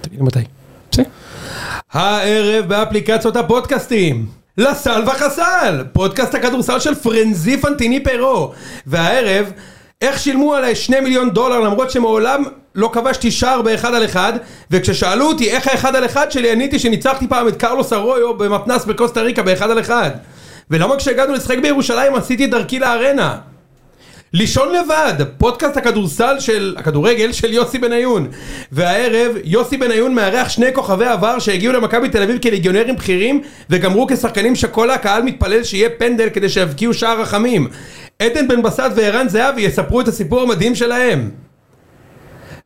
תגיד כן. מתי. בסדר. הערב באפליקציות הפודקאסטים. לסל וחסל! פודקאסט הכדורסל של פרנזי פנטיני פרו. והערב, איך שילמו עליי שני מיליון דולר למרות שמעולם לא כבשתי שער באחד על אחד, וכששאלו אותי איך האחד על אחד שלי, עניתי שניצחתי פעם את קרלוס ארויו במתנס בקוסטה ריקה באחד על אחד. ולמה כשהגענו לשחק בירושלים עשיתי את דרכי לארנה? לישון לבד, פודקאסט הכדורסל של, הכדורגל של יוסי בניון. והערב, יוסי בניון מארח שני כוכבי עבר שהגיעו למכבי תל אביב כליגיונרים בכירים, וגמרו כשחקנים שכל הקהל מתפלל שיהיה פנדל כדי שיבקיעו שער רחמים. עדן בן בסט וערן זהבי יספרו את הסיפור המדהים שלהם.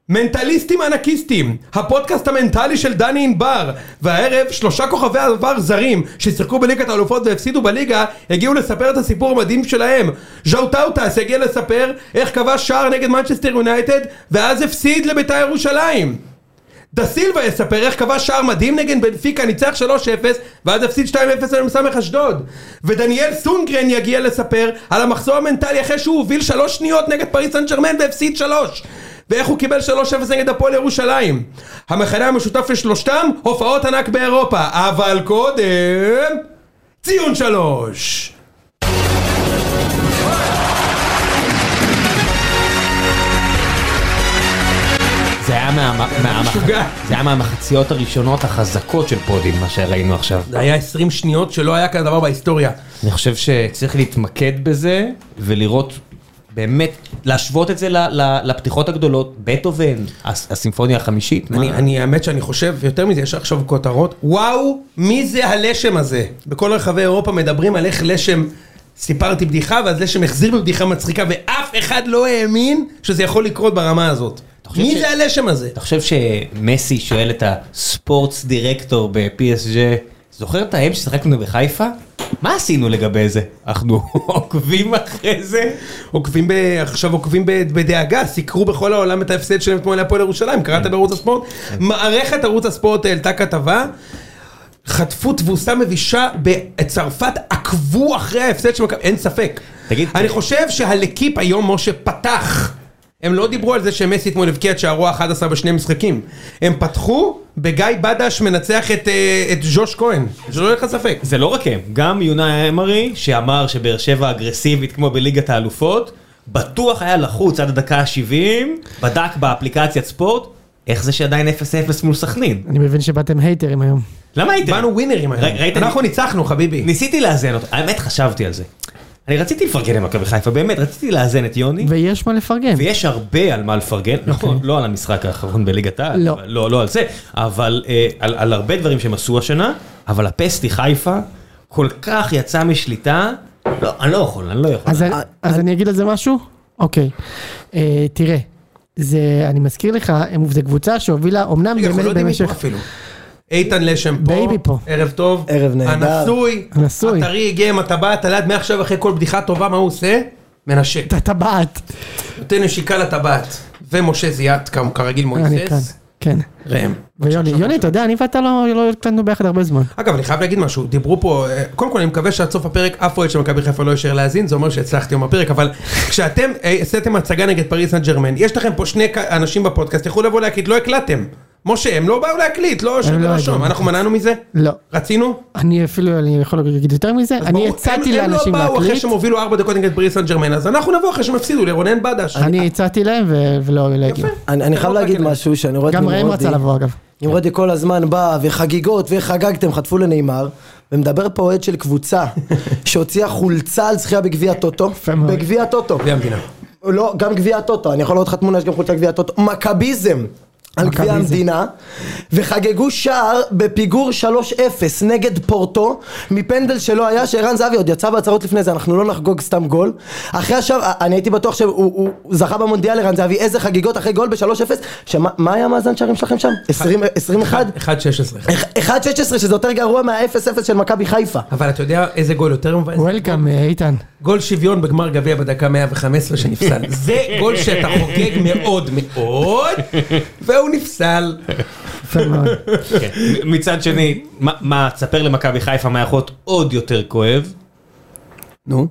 מנטליסטים אנקיסטים, הפודקאסט המנטלי של דני ענבר, והערב שלושה כוכבי עבר זרים ששיחקו בליגת האלופות והפסידו בליגה, הגיעו לספר את הסיפור המדהים שלהם. ז'או טאוטס הגיע לספר איך כבש שער נגד מנצ'סטר יונייטד, ואז הפסיד לבית"ר ירושלים. דה סילבה יספר איך כבש שער מדהים נגד בנפיקה, ניצח 3-0 ואז הפסיד 2-0 על מסמך אשדוד. ודניאל סונגרן יגיע לספר על המחזור המנטלי אחרי שהוא הוביל 3 שניות נגד פריס סן ג'רמן והפסיד 3. ואיך הוא קיבל 3-0 נגד הפועל ירושלים. המכנה המשותף לשלושתם, הופעות ענק באירופה. אבל קודם, ציון 3. זה היה מה- מהמח- משוגע. זה היה מהמחציות הראשונות החזקות של פודים, מה שראינו עכשיו. זה היה 20 שניות שלא היה כזה דבר בהיסטוריה. אני חושב שצריך להתמקד בזה, ולראות, באמת, להשוות את זה ל- ל- לפתיחות הגדולות, בטהובן, הס- הסימפוניה החמישית. מה? אני, אני, האמת שאני חושב, יותר מזה, יש עכשיו כותרות, וואו, מי זה הלשם הזה? בכל רחבי אירופה מדברים על איך לשם, סיפרתי בדיחה, ואז לשם החזיר בבדיחה מצחיקה, ואף אחד לא האמין שזה יכול לקרות ברמה הזאת. אתה חושב מי ש- זה הלשם הזה? אתה חושב שמסי שואל את הספורטס דירקטור ב-PSG, זוכר את האם ששיחקנו בחיפה? מה עשינו לגבי זה? אנחנו עוקבים אחרי זה? עוקבים ב... עכשיו עוקבים ב- בדאגה, סיקרו בכל העולם את ההפסד שלהם אתמול להפועל ירושלים, קראת בערוץ הספורט? מערכת ערוץ הספורט העלתה כתבה, חטפו תבוסה מבישה בצרפת, עקבו אחרי ההפסד של מכבי, אין ספק. תגיד- אני חושב שהלקיפ היום, משה, פתח. הם לא דיברו על זה שמסי אתמול הבקיע את שערו ה-11 בשני משחקים. הם פתחו בגיא בדש מנצח את, אה, את ז'וש כהן, שלא יהיה לך ספק. זה לא רק הם, גם יונה אמרי, שאמר שבאר שבע אגרסיבית כמו בליגת האלופות, בטוח היה לחוץ עד הדקה ה-70, בדק באפליקציית ספורט, איך זה שעדיין 0-0 מול סכנין? אני מבין שבאתם הייטרים היום. למה הייתם? באנו ווינרים ר- ראית- היום. אנחנו ניצחנו, חביבי. ניסיתי לאזן אותו, האמת חשבתי על זה. אני רציתי לפרגן למכבי חיפה, באמת, רציתי לאזן את יוני. ויש מה לפרגן. ויש הרבה על מה לפרגן, אוקיי. נכון, לא על המשחק האחרון בליגת העל, לא. אבל- לא, לא על זה, אבל אה, על, על הרבה דברים שהם עשו השנה, אבל הפסטי חיפה כל כך יצא משליטה, לא, אני לא יכול, אני לא יכול. אז, אה, אני- אז אני אגיד על זה משהו? אוקיי. אה, תראה, זה, אני מזכיר לך, הם- זו קבוצה שהובילה, אמנם רגע, אנחנו לא באמת יודעים מי פה במשך... אפילו. איתן לשם פה, בייבי פה. ערב טוב, ערב נהדר. הנשוי, הנשוי. הטרי הגיע עם הטבעת, הלד מעכשיו אחרי כל בדיחה טובה, מה הוא עושה? מנשק, אתה טבעת. נותן נשיקה לטבעת, ומשה זיאת כמ- כרגיל אני כאן, מויסס, כן. ראם. ויוני, יוני, אתה יודע, אני ואתה לא לא הקטנו ביחד הרבה זמן. אגב, אני חייב להגיד משהו, דיברו פה, אה, קודם כל אני מקווה שעד סוף הפרק אף אוהד של מכבי חיפה לא יישאר להאזין, זה אומר שהצלחתי עם הפרק, אבל כשאתם אה, עשיתם הצגה נגד פריס סן ג'רמן, יש לכם פה שני כ- אנשים בפודקאסט, יכלו לבוא להקליט, לא הקלטתם. משה, הם לא באו להקליט, לא לא שלא הגיעו. רשום, אנחנו מנענו מזה? לא. רצינו? אני אפילו, אני יכול להגיד יותר מזה, אז אני ברור, הצעתי הם- לאנשים הם לא באו אחרי להקליט, שהם הובילו ארבע דקות נגד פריס סן ג'רמן, אז אנחנו נבוא אחרי שהם הפסידו לרונן בדש. אני הצעתי להם ו- ולא לא הגיעו. אני, אני חייב לא להגיד רק אליי. משהו שאני רואה את גם ראם רצה לבוא אגב. נמרודי כל הזמן בא, וחגיגות, וחגגתם, חטפו לנאמר, ומדבר פה אוהד של קבוצה שהוציאה חולצה על זכייה בגביע הטוטו, יפה מאוד. בגביע הטוטו, גביע המדינה. לא, גם גביע הטוטו, אני יכול לראות לך תמונה, יש גם חולצה גביע הטוטו, מכביזם. על גביע מכביזם. המדינה, וחגגו שער בפיגור 3-0 נגד פורטו, מפנדל שלא היה, שערן זהבי עוד יצא בהצהרות לפני זה, אנחנו לא נחגוג סתם גול. אחרי השער, אני הייתי בטוח שהוא הוא- הוא זכה במונדיאל ערן זהבי, איזה חגיגות אחרי גול ב-3-0, שמה מה היה מאזן שערים שלכם שם? 20 21? 1-16. 1-16 שזה יותר גרוע מה-0-0 של מכבי חיפה. אבל אתה יודע איזה גול יותר מבאס? וולקאם אה, איתן. גול שוויון בגמר גביע בדקה 115 שנפסל. זה גול שאתה חוגג מאוד מאוד, והוא נפסל. יפה מאוד. כן. מצד שני, מה- מה, תספר למכבי חיפה מה יכול להיות עוד יותר כואב, נו.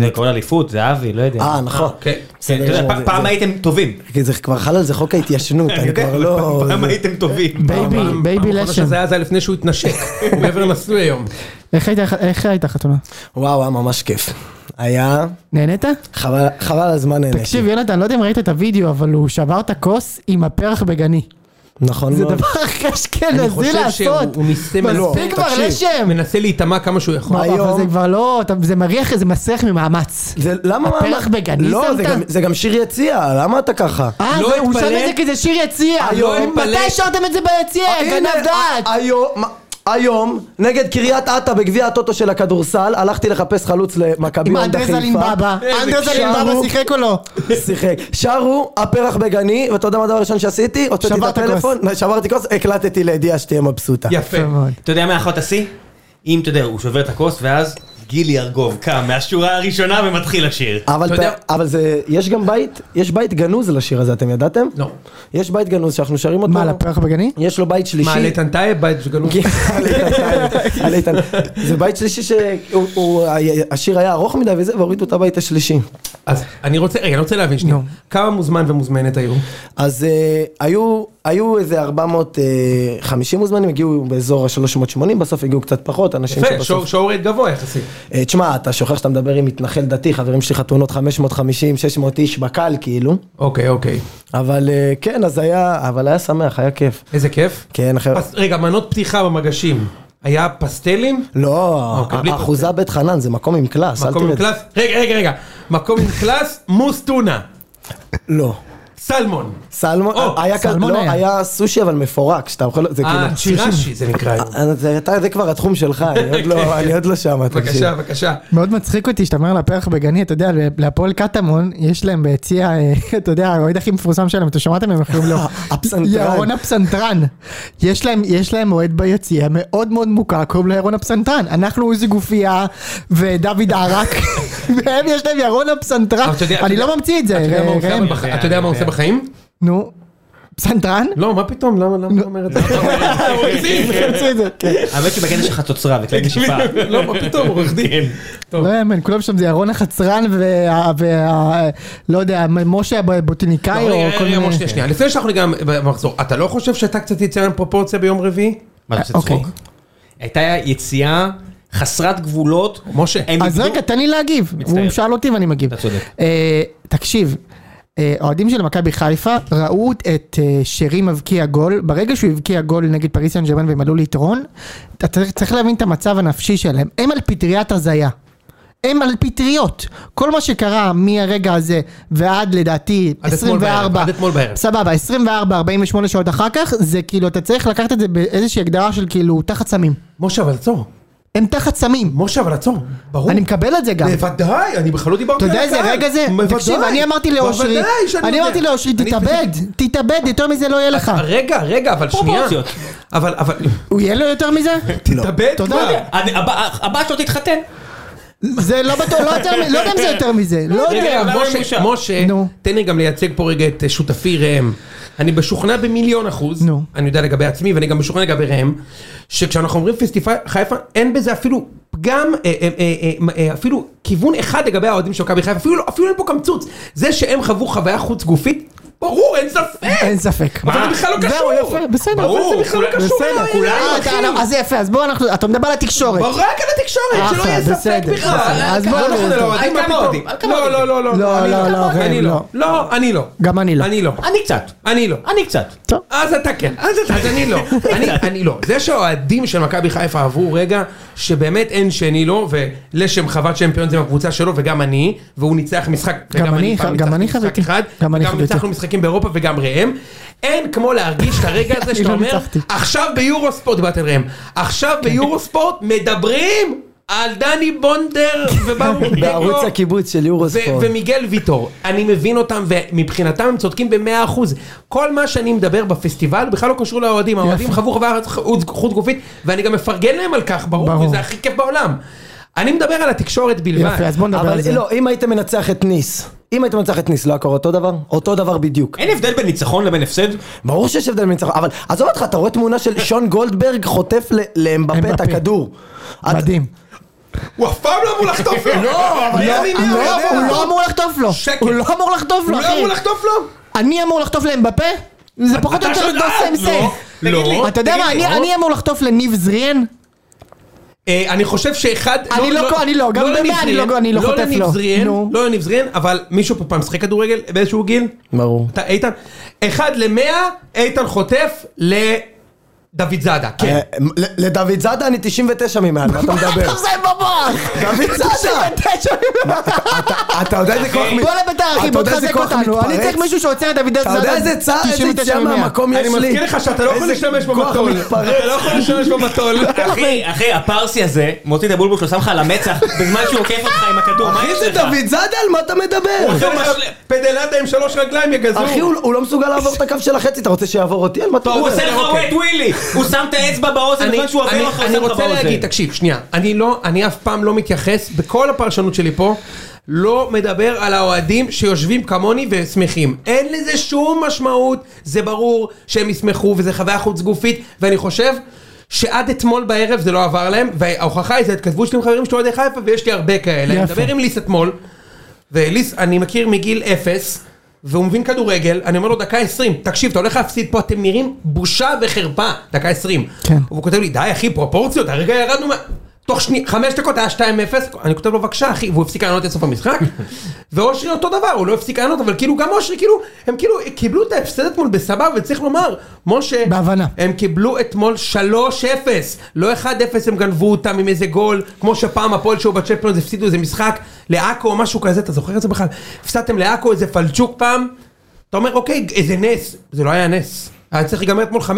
זה כל אליפות, זהבי, לא יודע. אה, נכון. כן. כן, אתה בסדר יודע, גמור, פ- זה- פעם זה- הייתם טובים. כי זה כבר חל על זה חוק ההתיישנות, אני כבר לא... כן. פעם זה- הייתם טובים. בייבי, פעם- פעם בייבי האחרונה לשם. שזה היה זה היה לפני שהוא התנשק. הוא גבר נשוי היום. איך הייתה- איך הייתה חתונה? וואו, היה ממש כיף. היה... נהנית? חבל חבל על הזמן נהניתי. תקשיב יונתן, לא יודע אם ראית את הוידאו, אבל הוא שבר את הכוס עם הפרח בגני. נכון זה מאוד. דבר הכי לא. אני אשכנזי חושב לא, לעשות. שהוא לא, ניסה מנסה- מספיק כבר תקשיב, לשם. מנסה להיטמע כמה שהוא יכול. מה, היום- אבל זה כבר לא, אתה- זה מריח, זה מסריח ממאמץ. זה למה... הפרח בגני לא, שמת? זה גם- זה גם שיר יציע, למה אתה ככה? אה, לא זה- הוא שם התפלא. את זה כי זה שיר יציע. לא התפלא. אה, מתי השארתם את זה ביציע? הנה, אה, גנב דעת. ה- היום... היום, נגד קריית אתא בגביע הטוטו של הכדורסל, הלכתי לחפש חלוץ למכבי עם יונדה אנדרז חיפה. אלימבאבא. איזה אנדרז שער אלימבאבא הוא. שיחק או לא? שיחק. שרו הפרח בגני, ואתה יודע מה הדבר הראשון שעשיתי? הוצאתי את שברת כוס. הטלפון, לא, שברתי כוס, הקלטתי לידיעה שתהיה מבסוטה. יפה. יפה מאוד. אתה יודע מה יכול להיות השיא? אם אתה יודע, הוא שובר את הכוס ואז גילי ארגוב קם מהשורה הראשונה ומתחיל לשיר. אבל, אתה אתה יודע- אבל זה, יש גם בית, יש בית גנוז לשיר הזה, אתם ידעתם? לא. יש בית גנוז שאנחנו שרים אותו. מה, לפרח בגני? יש לו בית שלישי. כן. מה, לאיתן טייב בית שגלו? כן. על איתן, על איתן. זה בית שלישי שהוא, הוא- השיר היה ארוך מדי וזה, והורידו את הבית השלישי. אז אני רוצה, רגע, אני רוצה להבין שנייה. נו. כמה מוזמן ומוזמנת היו? אז אה, היו, היו איזה 450 מוזמנים, הגיעו באזור ה-380, בסוף הגיעו קצת פחות, אנשים יפה, שור- שבסוף... שור רייט גבוה יחסית. אה, תשמע, אתה שוכח שאתה מדבר עם מתנחל דתי, חברים שלי חתונות 550, 600 איש בקהל כאילו, אוקיי, אוקיי. אבל אה, כן, אז היה, אבל היה שמח, היה כיף. איזה כיף. כן, אחר... פס- רגע, מנות פתיחה במגשים. היה פסטלים? לא, אוקיי, בלי אחוזה בית חנן זה מקום עם קלאס, אל מקום עם תרד. קלאס? רגע, רגע, רגע. מקום עם קלאס, מוס טונה. לא. סלמון. סלמון, או, היה כזה, סלמון לא, היה. היה סושי אבל מפורק, שאתה אוכל, זה אה, כאילו, צ'ירשי זה נקרא היום. אה, זה- אתה- זה כבר התחום שלך, אני עוד לא- אני עוד לא שם, תקשיב. בבקשה, בבקשה. מאוד מצחיק אותי שאתה אומר לפרח בגני, אתה יודע, להפועל קטמון, יש להם ביציע, אה, אתה יודע, האוהד הכי מפורסם שלהם, אתה שמעתם הם קוראים לו? הפסנתרן. ירון הפסנתרן. יש להם, יש להם אוהד ביציע מאוד מאוד מוכר, קוראים לו ירון הפסנתרן. אנחנו עוזי גופייה ודוד ערק, והם יש להם ירון הפסנתרן. אבל אתה יודע- אני אתה יודע- לא ממציא את אתה זה, יודע מה הוא עושה ראם. בח- אה, אתה יודע מה הוא עושה בחיים? נו, פסנתרן? לא, מה פתאום? למה למה אתה אומר את זה? הוא הגזים. תמצאו את זה. כן. האמת שבקטע שלך תוצרבת, להגיד שפעם. לא, מה פתאום, עורך דין. טוב. לא יאמן, כולם שם זה ירון החצרן וה... וה- לא יודע, משה הבוטיניקאי לא, רגע, או רגע, כל רגע, מיני... משה, שנייה, לפני שאנחנו גם במחזור, אתה לא חושב שאתה קצת יציאה מפרופורציה ביום רביעי? מה, אתה עושה אוקיי. צחוק? הייתה יציאה חסרת גבולות. משה. הם אז איבדו- רגע, תן לי להגיב. מצטער. הוא שאל אותי ואני מגיב. אתה צודק. אה, תקשיב, אה, אוהדים של מכבי חיפה ראו את אה, שרי מבקיע גול. ברגע שהוא הבקיע גול נגד פריס סן ג'רמן והם עלו ליתרון, אתה צריך- צריך להבין את המצב הנפשי שלהם. הם על פטריית הזיה. הם על פטריות. כל מה שקרה מהרגע הזה ועד לדעתי עד אתמול 24, בערב, עד אתמול בערב. סבבה, 24, 48 שעות אחר כך, זה כאילו, אתה צריך לקחת את זה באיזושהי הגדרה של כאילו תחת סמים. משה, אבל עצור. הם תחת סמים. משה, אבל עצור. ברור. אני מקבל את זה גם. בוודאי, אני בכלל לא דיברתי אתה על יודע איזה הקהל. רגע זה? בוודאי. תקשיב, אני אמרתי לאושרי, בוודאי שאני אני יודע. אמרתי לאושרי, אני- תתאבד, תתאבד, יותר מזה לא יהיה לך. רגע, רגע, אבל שנייה. פרופורציות. אבל, אבל, הוא יהיה לו יותר מזה? לא. תתאבד תודה. כבר. אני- הבת- הבת שלו תתחתן. זה לא בטוח, לא יותר מ- לא יודע אם זה יותר מזה, לא רגע, יודע. אבל- משה, מאושר. משה, נו. תן לי גם לייצג פה רגע את אה, שותפי ראם. אני משוכנע במיליון אחוז, נו. אני יודע לגבי עצמי ואני גם משוכנע לגבי ראם, שכשאנחנו אומרים פסטיבל חיפה, אין בזה אפילו פגם, אה, אה, אה, אה, אה, אפילו כיוון אחד לגבי האוהדים של מכבי חיפה, אפילו לא- אפילו אין פה קמצוץ. זה שהם חוו חוויה חוץ גופית, ברור, אין ספק. אין ספק. אבל זה בכלל לא זהו, קשור. יפה, בסדר, ברור, אבל זה בכלל לא כולם- קשור. בסדר, אה, כולנו, אה, אתה- אחי. לא, אז יפה, אז בוא אנחנו, אתה מדבר על התקשורת. ברור, רק על התקשורת, שלא אחלה, יהיה ספק בסדר, בכלל. בסדר. אז בוא לא, נדבר אנחנו על זה. לאוהדים, מה על כמה פתאום? אוהדים, על כמה לא, לא, אוהדים. לא, לא, לא, אני לא, לא, אני ראם, לא. לא. לא, אני לא. גם אני לא. אני לא. אני קצת. אני לא. אני קצת. טוב. אז אתה כן, אז אתה, אז אני לא, אני, אני לא. זה שהאוהדים של מכבי חיפה עברו רגע שבאמת אין שני לו, ולשם חוות צ'מפיון זה עם הקבוצה שלו, וגם אני, והוא ניצח משחק, גם וגם אני, פעם גם ניצחתי אני משחק חוויתי. אחד, גם אני וגם חוויתי. ניצחנו משחקים באירופה וגם ראם. אין כמו להרגיש את הרגע הזה אני שאתה לא אומר, ניצחתי. כן. עכשיו ביורוספורט, דיברתי על ראם, עכשיו ביורוספורט מדברים על דני בונדר וברוך דגו. בערוץ הקיבוץ של ו- נכון. יורוספורט. ומיגל ויטור, אני מבין אותם, ומבחינתם הם צודקים במאה אחוז. כל מה שאני מדבר בפסטיבל בכלל לא קשור לאוהדים, האוהדים חוו חוויה חוץ- חוץ גופית, ואני גם מפרגן להם על כך, ברור, ברור. וזה הכי כיף בעולם. אני מדבר על התקשורת בלבד. יפה, אז בוא נדבר אבל על זה. לא, אם היית מנצח את ניס, אם היית מנצח את ניס, לא היה קורה אותו דבר? אותו דבר בדיוק. אין הבדל בין ניצחון לבין הפסד. ברור שיש הבדל בין ניצחון, אבל עזוב אותך, אתה רואה תמונה של שון גולדברג חוטף ל- לאמבפה את אמבפה. הכדור. את- מדהים. הוא אף פעם לא אמור לחטוף לו! לא, אבל מי לא, אני, מי לא, אני יודע? הוא לא אמור לחטוף לו. שקל. הוא לא אמור לחטוף הוא לו, לא אחי. אמור לחטוף לו? אני אמור לחטוף להם בפה? זה פחות או אתה יותר שדד! אותו סיים סיים. לא, לא. אתה יודע תגיד מה, לי, אני- לא. אני אמור לחטוף לניב זריאן? אה, אני חושב שאחד... אני לא כה- אני לא, גם במאה לניב אני זריאן, לא- אני לא חוטף לניב לו. זריאן, נו. לא לניב זריאן, אבל מישהו פה פעם משחק כדורגל באיזשהו גיל? ברור. אתה איתן? אחד למאה, איתן חוטף לדוד זאדה, כן. אה, ל- לדוד זאדה אני 99 ממעל, מה אתה מה מדבר? אתה עושה במוח? דוד זאדה! אתה- אתה יודע איזה כוח... מ- בוא לביתר אחי, אתה בוא יודע איזה תחזק כוח אותנו, אני מתפרץ? צריך מישהו שעוצר את דוד אתה יודע זאדה איזה צער, איזה 99 יציאה ממאה. מהמקום יש אני לי? מזכיר לך שאתה לא יכול איזה להשתמש כוח במטול. מתפרץ. אתה לא יכול להשתמש במטול. אחי, אוקיי. אחי, הפרסי הזה מוציא את הבולבול שלו, שם לך על המצח, בזמן שהוא עוקף אותך עם הכדור, מה אחי יש זה לך? דוד זאדה, על מה אתה מדבר? אחי, משל- פדלדה עם שלוש רגליים יגזרו. אחי, הוא הוא לא מסוגל לעבור את הקו של החצי, אתה רוצה שיעבור אותי? על מה אתה טוב, הוא מדבר? עושה לך אוקיי. וואט ווילי! הוא שם את האצבע באוזן, אני, בזמן שהוא עובר אני, לך, הוא אני שם לך רוצה באוזן. להגיד, תקשיב, שנייה, אני לא, אני אף פעם לא מתייחס, בכל הפרשנות שלי פה, לא מדבר על האוהדים שיושבים כמוני ושמחים. אין לזה שום משמעות, זה ברור שהם ישמחו וזה חוויה חוץ גופית, ואני חושב... שעד אתמול בערב זה לא עבר להם, וההוכחה היא זה ההתכתבות שלי עם חברים שלי אוהדי חיפה, ויש לי הרבה כאלה. אני יפה. מדבר עם ליס אתמול, וליס, אני מכיר מגיל אפס, והוא מבין כדורגל, אני אומר לו דקה עשרים, תקשיב, אתה הולך להפסיד פה, אתם נראים בושה וחרפה, דקה עשרים. כן. והוא כותב לי, די אחי, פרופורציות, הרגע ירדנו מה... תוך שני, חמש דקות היה 2-0, אני כותב לו בבקשה אחי, והוא הפסיק לענות לסוף המשחק. ואושרי אותו דבר, הוא לא הפסיק לענות, אבל כאילו גם אושרי, כאילו, הם כאילו קיבלו את ההפסד אתמול בסבבה, וצריך לומר, משה, בהבנה. הם קיבלו אתמול 3-0, לא 1-0 הם גנבו אותם עם איזה גול, כמו שפעם הפועל שהיו בצ'מפיונס הפסידו איזה משחק לעכו או משהו כזה, אתה זוכר את זה בכלל? הפסדתם לעכו איזה פלצ'וק פעם, אתה אומר אוקיי, איזה נס, זה לא היה נס, היה צריך להיגמר אתמול 5-0, 5-1.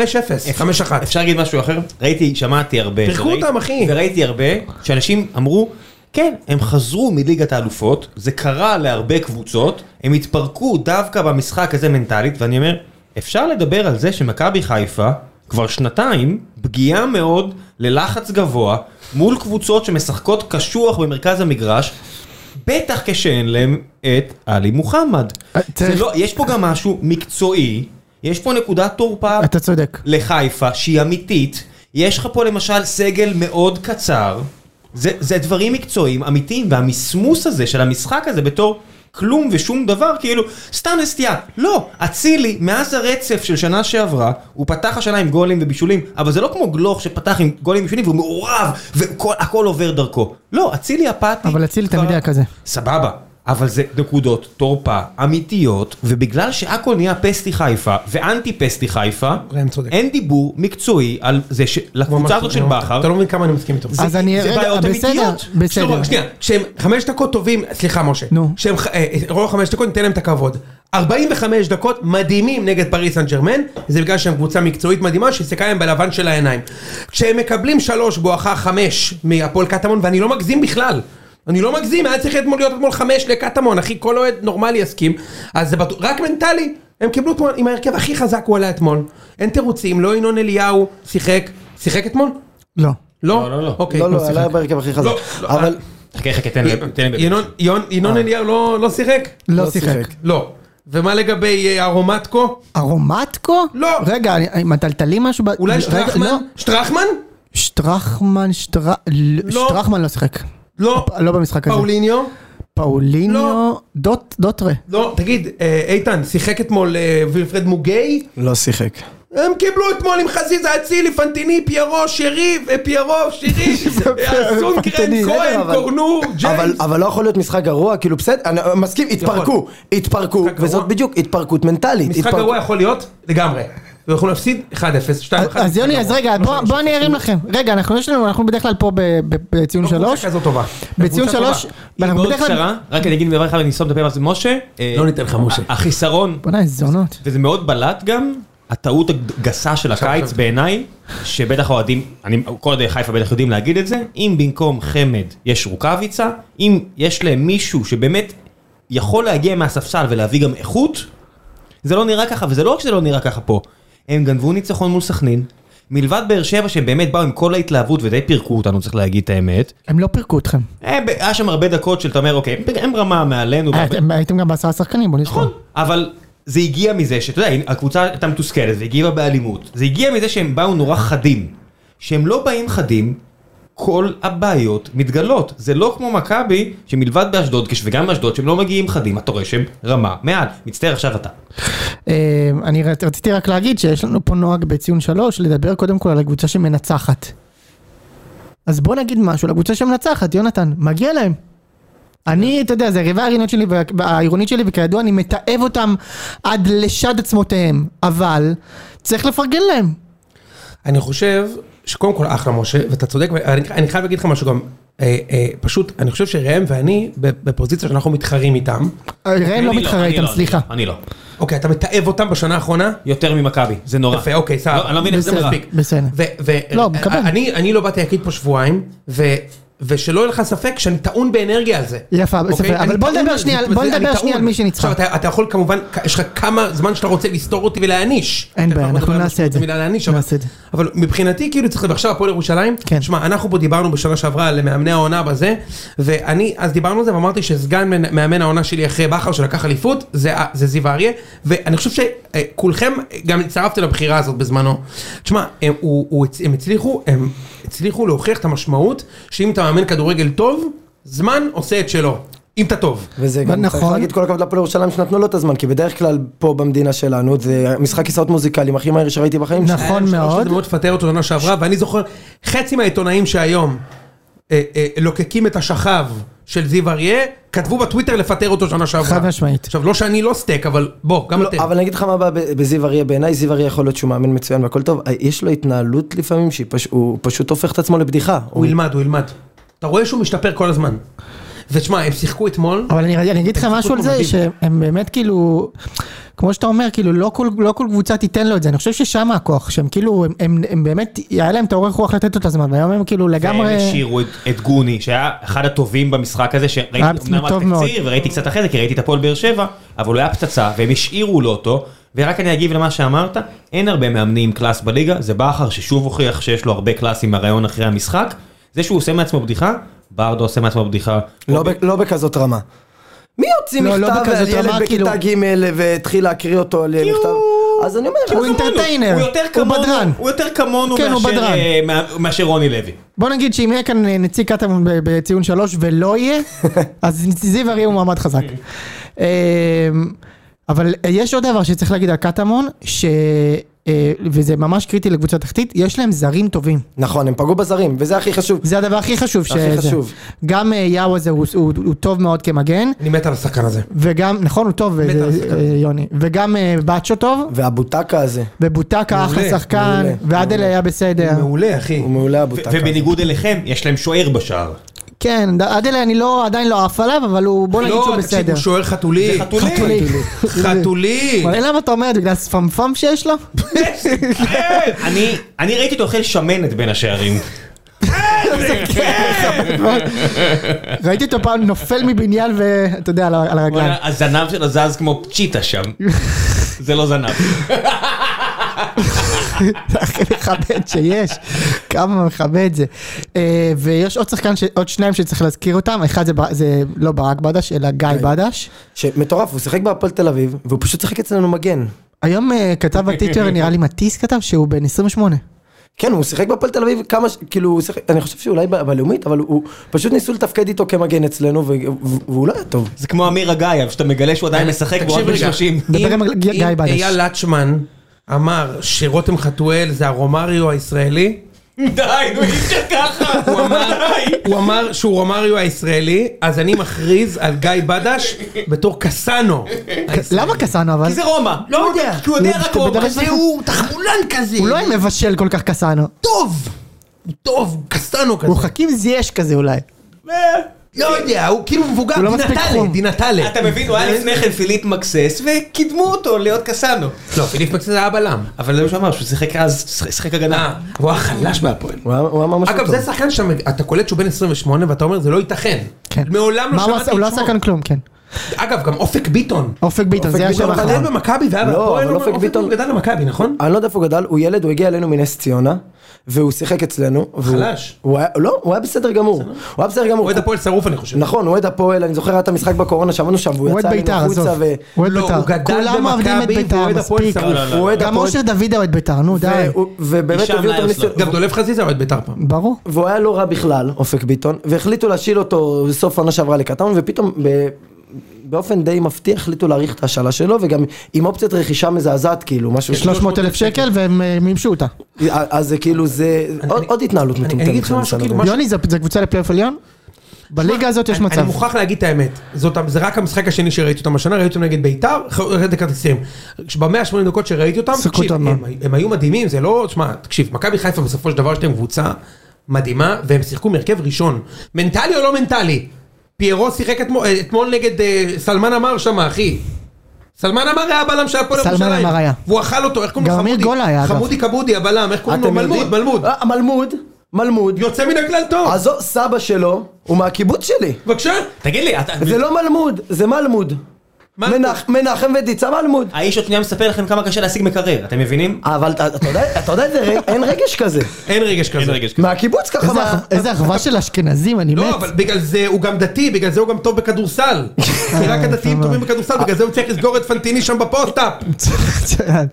אפשר להגיד משהו אחר? ראיתי, שמעתי הרבה. פירקו וראיתי- אותם, אחי. וראיתי הרבה, שאנשים אמרו, כן, הם חזרו מליגת האלופות, זה קרה להרבה קבוצות, הם התפרקו דווקא במשחק הזה מנטלית, ואני אומר, אפשר לדבר על זה שמכבי חיפה, כבר שנתיים, פגיעה מאוד ללחץ גבוה, מול קבוצות שמשחקות קשוח במרכז המגרש. בטח כשאין להם את עלי מוחמד. אה, זה צריך- לא, יש פה גם משהו מקצועי, יש פה נקודת תורפה אתה צודק. לחיפה, שהיא אמיתית, יש לך פה למשל סגל מאוד קצר, זה, זה דברים מקצועיים אמיתיים, והמסמוס הזה של המשחק הזה בתור כלום ושום דבר, כאילו, סתם לסטייה. לא, אצילי, מאז הרצף של שנה שעברה, הוא פתח השנה עם גולים ובישולים, אבל זה לא כמו גלוך שפתח עם גולים ובישולים והוא מעורב, והכל עובר דרכו. לא, אצילי אפאתי. אבל אצילי כבר- תמיד היה כזה. סבבה, אבל זה נקודות תורפה אמיתיות, ובגלל שהכל נהיה פסטי חיפה ואנטי פסטי חיפה, ראם צודק. אין דיבור מקצועי על זה שלקבוצה הזאת של בכר, אתה לא מבין כמה אני מסכים איתו. אז אני... זה רגע, בעיות בסדר, אמיתיות. בסדר. שנייה, כשהם חמש דקות טובים, סליחה משה, נו. כשהם ח- אה, רוב חמש דקות ניתן להם את הכבוד. 45 דקות מדהימים נגד פריס סן ג'רמן, זה בגלל שהם קבוצה מקצועית מדהימה שהסתכלה להם בלבן של העיניים. כשהם מקבלים שלוש בואכה חמש מהפועל קטמון, ואני לא מגזים בכלל. אני לא מגזים, היה צריך אתמול להיות אתמול חמש לקטמון, אחי, כל אוהד נורמלי יסכים. אז זה בטוח, רק מנטלי, הם קיבלו אתמול, עם ההרכב הכי חזק הוא עלה אתמול. אין תירוצים, לא ינון אליהו שיחק, שיחק אתמול? לא. לא? לא, לא. אוקיי. לא, לא, שיחק. עלה בהרכב הכי חזק. לא, לא, אבל... חכה חכה תן אה, לי, אה. תן לי, אה, ינון- יון- ינון אליהו לא לא שיחק? לא לא שיחק. שיחק. לא. ומה לגבי אה, ארומטקו? ארומטקו? לא. רגע, אני- עם הטלטלים משהו? ב- אולי רגע, שטרחמן? לא. שטרחמן? שטרחמן, שטר- לא. שטרחמן לא שיחק. לא. לא במשחק הזה. פאוליניו? פאוליניו, לא. דוט- דוטרה. לא. תגיד, אה, איתן, שיחק אתמול אה, וילפרד מוגי? לא שיחק. הם קיבלו אתמול עם חזיזה אצילי, פנטיני, פיירו, שירי, אה, פיירו, שירי, אה, סונגרן, פנטיני, כהן, בסדר, אבל- קורנו, אבל- ג'יימס. אבל לא יכול להיות משחק גרוע, כאילו בסדר, אני מסכים, התפרקו, התפרקו, משחק וזאת גרוע? בדיוק התפרקות מנטלית. משחק התפרקו. גרוע יכול להיות? לגמרי. ויכולנו להפסיד 1-0, 2-1. אז לא יוני, אז רגע, בוא- בוא אני ארים לכם. רגע, אנחנו יש לנו, אנחנו בדרך כלל פה ב- ב- בציון שלוש. לא, קבוצה כזו טובה. בציון קבוצה שלוש, טובה. היא ואנחנו מאוד בדרך כלל... קצרה, רק אני אגיד דבר אחד ואני סום את הפה על זה, משה, אה, לא ניתן לך, משה. החיסרון, בוא'נה, איזה זונות. וזה מאוד בלט גם, הטעות הגסה של הקיץ עכשיו. בעיניי, שבטח האוהדים, אני- כל אוהדי חיפה בטח יודעים להגיד את זה, אם במקום חמד יש רוקאביצה, אם יש להם מישהו שבאמת יכול להגיע מהספסל ולהביא גם איכות, זה לא נראה ככה, וזה לא רק שזה לא נראה ככה פה, הם גנבו ניצחון מול סכנין. מלבד באר שבע שהם באמת באו עם כל ההתלהבות ודי פירקו אותנו צריך להגיד את האמת. הם לא פירקו אתכם. הם- היה שם הרבה דקות של אתה אומר אוקיי הם- הם רמה מעלינו. אה, בהרבה- אתם- הייתם גם בעשרה שחקנים, בוא נזכור. לא, נכון, אבל זה הגיע מזה שאתה יודע, הקבוצה הייתה מתוסכלת והגיבה באלימות. זה הגיע מזה שהם באו נורא חדים. שהם לא באים חדים, כל הבעיות מתגלות. זה לא כמו מכבי, שמלבד באשדוד, כש- וגם באשדוד, שהם לא מגיעים חדים, אתה רואה שהם רמה מעל. מצטער, עכשיו אתה. אה, אני רצ- רציתי רק להגיד שיש לנו פה נוהג בציון שלוש, לדבר קודם כל על הקבוצה שמנצחת. אז בוא נגיד משהו לקבוצה שמנצחת, יונתן, מגיע להם. אני, אתה יודע, זה הריבה העירונית שלי, וה- העירונית שלי, וכידוע אני מתעב אותם עד לשד עצמותיהם, אבל צריך לפרגן להם. אני חושב שקודם כל אחלה משה, ואתה צודק, ואני אני חייב להגיד לך משהו גם, אה, אה, פשוט, אני חושב שראם ואני בפוזיציה שאנחנו מתחרים איתם. ראם לא אני מתחרה אני איתם, לא, אני סליחה. לא, אני לא. אוקיי, אתה מתעב אותם בשנה האחרונה? יותר ממכבי, זה נורא. יפה, אוקיי, סבבה. לא, אני לא מבין איך זה בסדר. מרע. מספיק. בסדר. ו- ו- לא, מקבל. אני- אני לא באתי להקליט פה שבועיים, ו- ושלא יהיה לך ספק שאני טעון באנרגיה על זה. יפה, אוקיי? בסדר, אני אבל בוא טעון נדבר על שנייה- זה, בוא זה- אני נדבר טעון. שנייה על מי שניצחה. עכשיו, אתה- אתה יכול כמובן, כ- יש לך כמה זמן שאתה רוצה לסתור אותי ולהעניש. אין בעיה, אנחנו אנחנו נדבר על נעשה את זה. משמעות המילה להעניש, אבל- נעשה את זה. אבל מבחינתי, כאילו, צריך לדבר עכשיו הפועל ירושלים. כן. שמע, אנחנו פה דיברנו בשנה שעברה על מאמני העונה בזה, ואני, אז דיברנו על זה, ואמרתי שסגן מנ- מאמן העונה שלי אחרי בכר שלקח אליפות, זה ה- זה זיו אריה, ואני חושב שכולכם גם הצטרפתם לבחירה הזאת בזמנו. תשמע, הם הוא- הוא הצ- הם הצליחו, הם הצליחו להוכיח את המשמעות, שאם אתה מאמן כדורגל טוב, זמן עושה את שלו. אם אתה טוב. וזה גם צריך נכון. להגיד כל הכבוד להפועל ירושלים שנתנו לו את הזמן, כי בדרך כלל פה במדינה שלנו זה משחק כיסאות מוזיקליים הכי מהיר שראיתי בחיים שלי. נכון היה שלוש מאוד. הזדמנויות לפטר אותו שנה שעברה, ואני זוכר חצי מהעיתונאים שהיום אה, אה, לוקקים את השכב של זיו אריה, כתבו בטוויטר לפטר אותו שנה שעברה. חד משמעית. עכשיו, לא שאני לא סטייק, אבל בוא, גם לא, אתם. אבל אני אגיד לך מה הבעיה ב- בזיו אריה, בעיניי זיו אריה יכול להיות שהוא מאמן מצוין והכל טוב, אה, יש לו התנהלות לפעמים שהיא פש- הוא פשוט הופך את עצמו לבדיחה. הוא ילמד, הוא ילמד. אתה רואה שהוא משתפר כל הזמן. ותשמע, הם שיחקו אתמול, אבל אני, אני אגיד לך הם משהו על שיחקו זה, מדהים. שהם באמת כאילו, כמו שאתה אומר, כאילו לא כל, לא כל קבוצה תיתן לו את זה, אני חושב ששם הכוח, שהם כאילו, הם, הם, הם באמת, היה להם את האורך רוח לתת לו את הזמן, והיום הם כאילו הם לגמרי, השאירו את, את גוני, שהיה אחד הטובים במשחק הזה, שראיתי היה פצוע אמנם רק טוב תקציר, וראיתי קצת אחרי זה, כי ראיתי את הפועל באר שבע, אבל הוא היה פצצה, והם השאירו לו אותו, ורק אני אגיב למה שאמרת, אין הרבה מאמנים עם קלאס בליגה, זה בכר ששוב הוכיח שיש לו הרבה קלאס עם הרעיון אחרי המשחק, זה שהוא עושה מעצמו בדיחה, ברדו עושה מעצמו בדיחה. לא ב- לא בכזאת רמה. מי הוציא לא, לא מכתב על בכזאת ילד רמה, בכיתה ג' והתחיל להקריא אותו על מכתב? אז אני אומר, כאילו- כי הוא אז אמרנו, אינטרטיינר, הוא יותר הוא כמונו, בדרן. הוא יותר כמונו כן, הוא מאשר, בדרן. אה, מה- מאשר רוני לוי. בוא נגיד שאם יהיה כאן אה, נציג קטמון ב- בציון שלוש ולא יהיה, אז זיו אריה הוא מועמד חזק. אמ, אבל אה, יש עוד דבר שצריך להגיד על קטמון, ש... אה, וזה ממש קריטי לקבוצה תחתית, יש להם זרים טובים. נכון, הם פגעו בזרים, וזה הכי חשוב. זה הדבר הכי חשוב. הכי שזה. חשוב. גם אה, יאו הזה הוא, הוא, הוא טוב מאוד כמגן, אני מת על השחקן הזה. וגם, נכון, הוא טוב, בטח, אה, שחקן. אה, יוני, וגם אה, באצ'ו טוב, והבוטקה הזה, ובוטקה אחלה מעולה, שחקן, מעולה, ועדל היה בסדר. מעולה, אחי. הוא מעולה ו- הבוטקה. ובניגוד אליכם, יש להם שוער בשער. כן, ד- עדל אני לא, עדיין לא עף עליו, אבל הוא, בוא נגיד לא, שהוא תקשיב, בסדר. הוא שוער חתולי. זה חתולי. חתולי. חתולי. אבל למה אתה אומר את זה? בגלל הספמפם שיש לו? כן, אני- אני ראיתי אותו אוכל שמנת בין השערים. ראיתי אותו פעם נופל מבניין ואתה יודע, על ה- על הרגליים. וואלה, הזנב שלו זז כמו צ'יטה שם. זה לא זנב. הכי מכבד שיש, כמה מכבד זה. אה, ויש עוד שחקן, ש- עוד שניים שצריך להזכיר אותם, אחד זה בר- זה לא ברק בדש, אלא גיא בדש. שמטורף, הוא שיחק בהפועל תל אביב, והוא פשוט שיחק אצלנו מגן. היום אה, כתב בטיטר, נראה לי מטיס כתב, שהוא בן 28. כן, הוא שיחק בהפועל תל אביב כמה, ש- כאילו, הוא שיחק, אני חושב שאולי ב- בלאומית, אבל הוא פשוט ניסו לתפקד איתו כמגן אצלנו, ו- ו- והוא לא היה טוב. זה כמו אמיר אגייב, שאתה מגלה שהוא עדיין משחק בו רק תקשיב בן רגע, 30. דבר עם אם- גיא אם בדש. אייל לצ'מן אמר שרותם חתואל זה הרומריו הישראלי, די, נו, אי אפשר ככה. הוא אמר, די. הוא אמר שהוא רומריו הישראלי, אז אני מכריז על גיא בדש בתור קסאנו. הישראלי. למה קסאנו אבל? כי זה רומא. לא יודע. כי הוא יודע הוא- רק רומא. בדבר אבל זה הוא תחבולן כזה. הוא לא היה מבשל כל כך קסאנו. טוב. הוא טוב, קסאנו כזה. הוא חכים זייש כזה אולי. אה, לא יודע, הוא כאילו מבוגר, הוא לא מספיק דינטלה, חום. דינטלה. אתה מבין, הוא היה לפני כן פיליפ מקסס, וקידמו אותו להיות קסאנו. לא, פיליפ מקסס היה בלם. אבל זה מה שהוא אמר, שהוא שיחק אז, שיחק הגנה. אה, הוא היה חלש בהפועל. הוא היה- הוא היה ממש לא אגב, טוב. זה שחקן שאתה קולט שהוא בן 28 ואתה אומר זה לא ייתכן. כן. מעולם לא מה הוא שמעתי את עשה? שמו. הוא לא עשה כאן כלום, כן. אגב, גם אופק ביטון. אופק ביטון, אופק זה היה ביטון שם הוא אחרון. גדל במכבי והיה לא, בהפועל, אבל הוא- אופק ביטון- הוא גדל במכבי, נכון? אני לא יודע איפה הוא גדל, הוא ילד, הוא הגיע אלינו מנס ציונה, והוא שיחק אצלנו. והוא- חלש. הוא היה- לא, הוא היה בסדר גמור. הוא היה בסדר גמור. אוהד הפועל שרוף אני חושב. נכון, אוהד הפועל, אני זוכר היה את המשחק בקורונה, שעמדנו שם, והוא הוא יצא אוהד בית"ר, אלינו עזוב. החוצה, ו- הוא אוהד לא, בית"ר. הוא גדל כולם אוהדים את במכבי והוא בית"ר, אוהד הפועל מספיק. שרוף. הוא אוהד גם הפועל. אושר דוידה אוהד בית"ר, נו די. והוא- ובאמת משם הביאו אותו לאסלו. מניסיון. גם דולב חזיזה אוהד בית"ר פעם. ברור. והוא היה לא רע בכלל, אופק ביטון, והחליטו להשאיל אותו בסוף עונה שעברה לקטמון, ופתאום ב... באופן די מפתיע החליטו להאריך את ההשאלה שלו, וגם עם אופציית רכישה מזעזעת, כאילו, כן. משהו... 300 אלף שקל והם אה, מימשו אותה. אז זה כאילו, זה עוד- עוד התנהלות אני- אני מטומטמת. אגיד לך שאני משהו, מנסה כאילו, להבין. משהו- יוני, זה זה קבוצה לפלייאוף עליון? בליגה הזאת יש אני- מצב. אני מוכרח להגיד את האמת. זאת, זה רק המשחק השני שראיתי אותם השנה, ראיתי אותם נגד ביתר, ראיתי כרטיסים. במאה ה-80 דקות שראיתי אותם, שיחקו תקשיב, אותם, הם, הם היו מדהימים, זה לא, תשמע, תקשיב, מכבי חיפה בסופו של דבר יש להם קבוצה מדהימה, והם שיחקו מהרכב ראשון. מנטלי או לא מנטלי? פיירו שיחק אתמול, אה, אתמול נגד אה, סלמן עמאר שם, אחי. סלמן עמאר היה הבלם שהיה פה סלמן עמאר היה. והוא אכל אותו, איך קוראים לו גם אמיר גולה היה, אגב. חמודי כבודי, הבלם, איך קוראים לו? אתם מלמוד, יודעים? מלמוד. אה, מלמוד, מלמוד. יוצא מן הכלל טוב. אז זו- סבא שלו, הוא מהקיבוץ שלי. בבקשה. תגיד לי, אתה- זה לא מלמוד, זה מלמוד. מלמוד. מנח- מנחם ודיצה מלמוד. האיש עוד שנייה מספר לכם כמה קשה להשיג מקרר, אתם מבינים? אבל אתה אתה יודע, אתה יודע, זה ר- אין רגש כזה. אין רגש אה, כזה. מהקיבוץ ככה. איזה מה- אח- איזה אחווה של אשכנזים, אני לא, מת. אבל בגלל זה הוא גם דתי, בגלל זה הוא גם טוב בכדורסל. כן, כי רק הדתיים טובים בכדורסל, בגלל זה הוא צריך לסגור את פנטיני שם בפוסט-אפ.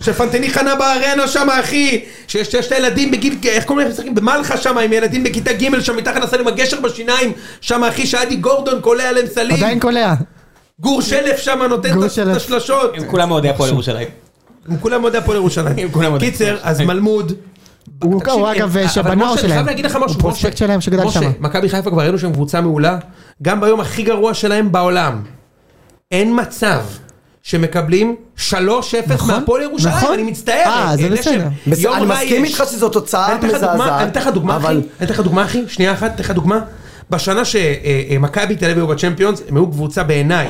שפנטיני חנה בארנה שם, אחי. שיש שיש את הילדים בגיל, איך קוראים להם משחקים? במלחה שם, עם ילדים בכיתה ג' שם, מתחת לסל עם הגשר בשיניים. שם, אחי, שעדי גורדון קולע עליהם סלים. עדיין קולע. גור שלף שם נותן גור את- את שלף. השלשות. הם כולם אוהדי הפועל ירושלים. הם כולם אוהדי הפועל ירושלים. הם כולם אוהדי קיצר, הפועל. אז מלמוד. הוא תקשיב, הוא הם- אגב אה, אבל שבנוער משה, שלהם. אני חייב להגיד לך משהו, הוא פרוספקט משה. שלהם שגדל משה, שם. מכבי חיפה כבר ראינו שהם קבוצה מעולה, גם ביום הכי גרוע שלהם בעולם. אין מצב שמקבלים 3-0 נכון, מהפועל ירושלים, נכון. אני מצטער. אה, זה אלה בסדר. שהם- בס- יום אני רע מסכים יש. איתך שזו תוצאה אני אתן לך דוגמה- מזעזעת, אני אתן לך דוגמה, אחי, אבל- אני אתן לך דוגמה, אחי, שנייה אחת, אני אתן לך דוגמה. בשנה שמכבי תל אביב היו בצ'מפיונס, הם היו קבוצה בעיניי.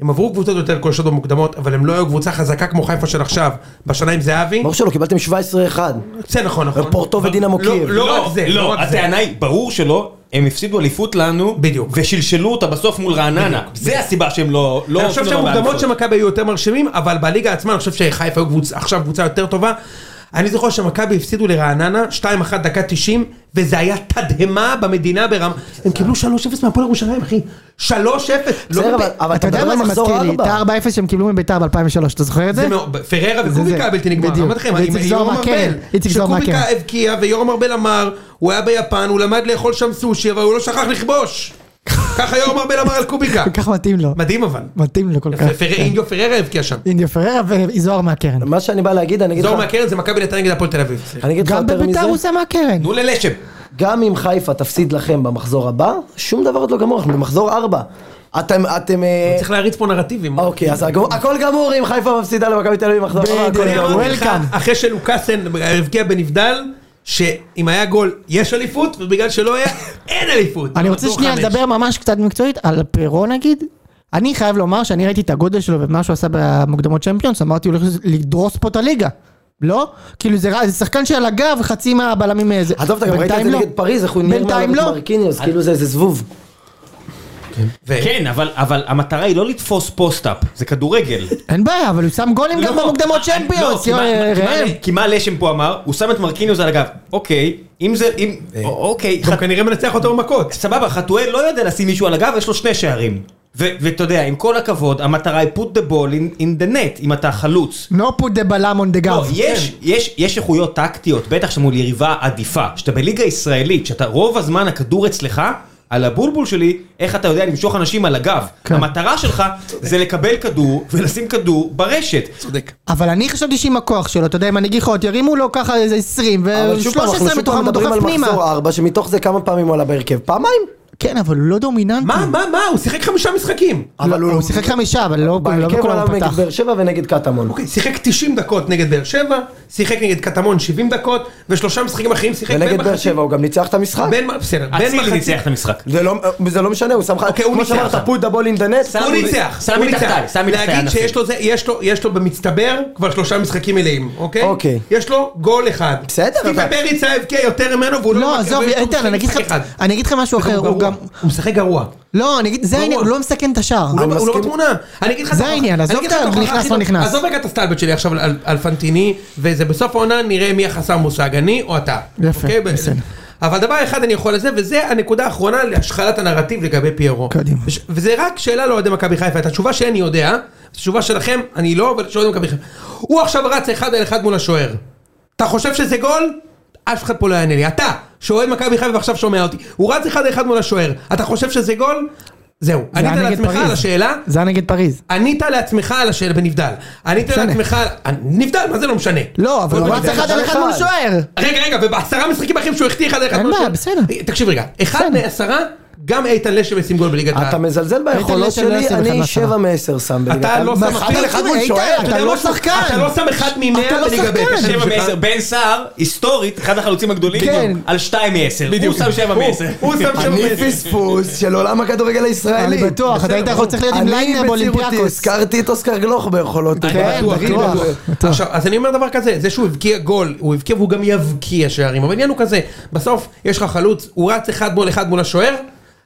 הם עברו קבוצות יותר קולשות במוקדמות, אבל הם לא היו קבוצה חזקה כמו חיפה של עכשיו. בשנה עם זהבי, ברור שלא, קיבלתם 17-1. זה נכון, נכון. פורטו ודינמו לא- קייב. לא רק זה, לא רק זה. הטענה היא, ברור שלא, הם הפסידו אליפות לנו, בדיוק. ושלשלו אותה בסוף מול רעננה. זה הסיבה שהם לא... לא- אני חושב לא שהמוקדמות באליפות. של מכבי היו יותר מרשימים, אבל בליגה עצמה אני חושב שחיפה היו קבוצ- עכשיו קבוצה יותר טובה. אני זוכר שמכבי הפסידו לרעננה 2-1 דקה 90, וזה היה תדהמה במדינה ברמה. הם קיבלו 3-0 מהפועל ירושלים, אחי. 3-0. לא בסדר, מבין. אבל- אבל אתה יודע מה זה מזכיר לי? את ה-4-0 שהם קיבלו מביתר ב-2003, אתה זוכר את זה? זה מאוד- פררה וקוביקה זה. היה בלתי נגמר, בדיוק. אמרתי לכם, ואיציק עם זוהר יורם מהקרן. ארבל, איציק זוהר שקוביקה מהקרן. הבקיע ויורם ארבל אמר, הוא היה ביפן, הוא למד לאכול שם סושי, אבל הוא לא שכח לכבוש. ככה יורם ארבל אמר על קוביקה. כל כך מתאים לו. מדהים אבל. מתאים לו כל כך. כן. פר- אינדיו פררה הבקיע שם. אינדיו פררה וזוהר מהקרן. מה שאני בא להגיד, אני אגיד לך... זוהר מהקרן זה מכבי נתניה נגד הפועל תל אביב. אני אגיד לך גם יותר בביתר הוא מזה, שם מהקרן. תנו ללשם. גם אם חיפה תפסיד לכם במחזור הבא, שום דבר עוד לא גמור, אנחנו במחזור 4. אתם, אתם... אה, לא צריך להריץ פה נרטיבים. אוקיי, אז הגמור- הכל גמור אם חיפה מפסידה למכבי תל אביב במחזור הבא, הכל אני בדיוק. גמור. אמרתי לך, Welcome. אחרי שלוקאסן הבקיע בנבדל, שאם היה גול יש אליפות, ובגלל שלא היה, אין אליפות. אני רוצה מחזור שנייה חמש. לדבר ממש קצת מקצועית על פרו נגיד. אני חייב לומר שאני ראיתי את הגודל שלו ומה שהוא עשה במוקדמות צ'מפיונס, אמרתי הוא הולך לדרוס פה את הליגה. לא? כאילו זה רע- זה שחקן שעל הגב חצי מהבלמים אה, איזה. עזוב, אתה גם ראית את זה נגד פריז, איך הוא נראה לא. בינתיים לא. מרקיניוס, כאילו זה איזה זבוב. ו- כן, אבל- אבל המטרה היא לא לתפוס פוסט-אפ, זה כדורגל. אין בעיה, אבל הוא שם גולים גם לא, במוקדמות אה, צ'מפיונס, לא, כי יואי, מה- כי מה- ראם. כי מה לשם פה אמר? הוא שם את מרקיניוס על הגב. אוקיי, אם זה... אם... אוקיי. אה. גם חת- כנראה מנצח אותו במכות. סבבה, חתואל לא יודע לשים מישהו על הגב, יש לו שני שערים. ו- ואתה יודע, עם כל הכבוד, המטרה היא put the ball in, in the net, אם אתה חלוץ. No put the בלם on the לא, gov. יש, כן. יש, יש איכויות טקטיות, בטח שמול יריבה עדיפה, שאתה בליגה הישראלית, שאתה רוב הזמן הכדור אצלך, על הבולבול שלי, איך אתה יודע למשוך אנשים על הגב. כן. המטרה שלך זה לקבל כדור ולשים כדור ברשת. צודק. אבל אני חשבתי שעם הכוח שלו, אתה יודע, עם הנגיחות, ירימו לו ככה איזה 20, אבל שוב פעם, אנחנו ו-13 שוב פעם מתוכם הוא מדברים דוחף על פנימה. מחזור 4, שמתוך זה כמה פעמים הוא עלה בהרכב? פעמיים? כן, אבל הוא לא דומיננטי. מה, מה, מה, הוא שיחק חמישה משחקים. אבל הוא שיחק חמישה, אבל לא לא בהרכב הוא עלה בכולם הוא נגד פתח. באר שבע ונגד קטמון. אוקיי, שיחק 90 דקות נגד באר שבע, שיחק נגד קטמון 70 דקות, ושלושה משחקים אחרים שיחק ונגד בין באר מחצית- שבע הוא גם ניצח את המשחק. בין מ- בסדר, בין אצילי מחצית. ניצח את המשחק. זה לא, זה לא משנה, הוא שם לך, אוקיי, הוא כמו ניצח שאמרת, שם. פוט דבול אין דה נט, הוא ניצח, שם הוא מתחתיי, ניצח. שם מתחתיי להגיד ענפים. שיש לו זה, יש לו, יש לו במצטבר כבר שלושה משחקים מלאים, אוקיי? אוקיי. יש לו גול אחד. בסדר, סטיבן אבל- פריצה הבקיע יותר ממנו והוא לא... לא, מכיר, עזוב, ויש לו איתן, אני אגיד לך- משחק אחד. אני אגיד לך משהו אחר, הוא הוא גרוע. גם... הוא משחק גרוע. לא, אני אגיד, זה ברור. העניין, הוא לא מסכן את השער. הוא לא- הוא לא מסכים. בתמונה. אני אגיד לך את זה ההוכחה- העניין, אני עזוב אגיד את לך ההוכחה הנכנס, הכי לא טוב- נכנס. עזוב רגע את הסטלבט שלי עכשיו על- על פנטיני, וזה בסוף העונה נראה מי החסר מושג, אני או אתה. יפה, אוקיי? ב- בסדר. אבל דבר אחד אני יכול לזה, וזה הנקודה האחרונה להשחלת הנרטיב לגבי פיירו. קדימה. וש- וזה רק שאלה לאוהדי מכבי חיפה, את התשובה שלי אני יודע, התשובה שלכם, אני לא, אבל של אוהדי מכבי חיפה. הוא עכשיו רץ אחד על אחד מול השוער. אתה חושב שזה גול? אף אחד פה לא יענה לי. אתה, שאוהד מכבי חיפה ועכשיו שומע אותי, הוא רץ אחד על אחד מול השוער. אתה חושב שזה גול? זהו. זה היה ענית נגד לעצמך פריז. על השאלה? זה היה נגד פריז. ענית לעצמך על השאלה בנבדל. ענית משנה. לעצמך על... נבדל, מה זה לא משנה? לא, אבל הוא בוא רץ נגיד, אחד על אחד מול שוער. רגע, רגע, ובעשרה משחקים האחרים שהוא החטיא אחד אחד. אין מול בעיה, השני- בסדר. תקשיב רגע, אחד בסדר. מעשרה, גם איתן לשם ישים גול בליגת אתה העל. מזלזל ביכולות לשם לא שלי, ישים אחד אני מהעשרה. 7 מ-10 שם בליגת אתה העל. לא מה, שם אחד על אפילו- אחד מול איתן, שוער? אתה לא שם- שחקן. אתה לא שם אחד ממאה אתה לא בליגה ב'. שחקן. השם כן, שבע שלך. מעשר, בן סער, היסטורית, אחד החלוצים הגדולים, כן. על שתיים מעשר, הוא בדיוק. שם שבע הוא- מעשר. הוא שם שבע אני מעשר. פספוס של עולם הכדורגל הישראלי. אני בטוח, אתה היית יכול צריך להיות עם אני ליינר בצעירותי באולימפיאקוס. הזכרתי את אוסקר גלוך ביכולות. כן, בטוח, דוד, בטוח. בטוח. בטוח. עכשיו, אז אני אומר דבר כזה, זה שהוא הבקיע גול, הוא הבקיע והוא גם יבקיע שערים, אבל העניין הוא כזה, בסוף יש לך חלוץ, הוא רץ אחד מול אחד מול השוער,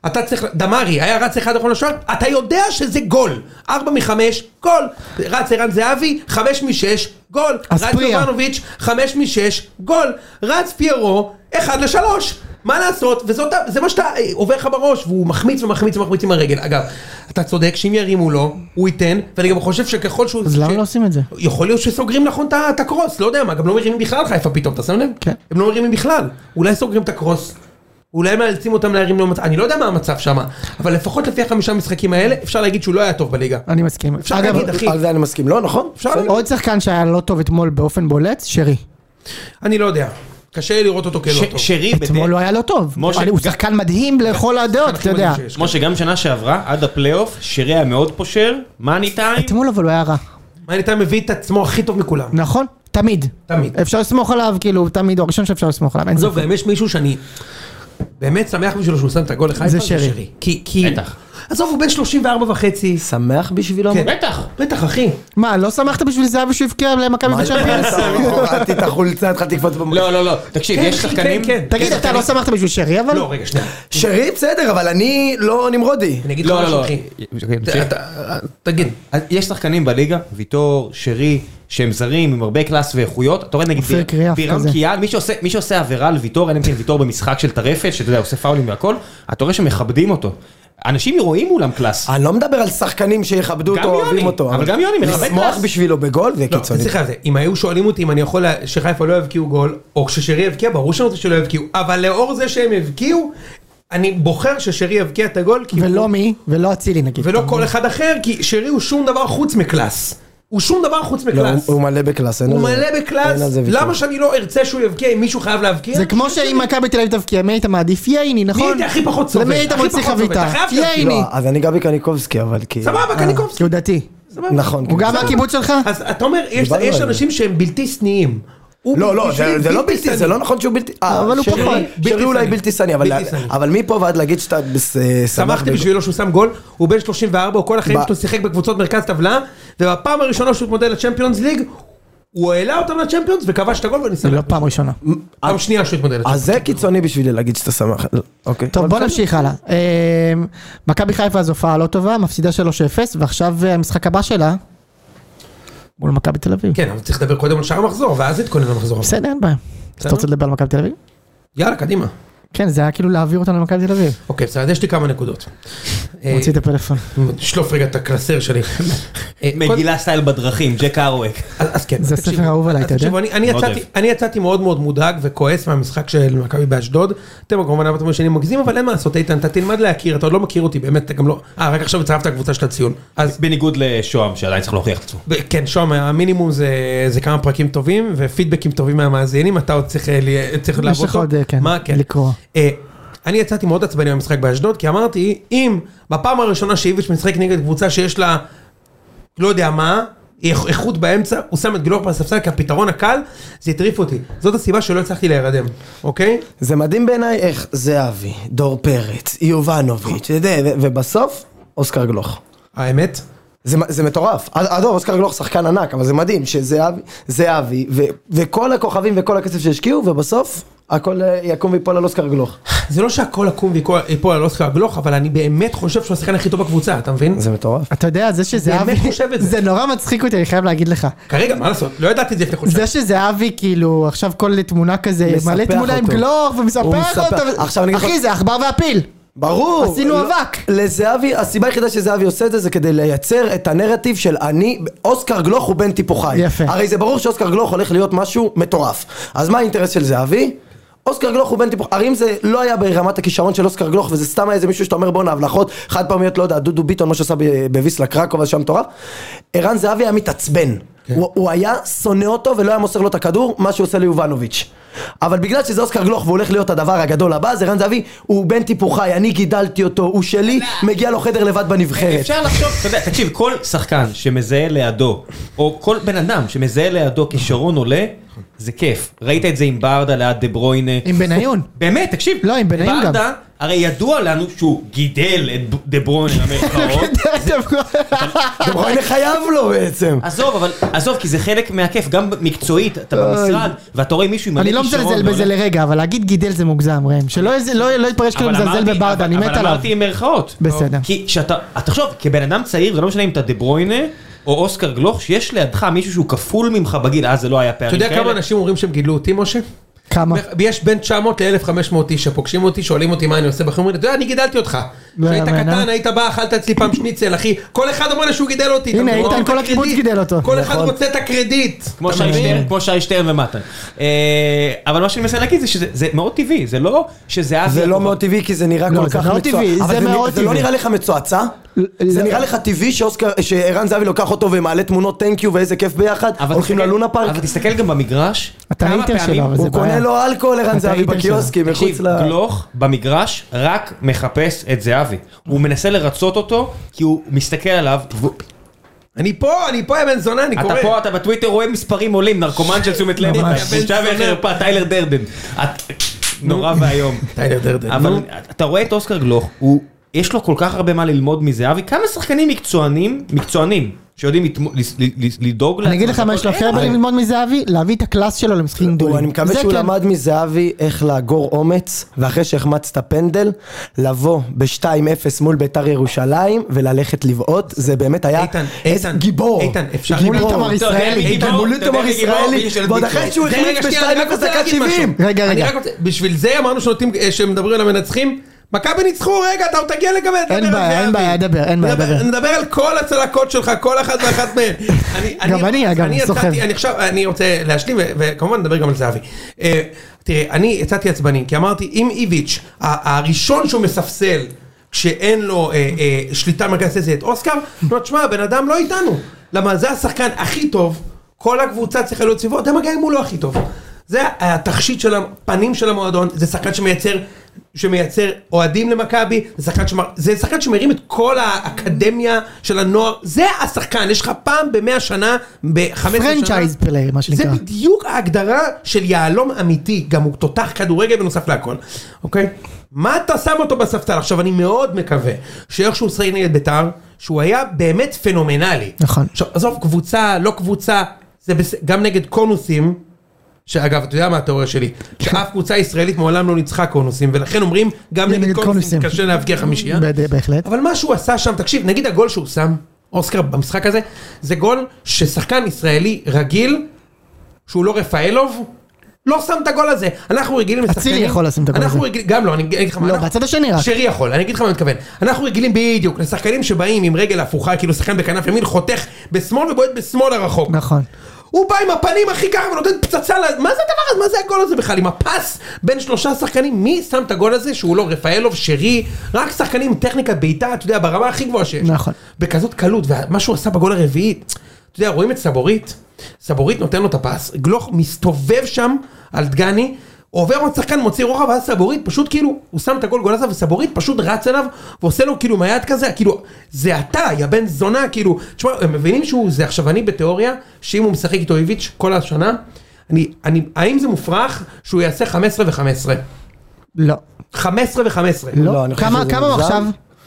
אתה צריך, דמרי היה רץ אחד מול השוער, אתה יודע שזה גול, ארבע מחמש, גול, רץ ערן זהבי, חמש משש, גול, אז רץ פריה. יובנוביץ', חמש משש, גול, רץ פיירו, אחד לשלוש. מה לעשות, וזה מה שאתה אה, עובר לך בראש, והוא מחמיץ ומחמיץ ומחמיץ עם הרגל. אגב, אתה צודק שאם ירימו לו, הוא ייתן, ואני גם חושב שככל שהוא... אז למה ש- לא עושים את זה? יכול להיות שסוגרים נכון את ה- את הקרוס, לא יודע מה, גם לא מרימים בכלל חיפה פתאום, אתה שם לב? כן. הם לא מרימים בכלל, אולי סוגרים את הקרוס, אולי מאלצים אותם להרים לו מצב, אני לא יודע מה המצב שם, אבל לפחות לפי החמישה משחקים האלה, אפשר להגיד שהוא לא היה טוב בליגה. אני מסכים. אפשר אגב, להגיד, אחי, על זה אני מסכים, לא נכון? אפשר להגיד, עוד שחקן שהיה לא טוב אתמול באופן בולט, שרי. אני לא יודע, קשה לי לראות אותו כלא ש- טוב. שרי, בדרך- אתמול לא היה לא טוב. משה, אבל הוא גם- שחקן מדהים לכל הדעות, אתה הכי יודע. מדהים שיש. משה, גם שנה שעברה, עד הפלייאוף, שרי היה מאוד פושר, מאני טיים, אתמול אבל הוא היה רע. מעניין אתה מביא את עצמו הכי טוב מכולם, נכון? תמיד. תמיד. אפשר לסמוך עליו, כאילו, תמיד הוא הראשון שאפשר לסמוך עליו. אין עזוב, ספק. גם יש מישהו שאני באמת שמח בשבילו שהוא שם את הגול לחיפה, זה שרי. כי, כי, בטח. עזוב, הוא בן 34 וחצי, שמח בשבילו? כן. בטח. בטח אחי. מה, לא שמחת בשביל זהבי שהוא הבקיע למכבי מה, אוקיי, בצ'מפיונס? הורדתי את החולצה, התחלתי לקפוץ במ... לא, לא, לא, תקשיב, כן, יש אחי, שחקנים, כן, כן. תגיד, אתה לא שמחת בשביל שרי, אבל? לא, רגע, שנייה. שרי בסדר, אבל אני לא נמרודי. אני אגיד לך לא, לא, משהו, לא, אחי. אוקיי, תמשיך. ת- ת- תגיד. אז יש שחקנים בליגה, ויטור, שרי, שהם זרים, עם הרבה קלאס ואיכויות, אתה רואה נגיד אופיר פיר- קריאף פירם כזה. קיאל, מי שעושה- מי שעושה עבירה על ויטור, אלא אם כן ויטור במשחק של טרפת, שאתה יודע, עושה פאולים והכל, אתה רואה שמכבדים אותו. אנשים רואים מולם קלאס. אני לא מדבר על שחקנים שיכבדו גם אותו, אוהבים יוני, אותו. אבל גם יוני מכבד לשמוח פס. בשבילו בגול זה לא, קיצוני. סליחה, זה, אם היו שואלים אותי אם אני יכול לה- שחיפה לא יבקיעו גול, או כששרי יבקיע, ברור שאני רוצה שלא יבקיעו, אבל לאור זה שהם יבקיעו, אני בוחר ששרי יבקיע את הגול, כי ולא הוא- מי, ולא אצילי נגיד. ולא כל אחד אחר, כי שרי הוא שום דבר חוץ מקלאס. הוא שום דבר חוץ לא, מקלאס. הוא הוא מלא בקלאס, אין הוא על זה- מלא אין בקלאס, על זה ויכוח. למה שאני לא ארצה שהוא יבקיע אם מישהו חייב להבקיע? זה כמו שאם מכבי תל אביב תבקיע, מי היית מעדיף? ייני, נכון? מי הייתי הכי פחות סובל? למי היית הכי מוציא פחות סובל? חביתה? אתה חייב להבקיע. ייני. לא, אז אני גבי קניקובסקי, אבל כי... אה. סבבה, קניקובסקי. כי הוא דתי. סבבה. נכון. הוא כן. גם מהקיבוץ שלך? אז אתה אומר, יש- דיברנו יש על זה. אנשים שהם בלתי שניים. הוא לא, לא, בשבילי זה- זה לא בלתי, שניא. זה לא נכון שהוא בלתי... אה, אבל הוא שרי- פחות. בלתי שרי אולי שניא. בלתי שני, אבל- בלתי שניא. אבל מפה ועד להגיד שאתה בס- אה, שמח שמחתי בגול. בשבילו שהוא שם גול, הוא בן 34, הוא כל החיים ב- שלו שיחק בקבוצות מרכז טבלה, ובפעם הראשונה שהוא התמודד לצ'מפיונס ליג, הוא העלה אותם לצ'מפיונס וכבש את הגול ואני זה שמח. לא פעם ראשונה. פעם שנייה שהוא התמודד לצ'מפיונס. אז זה קיצוני בשבילי להגיד שאתה שמח. אוקיי. טוב, אבל בוא בסדר. נמשיך הלאה. אמ, מכבי חיפה זו הופעה לא טובה, מפסידה 3-0, ועכשיו אה, המשחק הבא שלה, מול מכבי תל אביב. כן, אבל צריך לדבר קודם על שאר המחזור, ואז להתכונן למחזור הבא. בסדר, אין בעיה. אז אתה רוצה לדבר על מכבי תל אביב? יאללה, קדימה. כן, זה היה כאילו להעביר אותנו למכבי תל אביב. אוקיי, בסדר, אז יש לי כמה נקודות. אה, מוציא את הפלאפון. שלוף רגע את הקלסר שלי. אה, קודם- מגילה סטייל בדרכים, ג'ק ארווק. אז אז כן. זה תקשיבו, הספר האהוב עליי, אז אה, אתה יודע? תקשיבו, אני- אני מאוד יצאתי- אוהב. אני יצאתי מאוד מאוד מודאג וכועס מהמשחק של מכבי באשדוד. אתם כמובן אמרתם שאני לא מגזים, אבל אין מה לעשות, איתן, אתה תלמד להכיר, אתה עוד לא מכיר אותי, באמת, אתה גם לא... אה, רק עכשיו הצטרפת לקבוצה של הציון. אז בניגוד לשוהם, שעדיין צריך להוכיח את עצמו. ב- כן, שום, המינימום זה, זה כמה פרקים טובים ופידבקים טובים מהמאזינים, אתה עוד צריך, אה, ל- צריך לעבוד לך עוד, אה, כן, מה, כן. לקרוא. אה, אני יצאתי מאוד עצבני במשחק באשדוד, כי אמרתי, אם בפעם הראשונה שאיביץ' משחק נגד קבוצה שיש לה, לא יודע מה, איכ- איכות באמצע, הוא שם את גלוך בספסל כפתרון הקל, זה הטריף אותי. זאת הסיבה שלא הצלחתי להירדם, אוקיי? זה מדהים בעיניי איך זהבי, דור פרץ, יובנוביץ', אתה יודע, ו- ובסוף, אוסקר גלוך. האמת? זה, מ- זה מטורף. עד- עד אור, אוסקר גלוך שחקן ענק, אבל זה מדהים שזהבי, זהבי, ו- וכל הכוכבים וכל הכסף שהשקיעו, ובסוף, הכל אה, יקום ויפול על אוסקר גלוך. זה לא שהכל עקום ויפול על אוסקר גלוך, אבל אני באמת חושב שהוא השחקן הכי טוב בקבוצה, אתה מבין? זה מטורף. אתה יודע, זה באמת שזהבי, חושב את זה. זה נורא מצחיק אותי, אני חייב להגיד לך. כרגע, מה לעשות? לא ידעתי את זה לפני חודשיים. זה שזהבי כאילו עכשיו כל תמונה כזה, מספח מלא תמונה עם אותו. גלוך הוא ומספח מספח. עכשיו אני אותו, אגיד לך- אחי זה עכבר והפיל. ברור. לא- עשינו אבק. לזהבי, הסיבה היחידה שזהבי עושה את זה, זה כדי לייצר את הנרטיב של אני, אוסקר גלוך הוא בן טיפוחי. יפה. הרי זה ברור שאוסקר גלוך הולך להיות משהו מטורף. אז מה האינטרס של זהבי? אוסקר גלוך הוא בן טיפוחי. הרי אם זה לא היה ברמת הכישרון של אוסקר גלוך, וזה סתם היה איזה מישהו שאתה אומר בואנה הבלחות, חד פעמיות, לא יודע, דודו ביטון, מה שעשה ב- בוויסלה קרקוב, אז שם מטורף. ערן זהבי היה מתעצבן. הוא, הוא היה שונא אותו ולא היה מוסר לו את הכדור, מה שהוא עושה ליובנוביץ'. אבל בגלל שזה אוסקר גלוך והוא הולך להיות הדבר הגדול הבא, אז ערן זהבי הוא בן טיפוחי, אני גידלתי אותו, הוא שלי, מגיע לו חדר לבד בנבחרת. אפשר לחשוב, אתה יודע, תקשיב, כל שחקן שמזהה לידו, או כל בן אדם שמזהה לידו כישרון עולה, זה כיף. ראית את זה עם ברדה ליד דה ברוינה. עם בניון. באמת, תקשיב. לא, עם בניון גם. ברדה, הרי ידוע לנו שהוא גידל את ב- דה ברוינה אה, אוקיי. במרכאות. גם רואה חייב לו בעצם. עזוב, אבל עזוב, כי זה חלק מהכיף, גם מקצועית, אתה במשרד, ואתה רואה מישהו עם מלא אני לא כישרון. מזלזל ועולה. בזה לרגע, אבל להגיד גידל זה מוגזם, ראם. שלא איזה- לא- לא יתפרש כאילו אבל מזלזל אמרתי- בברדה, אני אבל- מת אבל עליו. אמרתי עם מירכאות. בסדר. כי כשאתה, אז תחשוב, כבן אדם צעיר, זה לא משנה אם אתה דה ברוינה, או אוסקר גלוך, שיש לידך מישהו שהוא כפול ממך בגיל, אז זה לא היה אתה פערים כאלה. יודע כמה אנשים אומרים שהם גידלו אותי, משה? כמה? יש בין 900 ל-1500 איש שפוגשים אותי, שואלים אותי מה אני עושה בחיים, אומרים לי, אתה יודע, אני גידלתי אותך. לא כשהיית יאמן, אה? קטן, היית בא, אכלת אצלי פעם שניצל, אחי. כל אחד אומר לי שהוא גידל אותי. אתה הנה, מבין? איתן, את כל הקרדיט. הקיבוץ גידל אותו. כל נכון. אחד רוצה את הקרדיט. כמו אתה שי מבין? שטרן, כמו שי שטרן ומטה. אה, אבל מה שאני מנסה להגיד זה שזה זה מאוד טבעי, זה לא שזה זה לא מאוד טבעי כי זה נראה לא, כל זה כך מאוד מצוע- טבעי, אבל זה נרא- מאוד זה לא טבעי. נראה לך מצועצע? ל- זה לא. נראה לך טבעי שאוסקר- שערן זהבי לוקח אותו ומעלה תמונות תן קיו ואיזה כיף ביחד? אבל הולכים תסתכל- ללונה פארק? אבל תסתכל גם במגרש, אתה כמה האינטר פעמים שלו, אבל זה הוא קונה בעיה. לו אלכוהול ערן אתה זהבי האינטר שלו. בקיוסקים מחוץ תקשיב, ל... גלוך במגרש רק מחפש את זהבי. הוא מנסה לרצות אותו, כי הוא מסתכל עליו, והוא- אני פה, אני פה, יא בן זונה, אני אתה קורא. פה, אתה בטוויטר רואה מספרים עולים, נרקומן של תשומת לב, ממש. בושה וחרפה, טיילר דרדן. את- נורא ואיום. טיילר דרדן, אבל נו. אתה רואה את אוסקר גלוך, הוא, יש לו כל כך הרבה מה ללמוד מזהבי, כמה שחקנים מקצוענים, מקצוענים, שיודעים לתמו- לס- ל- ל- לדאוג אני אגיד לך לעצמם, מה יש לו אבל הכי אין. הרבה ללמוד מזהבי, להביא את הקלאס שלו למשחקים הוא- גדולים. אני מקווה זה שהוא כן. למד מזהבי איך לאגור אומץ, ואחרי שהחמצת פנדל, לבוא ב-2-0 מול ביתר ירושלים וללכת לבעוט, זה באמת היה איתן, איזה איתן, גיבור. איתן, אפשר גיבור. להגיד- איתמר אתה יודע מי ישראלי, גיבור? איתן מול אתה יודע איתמר מי גיבור? ישראלי, מי של ועוד ביטלו. אחרי שהוא זה, החמיץ רגע, שנייה, אני רק ב-2-0 רוצה דקה להגיד 70. משהו. רגע, אני רגע. רק רוצה- בשביל זה אמרנו שנותנים- אה, שמדברים על המנצחים. מכבי ניצחו, רגע, אתה עוד תגיע לגבי... לדבר אין על בעיה, אין זהבי. בעיה, דבר, אין בעיה, נדבר- דבר. נדבר על כל הצלקות שלך, כל אחת ואחת מהן. גם אני, אגב, אני סוחב. יצאתי- אני עכשיו, אני רוצה להשלים, ו- וכמובן נדבר גם על זהבי. אה, תראה, אני יצאתי עצבני, כי אמרתי, אם איביץ', ה- הראשון שהוא מספסל, כשאין לו אה, אה, שליטה מרכזית זה את אוסקר, אני אומר, תשמע, הבן אדם לא איתנו. למה זה השחקן הכי טוב, כל הקבוצה צריכה להיות סביבו, אתה מגיע אם הוא לא הכי טוב. זה התכשיט של הפנים של המועדון, זה שחקן שמייצר, שמייצר אוהדים למכבי, זה שחקן, שמר, זה שחקן שמרים את כל האקדמיה של הנוער, זה השחקן, יש לך פעם במאה שנה, ב-15 שנה. פרנצ'ייז פלייר, מה שנקרא. זה בדיוק ההגדרה של יהלום אמיתי, גם הוא תותח כדורגל בנוסף להכל, אוקיי? מה אתה שם אותו בספסל? עכשיו, אני מאוד מקווה שאיכשהו הוא שיחק נגד בית"ר, שהוא היה באמת פנומנלי. נכון. עכשיו, עזוב, קבוצה, לא קבוצה, זה בס... גם נגד קונוסים, שאגב, אתה יודע מה התיאוריה שלי? כן. שאף קבוצה ישראלית מעולם לא ניצחה קונוסים, ולכן אומרים, גם נגד קונוסים קשה להבקיע חמישייה. בד- בהחלט. אבל מה שהוא עשה שם, תקשיב, נגיד הגול שהוא שם, אוסקר במשחק הזה, זה גול ששחקן ישראלי רגיל, שהוא לא רפאלוב, לא שם את הגול הזה. אנחנו רגילים לשחקנים... אצילי יכול לשים את הגול אנחנו הזה. רגילים, גם לא, אני אגיד לך מה... לא, אנחנו- בצד השני רק. שרי יכול, אני אגיד לך מה אני מתכוון. אנחנו רגילים בדיוק לשחקנים שבאים עם רגל הפוכה, כאילו שחקן בכנף ימין חותך בשמאל ובועט בשמאל הרחוק. נכון. הוא בא עם הפנים הכי ככה ונותן פצצה, ל- מה זה הדבר הזה? מה זה הגול הזה בכלל? עם הפס בין שלושה שחקנים, מי שם את הגול הזה שהוא לא רפאלוב, שרי, רק שחקנים עם טכניקה בעיטה, אתה יודע, ברמה הכי גבוהה שיש. נכון. בכזאת קלות, ומה שהוא עשה בגול הרביעי, אתה יודע, רואים את סבורית, סבורית נותן לו את הפס, גלוך מסתובב שם על דגני, עובר עוד שחקן, מוציא רוחב, ואז סבורית פשוט כאילו, הוא שם את הגול גול הזה, וסבורית פשוט רץ אליו, ועושה לו כאילו עם היד כזה, כאילו, זה אתה, יא בן זונה, כאילו, תשמע, הם מבינים שהוא, זה עכשיו אני בתיאוריה, שאם הוא משחק איתו איביץ' כל השנה, אני, אני, האם זה מופרך שהוא יעשה 15 ו-15? לא. 15 ו-15. לא. לא, אני חושב כמה שזה כמה הוא מוגזם. עכשיו?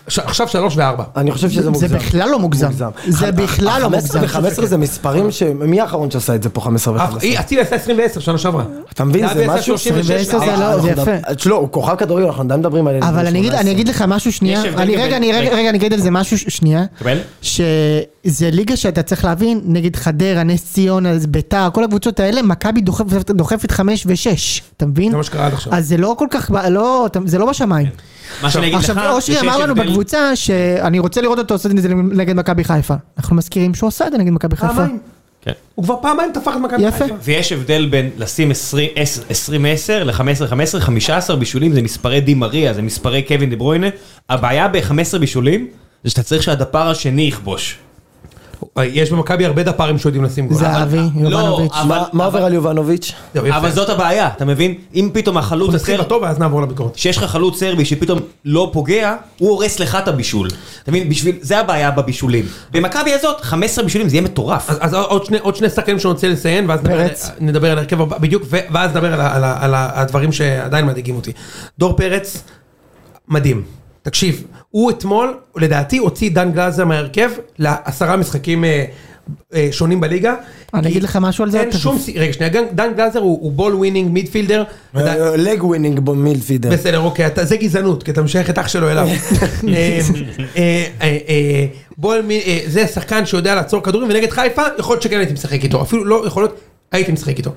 ש- עכשיו שלוש וארבע. אני חושב שזה זה מוגזם. בכלל לא מוגזם. זה בכלל לא מוגזם. ו-15 זה מספרים ש... מי האחרון שעשה את זה פה 15 ו-15? אצילי עשה 20 ו-10 שנה שעברה. אתה מבין? זהבי זה עשה משהו... 36 ועשר זה לא, זה יפה. לא, הוא כוכב כדורגל, אנחנו עדיין מדברים על... אבל אני אגיד, אני אגיד לך משהו שנייה, יש הבדל אני בין- רגע, אני רגע, רגע. רגע, אני אגיד על זה משהו ש- שנייה, קבל? שזה ליגה שאתה צריך להבין, נגד חדרה, נס ציונה, אז ביתר, כל הקבוצות האלה, מכבי דוחפת- דוחפת חמש ושש, אתה מבין? זה מה שקרה עד עכשיו. אז זה לא כל כך, ב- לא, אתה- זה לא בשמיים. מה שאני כן. אגיד לך, עכשיו, אושרי זה אמר שיש לנו הבדל- בקבוצה שאני רוצה לראות אותו עושה את זה נגד מכבי חיפה. אנחנו מזכירים שהוא עשה את זה נגד מכבי חיפה. פעמיים. כן. הוא כבר פעמיים טפח את מכבי יפה. חיפה. ויש הבדל בין לשים 20-10 ל-15-15, 15 בישולים זה מספרי די מריה, זה מספרי קווין דה ברוינה. הבעיה ב-15 בישולים, זה שאתה צריך שהדפר השני יכבוש. אה, יש במכבי הרבה דפ"רים שיודעים לשים גול. אבל- זהבי, לא. יובנוביץ'. אבל- מה- מה עובר אבל- על יובנוביץ'? זהו, יפה. אבל זאת הבעיה, אתה מבין? אם פתאום החלוץ הוא נתחיל הסרבי, בטוב ואז נעבור לביקורת. שיש לך חלוץ סרבי שפתאום לא פוגע, הוא הורס לך את הבישול. אתה מבין? בשביל, זה הבעיה בבישולים. במכבי הזאת, 15 בישולים זה יהיה מטורף. אז, אז עוד, שני, עוד שני שחקנים שאני רוצה לציין, ואז נדבר, פרץ. נדבר על הרכב הבא, בדיוק, ו- ואז נדבר על, ה- על, ה- על, ה- הדברים שעדיין מדאיגים אותי. דור פרץ, מדהים. תקשיב, הוא אתמול, לדעתי, הוציא את דן גלאזר מההרכב לעשרה משחקים אה, אה, שונים בליגה. אני כי אגיד לך משהו על זה אין תכף. שום... סי- רגע, שנייה, גן- דן גלאזר הוא, הוא בול ווינינג מידפילדר. אה, ד- לג ווינינג במילפידר. אה, בסדר, אוקיי, אתה, זה גזענות, כי אתה משייך את אח שלו אליו. אה, אה, אה, אה, בול, מי- אה, זה שחקן שיודע לעצור כדורים, ונגד חיפה, יכול להיות שכן הייתי משחק איתו, אפילו לא יכול להיות, הייתי משחק איתו.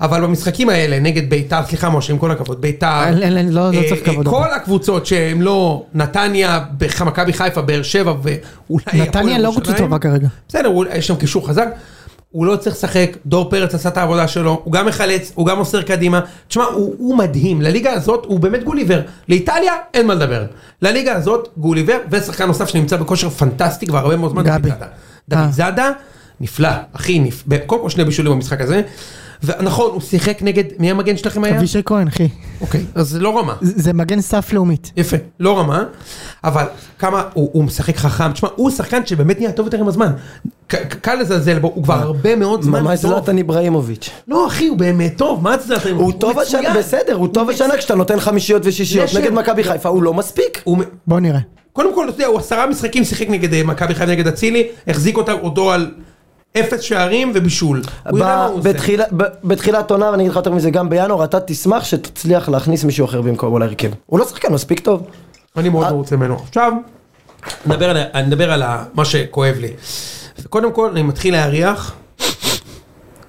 אבל במשחקים האלה, נגד ביתר, סליחה משה, עם כל הכבוד, ביתר, אין- אין- אין, לא- לא אה, צריך אה, כבוד. כל הקבוצות שהן לא נתניה, בח- מכבי חיפה, באר שבע, ואולי... נתניה הפועל לא קבוצה ירושלים. טובה כרגע. בסדר, הוא- יש שם קישור חזק. הוא לא צריך לשחק, דור פרץ עשה את העבודה שלו, הוא גם מחלץ, הוא גם מוסר קדימה. תשמע, הוא, הוא מדהים, לליגה הזאת הוא באמת גוליבר. לאיטליה אין מה לדבר. לליגה הזאת גוליבר, ושחקן נוסף שנמצא בכושר פנטסטי כבר הרבה מאוד זמן, גבי. דוד זאדה. דוד אה. זאדה, נפלא, אחי, נפ... קודם כל שני בישולים במשחק הזה. ונכון, הוא שיחק נגד, מי המגן שלכם היה? אבישי כהן, אחי. אוקיי, אז לא רמה. זה זה מגן סף לאומית. יפה, לא רמה, אבל כמה הוא, הוא משחק חכם, תשמע, הוא שחקן שבאמת נהיה טוב יותר עם הזמן. ק- ק- קל לזלזל בו, הוא כבר הרבה מאוד זמן ממש טוב. זלאטן איבראימוביץ'. לא אחי, הוא באמת טוב, מה זה זלאטן? הוא טוב השנה, בסדר, הוא טוב השנה כשאתה נותן חמישיות ושישיות. לשם. נגד מכבי חיפה הוא לא מספיק. הוא... מ- בוא נראה. קודם כל, אתה יודע, הוא עשרה משחקים שיחק נגד אה, מכבי חיפה, נגד אצילי, החזיק אותה, אותו על אפס שערים ובישול. הוא יודע מה הוא ב- עושה. בתחילה- ב- בתחילת עונה, ואני אגיד לך יותר מזה, גם בינואר, אתה תשמח שתצליח להכניס מישהו אחר במקומו להרכב. הוא לא שחקן מספיק טוב. אני מאוד מרוצה ממנו. עכשיו, נדבר על, אני נדבר על ה- מה שכואב לי. קודם כל, אני מתחיל להריח.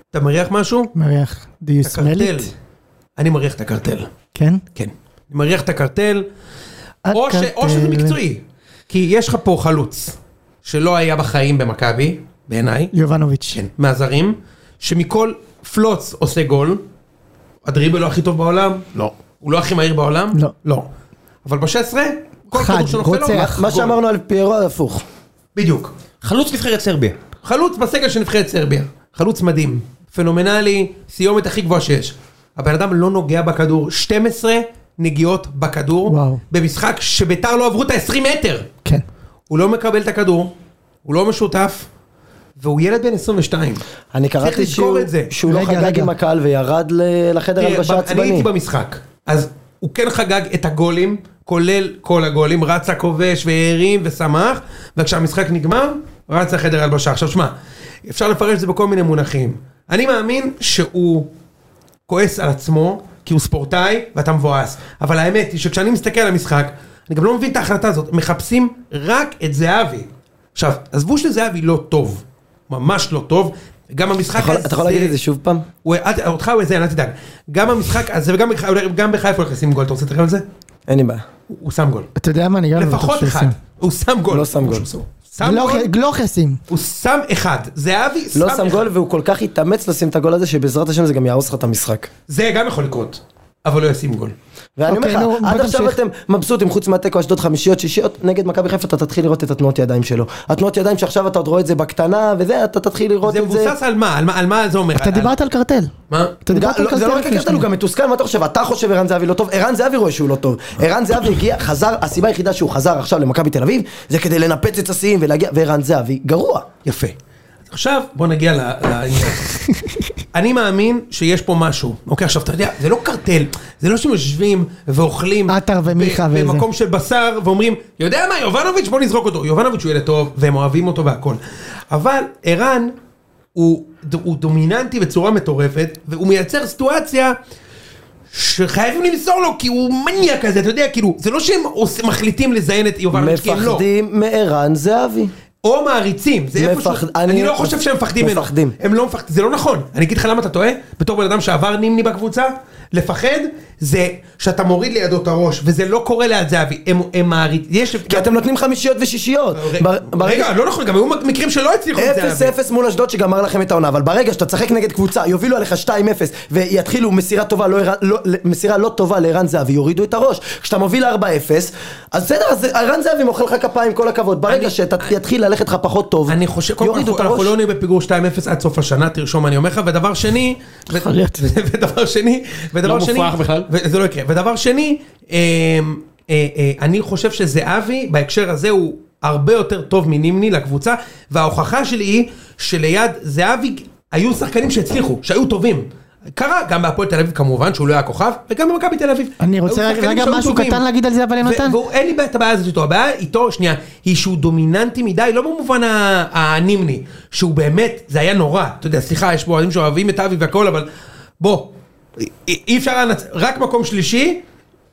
אתה מריח משהו? מריח. Do you smell הקרטל. it? אני מריח את הקרטל. כן? כן. אני מריח את הקרטל, או, ש, או הקרטל. שזה מקצועי. כי יש לך פה חלוץ, שלא היה בחיים במכבי, בעיניי, יובנוביץ'. כן, מהזרים, שמכל פלוץ עושה גול, הדריבל לא הכי טוב בעולם, לא. הוא לא הכי מהיר בעולם, לא. לא. אבל ב-16, כל חד, כדור שנופל לו, רוצח. מה מה שאמרנו על פיירו הפוך. בדיוק. חלוץ נבחרת סרביה. חלוץ בסגל של נבחרת סרביה, חלוץ מדהים, פנומנלי, סיומת הכי גבוהה שיש. הבן אדם לא נוגע בכדור, 12 נגיעות בכדור, וואו. במשחק שביתר לא עברו את ה-20 מטר. כן. הוא לא מקבל את הכדור, הוא לא משותף, והוא ילד בן 22. אני צריך קראתי לזכור שהוא- את זה. שהוא לא רגע, חגג רגע. עם הקהל וירד ל- לחדר תראה, הלבשה ב- אני עצבני. הייתי במשחק, אז הוא כן חגג את הגולים, כולל כל הגולים, רצה כובש והרים ושמח, וכשהמשחק נגמר, רץ לחדר הלבשה. עכשיו שמע, אפשר לפרש את זה בכל מיני מונחים. אני מאמין שהוא כועס על עצמו, כי הוא ספורטאי ואתה מבואס, אבל האמת היא שכשאני מסתכל על המשחק, אני גם לא מבין את ההחלטה הזאת, מחפשים רק את זהבי. עכשיו, עזבו שזהבי לא טוב, ממש לא טוב, גם המשחק אתה יכול- אתה יכול להגיד את זה שוב פעם? הוא- אל- אותך הוא יזיין, אל תדאג. גם המשחק הזה וגם בח- גם בחיפה הוא הולך לשים גול, אתה רוצה להתחיל על זה? אין לי בעיה. הוא הוא שם גול. אתה יודע מה, אני גם לא בטוח לפחות שהוא אחד. ישים. הוא שם גול. לא שם גול. אוקיי. הוא שם גול, גלוך- גלוך ישים. הוא שם אחד. זהבי שם לא שם אחד. גול והוא כל כך התאמץ לשים את הגול הזה שבעזרת השם זה גם יהרוס לך את המשחק. זה גם יכול לקרות, אבל לא ישים גול. ואני אומר אוקיי, לך, נו, בוא עד עכשיו תמשיך. אתם מבסוטים חוץ מהתיקו אשדוד חמישיות שישיות, נגד מכבי חיפה אתה תתחיל לראות את התנועות ידיים שלו. התנועות ידיים שעכשיו אתה עוד רואה את זה בקטנה וזה, אתה תתחיל לראות זה את זה. מבוסס על מה? על מה- על מה זה אומר? אתה על- דיברת על קרטל. מה? אתה דיברת על לא, קרטל. זה לא רק לפני הקטן, הוא שנייה. גם מתוסכל, מה אתה חושב? אתה חושב ערן זהבי לא טוב? ערן זהבי רואה שהוא לא טוב. ערן זהבי הגיע, חזר, הסיבה היחידה שהוא חזר עכשיו למכבי תל אביב, זה כדי לנפץ את השיאים ולהגיע, וערן זהבי גרוע. יפה. עכשיו, בוא נגיע ל- לעניין. אני מאמין שיש פה משהו. אוקיי, עכשיו, אתה יודע, זה לא קרטל, זה לא שהם יושבים ואוכלים... עטר ומיכה ב- וזה. במקום של בשר, ואומרים, יודע מה, יובנוביץ', בוא נזרוק אותו. יובנוביץ' הוא ילד טוב, והם אוהבים אותו והכול. אבל ערן הוא, הוא דומיננטי בצורה מטורפת, והוא מייצר סיטואציה שחייבים למסור לו, כי הוא מניאק כזה, אתה יודע, כאילו, זה לא שהם עוש- מחליטים לזיין את יובנוביץ', כי הם לא. מפחדים מערן זהבי. או מעריצים, זה איפשהו, מפחד- אני, אני- לא חושב שהם מפחדים ממנו, מפחדים. הם לא מפחדים, זה לא נכון, אני אגיד לך למה אתה טועה, בתור בן אדם שעבר נימני בקבוצה, לפחד זה שאתה מוריד לידו את הראש, וזה לא קורה ליד זהבי, הם, הם מעריצים, יש, כי אתם נותנים חמישיות ושישיות. כן, בר- רגע, ברגע- רגע, לא נכון, גם היו מקרים שלא הצליחו את אפס זהבי, אפס מול אשדוד שגמר לכם את העונה, אבל ברגע שאתה תשחק נגד קבוצה, יובילו עליך 2-0 ויתחילו מסירה טובה, לא, ערן- לא, מסירה לא טובה לערן זהבי, יורידו את הראש. כשאתה מוביל 4-0, אז בסדר, אז ערן זהבי מוחא לך כפיים, כל הכבוד. ברגע שתתחיל ללכת לך פחות טוב, אני חושב, קודם כל יורידו את אנחנו- אנחנו הראש. לא נהיה בפיגור 2-0 עד סוף השנה, תרשום אני אומר לך, ודבר שני, ו- יכול להיות. ודבר שני, ודבר לא שני, מופרך בכלל. ו- זה לא יקרה, ודבר שני, אמ, אה, אה, אני חושב שזהבי בהקשר הזה הוא הרבה יותר טוב מנימני לקבוצה, וההוכחה שלי היא שליד זהבי היו שחקנים שהצליחו, שהיו טובים. קרה גם בהפועל תל אביב כמובן שהוא לא היה כוכב וגם במכבי תל אביב. אני היו רוצה רק- שחקנים רגע שהיו משהו טובים. קטן להגיד על זה, אבל יונתן. ו- והוא- אין לי בעיה את הבעיה הזאת איתו, הבעיה איתו, שנייה, היא שהוא דומיננטי מדי, לא במובן ה- הנימני, שהוא באמת, זה היה נורא, אתה יודע, סליחה, יש פה אוהדים שאוהבים את אבי והכל, אבל בוא, אי- אי אפשר היה לנצ... רק מקום שלישי,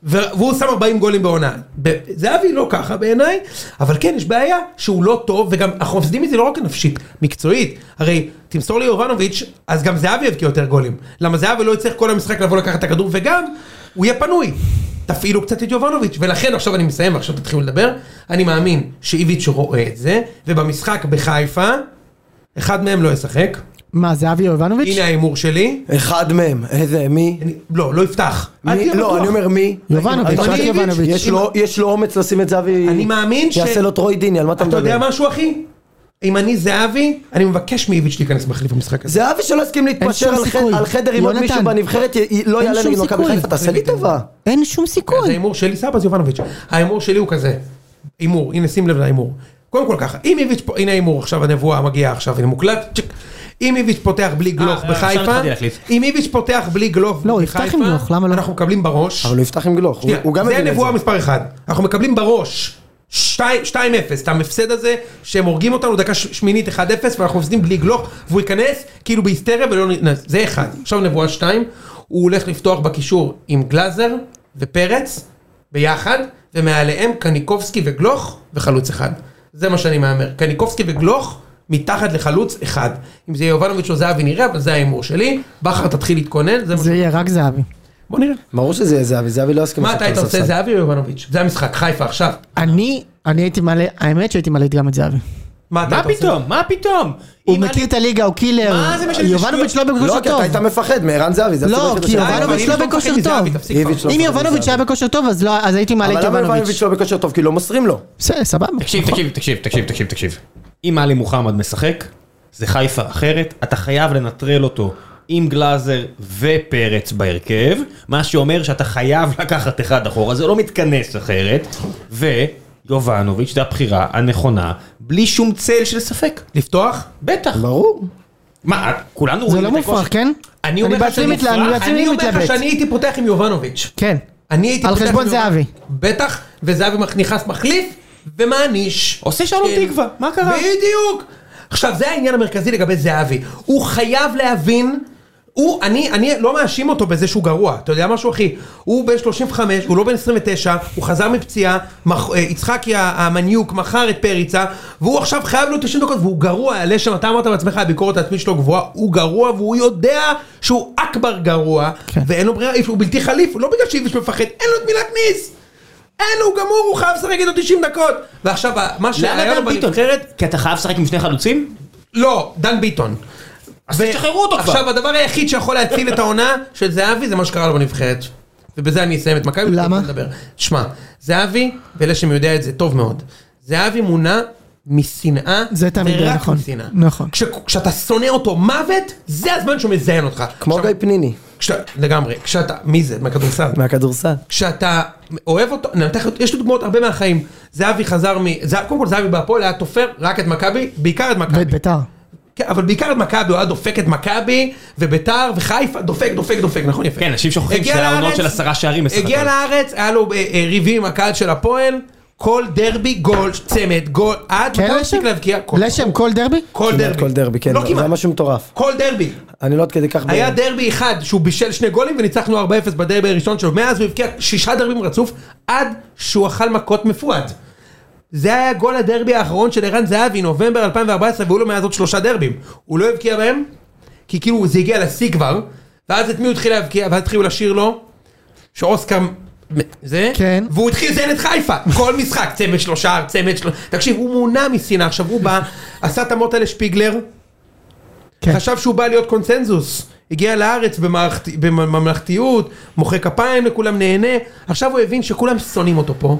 ו- והוא שם 40 גולים בעונה. ב- זהבי לא ככה בעיניי, אבל כן, יש בעיה שהוא לא טוב, וגם אנחנו מפסידים מזה לא רק נפשית, מקצועית. הרי תמסור לי יובנוביץ', אז גם זהבי יבקיע יותר גולים. למה זהבי לא יצטרך כל המשחק לבוא לקחת את הכדור, וגם הוא יהיה פנוי. תפעילו קצת את יובנוביץ', ולכן עכשיו אני מסיים ועכשיו תתחילו לדבר. אני מאמין שאיביץ' רואה את זה, ובמשחק בחיפה, אחד מהם לא ישחק. מה, זה אבי יובנוביץ'? הנה ההימור שלי. אחד מהם, איזה, מי? אני, לא, לא יפתח. אל מי? תהיה לא, בטוח. אני אומר מי? יובנוביץ', אני- רק אני- יובנוביץ'. יש לו- יש לו אומץ לשים את זהבי... אני מאמין ש- יעשה לו טרוי דיני, על מה אתה אתה מדבר? יודע משהו אחי? אם אני זהבי, אני מבקש מאיביץ' להיכנס מחליף במשחק הזה. זהבי שלא הסכים להתפשר שום על חד- סיכוי. על חדר עם עוד יונתן. מישהו בנבחרת, י- י- לא אין יעלה שום נגד מכבי סיכוי. חיפה, תעשה לי טובה. אין שום אז סיכוי. ההימור שלי סבא זה יובנוביץ'. ההימור שלי הוא כזה. הימור, הנה שים לב להימור. קודם כל ככה, אם איביץ', פה- הנה ההימור עכשיו, הנבואה מגיעה עכשיו, הנה מוקלט, צ'יק. אם איביץ' פותח בלי גלוך אה, עכשיו בחיפה, התחלתי להחליט. אם איביץ' פותח בלי גלוך לא, הוא יפתח בחיפה, עם גלוך, למה לא? אנחנו מקבלים בראש. אבל הוא יפתח עם גלוך, הוא- שנייה, הוא גם זה מבין את זה. הנבואה מספר 1. אנחנו מקבלים בראש 2-0 את המפסד הזה, שהם הורגים אותנו דקה ש- שמינית 1-0 ואנחנו מפסידים בלי גלוך, והוא ייכנס כאילו בהיסטריה ולא נכנס. זה אחד. עכשיו נבואה 2, הוא הולך לפתוח בקישור עם גלאזר ופרץ ביחד, ומעליהם קניקובסקי וגלוך וחלוץ אחד. זה מה שאני מהמר. קניקובסקי וגלוך. מתחת לחלוץ אחד. אם זה יהיה יובנוביץ' או זהבי נראה, אבל זה ההימור שלי. בכר תתחיל להתכונן, זה מה ש... זה יהיה רק זהבי. בוא נראה. ברור שזה יהיה זהבי, זהבי לא יסכים מה לשחק אתה היית על עושה, הספסל. זהבי או יובנוביץ'? זה המשחק, חיפה עכשיו. אני, אני הייתי מעלה, האמת שהייתי מעלה גם את זהבי. מה אתה מה היית עושה? פתאום? מה פתאום? הוא אם מכיר אני- את הליגה, הוא קילר. מה זה משנה, זה יובנוביץ' לא שטויות. בכושר לא, כי טוב. אתה היית מפחד מערן זהבי, זה לא, הסיבה כי שבשלב יובנוביץ' די, הזה- אבל לא אם בכושר מפחד מזהבי, טוב. תפסיק איביץ' כבר. לא אם מפחד יובנוביץ' מזהבי. היה בכושר טוב, אז לא, אז הייתי מעלה את אבל למה יובנוביץ'. יובנוביץ' לא בכושר טוב? כי לא מוסרים לו. בסדר, סבבה. תקשיב, תקשיב, תקשיב, תקשיב, תקשיב, תקשיב. אם עלי מוחמד משחק, זה חיפה אחרת, אתה חייב לנטרל אותו עם גלאזר ופרץ בהרכב, מה שאומר שאתה חייב לקחת אחד אחורה, זה לא מתכנס אחרת, ויובנוביץ' זה הבחירה הנכונה, בלי שום צל של ספק. לפתוח? בטח. ברור. מה, כולנו לא. זה רואים לא את הכושר- מופרך, כן? אני אומר לך בעצמי שאני- מתלהב, אני בעצמי אני אומר לך מתלבט. שאני הייתי פותח עם יובנוביץ'. כן. אני הייתי על פותח עם חשבון יובנוביץ'. זהבי. בטח, וזהבי מכ- נכנס מחליף, ומעניש. עושה שלום כן. תקווה, מה קרה? בדיוק. עכשיו, זה העניין המרכזי לגבי זהבי. הוא חייב להבין... הוא, אני, אני לא מאשים אותו בזה שהוא גרוע, אתה יודע משהו אחי? הוא בן 35, הוא לא בן 29, הוא חזר מפציעה, מח, אה, יצחקי ה- המניוק מכר את פריצה, והוא עכשיו חייב לו 90 דקות, והוא גרוע, עלה שם, אתה אמרת בעצמך, הביקורת העצמית שלו גבוהה, הוא גרוע, והוא יודע שהוא אכבר גרוע, כן. ואין לו ברירה, הוא בלתי חליף, לא בגלל שאיביץ' מפחד, אין לו את מי להכניס! אין, הוא גמור, הוא חייב לשחק איתו 90 דקות! ועכשיו, מה למה שהיה לו דן ביטון? בנבחרת, כי אתה חייב לשחק עם שני חלוצים? לא, דן ביטון. אז תשחררו אותו כבר. עכשיו, הדבר היחיד שיכול להציל את העונה של זהבי זה מה שקרה לו בנבחרת. ובזה אני אסיים את מכבי. למה? ואני אדבר. שמע, זהבי, ולשם יודע את זה טוב מאוד, זהבי מונע משנאה, זה תמיד ורק נכון. משנאה. נכון. כש, כשאתה שונא אותו מוות, זה הזמן שהוא מזיין אותך. כמו עכשיו, גיא פניני. כש, לגמרי. כשאתה, מי זה? מהכדורסל. מהכדורסל. כשאתה אוהב אותו, אני נותן לך- יש לי דוגמאות הרבה מהחיים. זהבי חזר מ... זה- קודם כל זהבי בהפועל היה תופר רק את מכבי, בעיקר את מכבי. ואת ביתר. כן, אבל בעיקר את מכבי, הוא היה דופק את מכבי, וביתר, וחיפה, דופק, דופק, דופק, נכון יפה. כן, אנשים שוכחים הגיע שזה היה עונות לארץ, של עשרה שערים בסך הגיע הכל. לארץ, היה לו אה, אה, ריבים עם הקהל של הפועל, כל דרבי, גול, צמד, גול, עד מתי הוא כן, לשם? הפסיק להבקיע? כל- לשם כל דרבי? כל כמעט דרבי. כל דרבי, כן, לא זה היה כמעט, משהו מטורף. כל דרבי. אני לא עד כדי כך... היה ב- דרבי אחד שהוא בישל שני גולים וניצחנו 4-0 בדרבי הראשון שלו. מאז הוא הבקיע שישה דרבים רצוף עד שהוא אכל מכות מפואד. זה היה גול הדרבי האחרון של ערן זהבי, נובמבר 2014, והיו לו מאז עוד שלושה דרבים. הוא לא הבקיע בהם, כי כאילו זה הגיע לשיא כבר, ואז את מי הוא התחיל להבקיע, ואז התחילו לשיר לו, שאוסקר... מ- זה? כן. והוא התחיל לזיין את חיפה, כל משחק, צמד שלושה, צמד שלושה, תקשיב, הוא מונע משנאה, עכשיו הוא בא, עשה את המוט האלה שפיגלר, כן. חשב שהוא בא להיות קונצנזוס. הגיע לארץ במערכת- בממלכתיות, מוחא כפיים לכולם, נהנה. עכשיו הוא הבין שכולם שונאים אותו פה.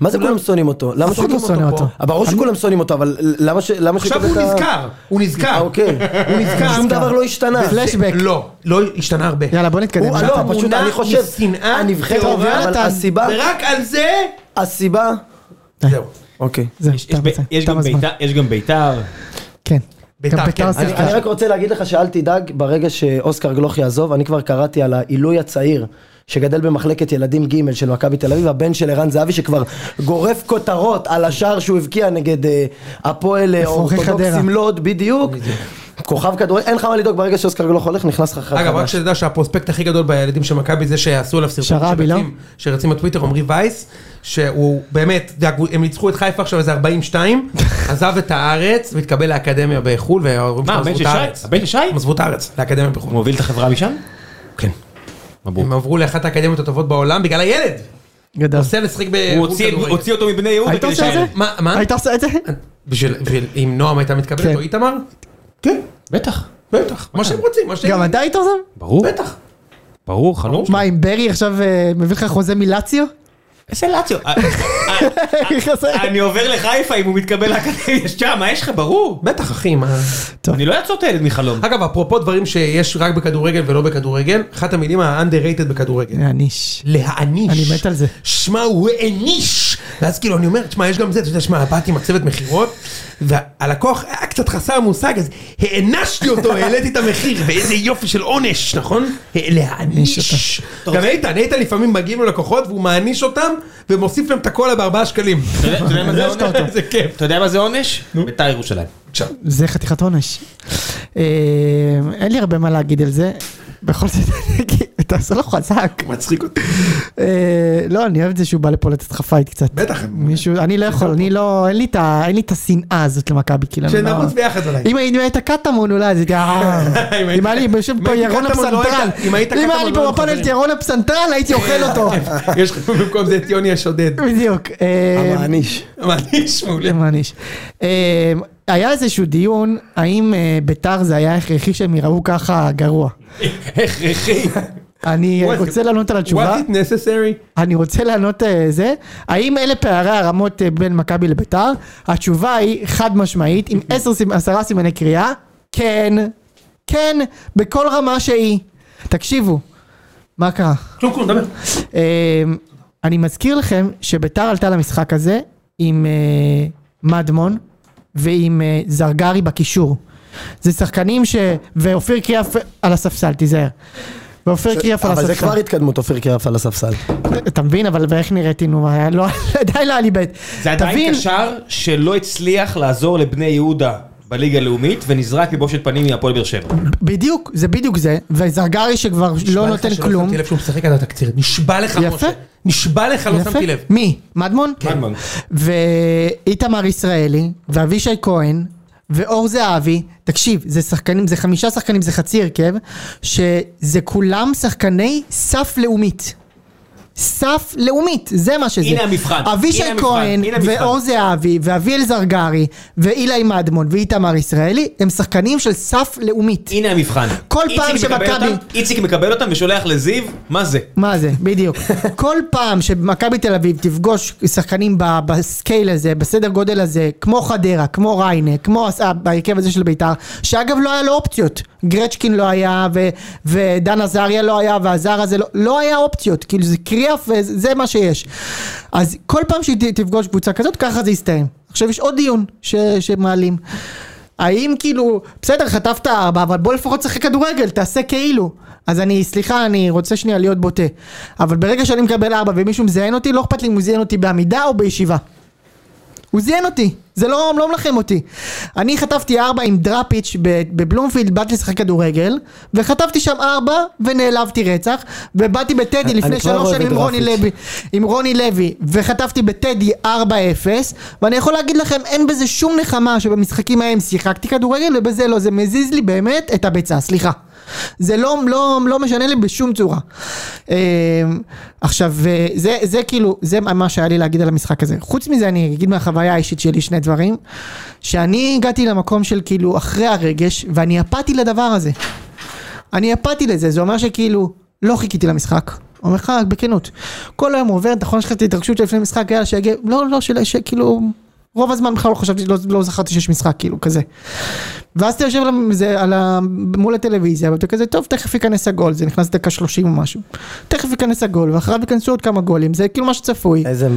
מה זה כולם שונאים אותו? למה אף אחד שכולם לא שונא אותו. אה, ברור שכולם שונאים אותו, אבל למה ש... למה עכשיו שיקבל הוא את ה- נזכר, הוא נזכר. אה, אוקיי. הוא נזכר. שום דבר לא השתנה. זה- פלשבק. לא, לא השתנה הרבה. יאללה, בוא נתקדם. הוא- מה לא, אתה- מונע פשוט אני חושב, משנאה הנבחרת, טהורה, אבל יונתן. הסיבה, ורק על זה, הסיבה, אה. זהו. אוקיי. זהו, יש- יש תם ב- הזמן, יש תם גם הזמן. ביתר- יש גם ביתר. כן. ביתר, גם כן. ביתר עושה אני, אני רק רוצה להגיד לך שאל תדאג, ברגע שאוסקר גלוך יעזוב, אני כבר קראתי על העילוי הצעיר שגדל במחלקת ילדים ג' של מכבי תל אביב, הבן של ערן זהבי שכבר גורף כותרות על השער שהוא הבקיע נגד אה, הפועל אה, אפרוחי חדרה. אורתודוקסים לוד, בדיוק. כוכב כדורגל, אין לך מה לדאוג, ברגע שאוסקר גלוך הולך, נכנס לך חדש. אגב, רק שתדע שהפרוספקט הכי גדול בילדים של מכבי זה שעשו עליו סרטון שראבי, לא? שרצים- שרצים בטוויטר, עמרי וייס, שהוא באמת, זה הגו- הם ניצחו את חיפה עכשיו איזה 42, עזב את הארץ והתקבל לאקדמיה בחו"ל, וההורים מה, שלו הבן עזבו של את שי? הארץ. הבן של שי? הם עזבו את הארץ, לאקדמיה בחו"ל. הוא מוביל את החברה משם? כן. מברוק. הם עברו לאחת האקדמיות הטובות בעולם בגלל הילד. גדול. נוסע לשחק ב... הוא הוציא- הוציא אותו מבני יהודה היית כדי עושה את זה? שהילד- מה- מה? היית אה, עושה את זה? בשביל, בשביל, אם נועם הייתה מתקבלת כן. או איתמר? כן, בטח. בטח. מה שהם רוצים, מה שהם... גם אתה היית עוזב? ברור. בטח. ברור, חלום. מה, אם ברי עכשיו אה, מביא לך חוזה מלאציו? איזה לאציו. אה, אה, אני עובר לחיפה אם הוא מתקבל לאקדמיה שם, מה יש לך? ברור. בטח, אחי, מה... אני לא אעצור את הילד מחלום. אגב, אפרופו דברים שיש רק בכדורגל ולא בכדורגל, אחת המילים ה-underrated בכדורגל. אה, יעניש. להעניש. אני מת על זה. שמע, הוא העניש! ואז כאילו, אני אומר, תשמע, יש גם זה, אתה יודע, שמע, באתי עם הצוות מכירות, והלקוח היה קצת חסר המושג, אז הענשתי אותו, העליתי את המחיר, ואיזה יופי של עונש, נכון? להעניש. גם איתן, איתן לפעמים מגיעים לו לקוחות, והוא מעניש אותם, ומוסיף להם את הקולה בארבעה שקלים. אתה יודע- אתה יודע מה זה יש לך עונש? אותו. זה כיף. אתה יודע מה זה עונש? ביתר ירושלים. עכשיו, זה חתיכת עונש. אה, אין לי הרבה מה להגיד על זה. בכל זאת, אני אגיד, אתה עושה לו חזק. מצחיק אותי. אה, לא, אני אוהב את זה שהוא בא לפה לתת לך פייט קצת. בטח. מישהו, אני לא יכול, אני לא, אין לי את ה- אין לי את השנאה הזאת למכבי, כאילו. אני לא- שנרוץ ביחד אולי. אם היינו את הקטמון אולי, זה היה... היית- אם היה לי בשם אם פה היית ירון קטמון, לא הפסנתרן, היית- אם היית אם היה קטמון, לי לא פה היית בפאנל חברים. את ירון הפסנתרן, הייתי אוכל אותו. יש לך במקום זה את יוני השודד. בדיוק. אמ, אה, המעניש. מעניש מעולה. זה מעניש. אה, היה איזשהו דיון, האם אה, ביתר זה היה הכרחי שהם יראו ככה גרוע. הכרחי. אני What- רוצה לענות על התשובה. Was it necessary? אני רוצה לענות אה, זה, האם אלה פערי הרמות אה, בין מכבי לביתר? התשובה היא חד משמעית, עם עשר סימ- עשרה סימני קריאה, כן, כן, בכל רמה שהיא. תקשיבו, מה קרה? כלום כלום, דבר. אה, אני מזכיר לכם שביתר עלתה למשחק הזה עם אה, מדמון ועם אה, זרגרי בקישור. זה שחקנים ש... ואופיר קריאף על הספסל, תיזהר. ואופיר קריאף על אבל הספסל. זה כבר התקדמות, אופיר קריאף על הספסל. אתה מבין, אבל ואיך נראיתי, נו, היה- לא, עדיין לא היה לי בית. זה עדיין תבין, קשר שלא הצליח לעזור לבני יהודה בליגה הלאומית, ונזרק מבושת פנים מהפועל באר שבע. בדיוק, זה בדיוק זה, וזרגרי שכבר לא נשבע לך נותן שלא כלום. שמתי לב שהוא משחק על התקציר. נשבע לך, יפה. משה. נשבע לך, לא יפה. שמתי לב. מי? מדמון? מדמון. ואיתמר ישראלי, ואבישי כהן, ואור זהבי, תקשיב, זה שחקנים, זה חמישה שחקנים, זה חצי הרכב, שזה כולם שחקני סף לאומית. סף לאומית, זה מה שזה. הנה המבחן, אבישי הנה המבחן, כהן, הנה המבחן. ואור זהבי, ואביאל זרגרי, ואילי מדמון, ואיתמר ישראלי, הם שחקנים של סף לאומית. הנה המבחן. כל איציק פעם מקבל שמכבי- אותם- איציק מקבל אותם ושולח לזיו, מה זה? מה זה, בדיוק. כל פעם שמכבי תל אביב תפגוש שחקנים ב- בסקייל הזה, בסדר גודל הזה, כמו חדרה, כמו ריינה, כמו הס- אה, בהרכב הזה של ביתר, שאגב לא היה לו אופציות. גרצ'קין לא היה, ו- ודן עזריה לא היה, והזר הזה לא, לא היה אופציות. כאילו זה קריאף, וזה זה מה שיש. אז כל פעם שתפגוש קבוצה כזאת, ככה זה יסתיים. עכשיו יש עוד דיון ש- שמעלים. האם כאילו, בסדר, חטפת ארבע, אבל בוא לפחות תשחק כדורגל, תעשה כאילו. אז אני, סליחה, אני רוצה שנייה להיות בוטה. אבל ברגע שאני מקבל ארבע ומישהו מזיין אותי, לא אכפת לי אם הוא זיין אותי בעמידה או בישיבה. הוא זיין אותי, זה לא, לא מלחם אותי. אני חטפתי ארבע עם דראפיץ' ב- בבלומפילד, באתי לשחק כדורגל, וחטפתי שם ארבע ונעלבתי רצח, ובאתי בטדי אני לפני כבר לא שלוש רואה שנים עם בדראפיץ'. רוני לוי, עם רוני לוי, וחטפתי בטדי 4-0, ואני יכול להגיד לכם, אין בזה שום נחמה שבמשחקים ההם שיחקתי כדורגל, ובזה לא, זה מזיז לי באמת את הביצה, סליחה. זה לא, לא, לא משנה לי בשום צורה. אה, עכשיו, אה, זה, זה כאילו, זה מה שהיה לי להגיד על המשחק הזה. חוץ מזה, אני אגיד מהחוויה האישית שלי שני דברים, שאני הגעתי למקום של כאילו, אחרי הרגש, ואני אפאתי לדבר הזה. אני אפאתי לזה, זה אומר שכאילו, לא חיכיתי למשחק. אומר לך בכנות, כל היום עובר, אתה יכול לשחק את ההתרגשות שלפני משחק, יאללה שיגיע, לא, לא, של- שכאילו, רוב הזמן בכלל לא חשבתי, לא, לא זכרתי שיש משחק, כאילו, כזה. ואז אתה יושב על, ה- זה, על ה, מול הטלוויזיה, ואתה כזה, טוב, תכף ייכנס הגול, זה נכנס דקה 30 או משהו. תכף ייכנס הגול, ואחריו ייכנסו עוד כמה גולים, זה כאילו מה שצפוי. איזה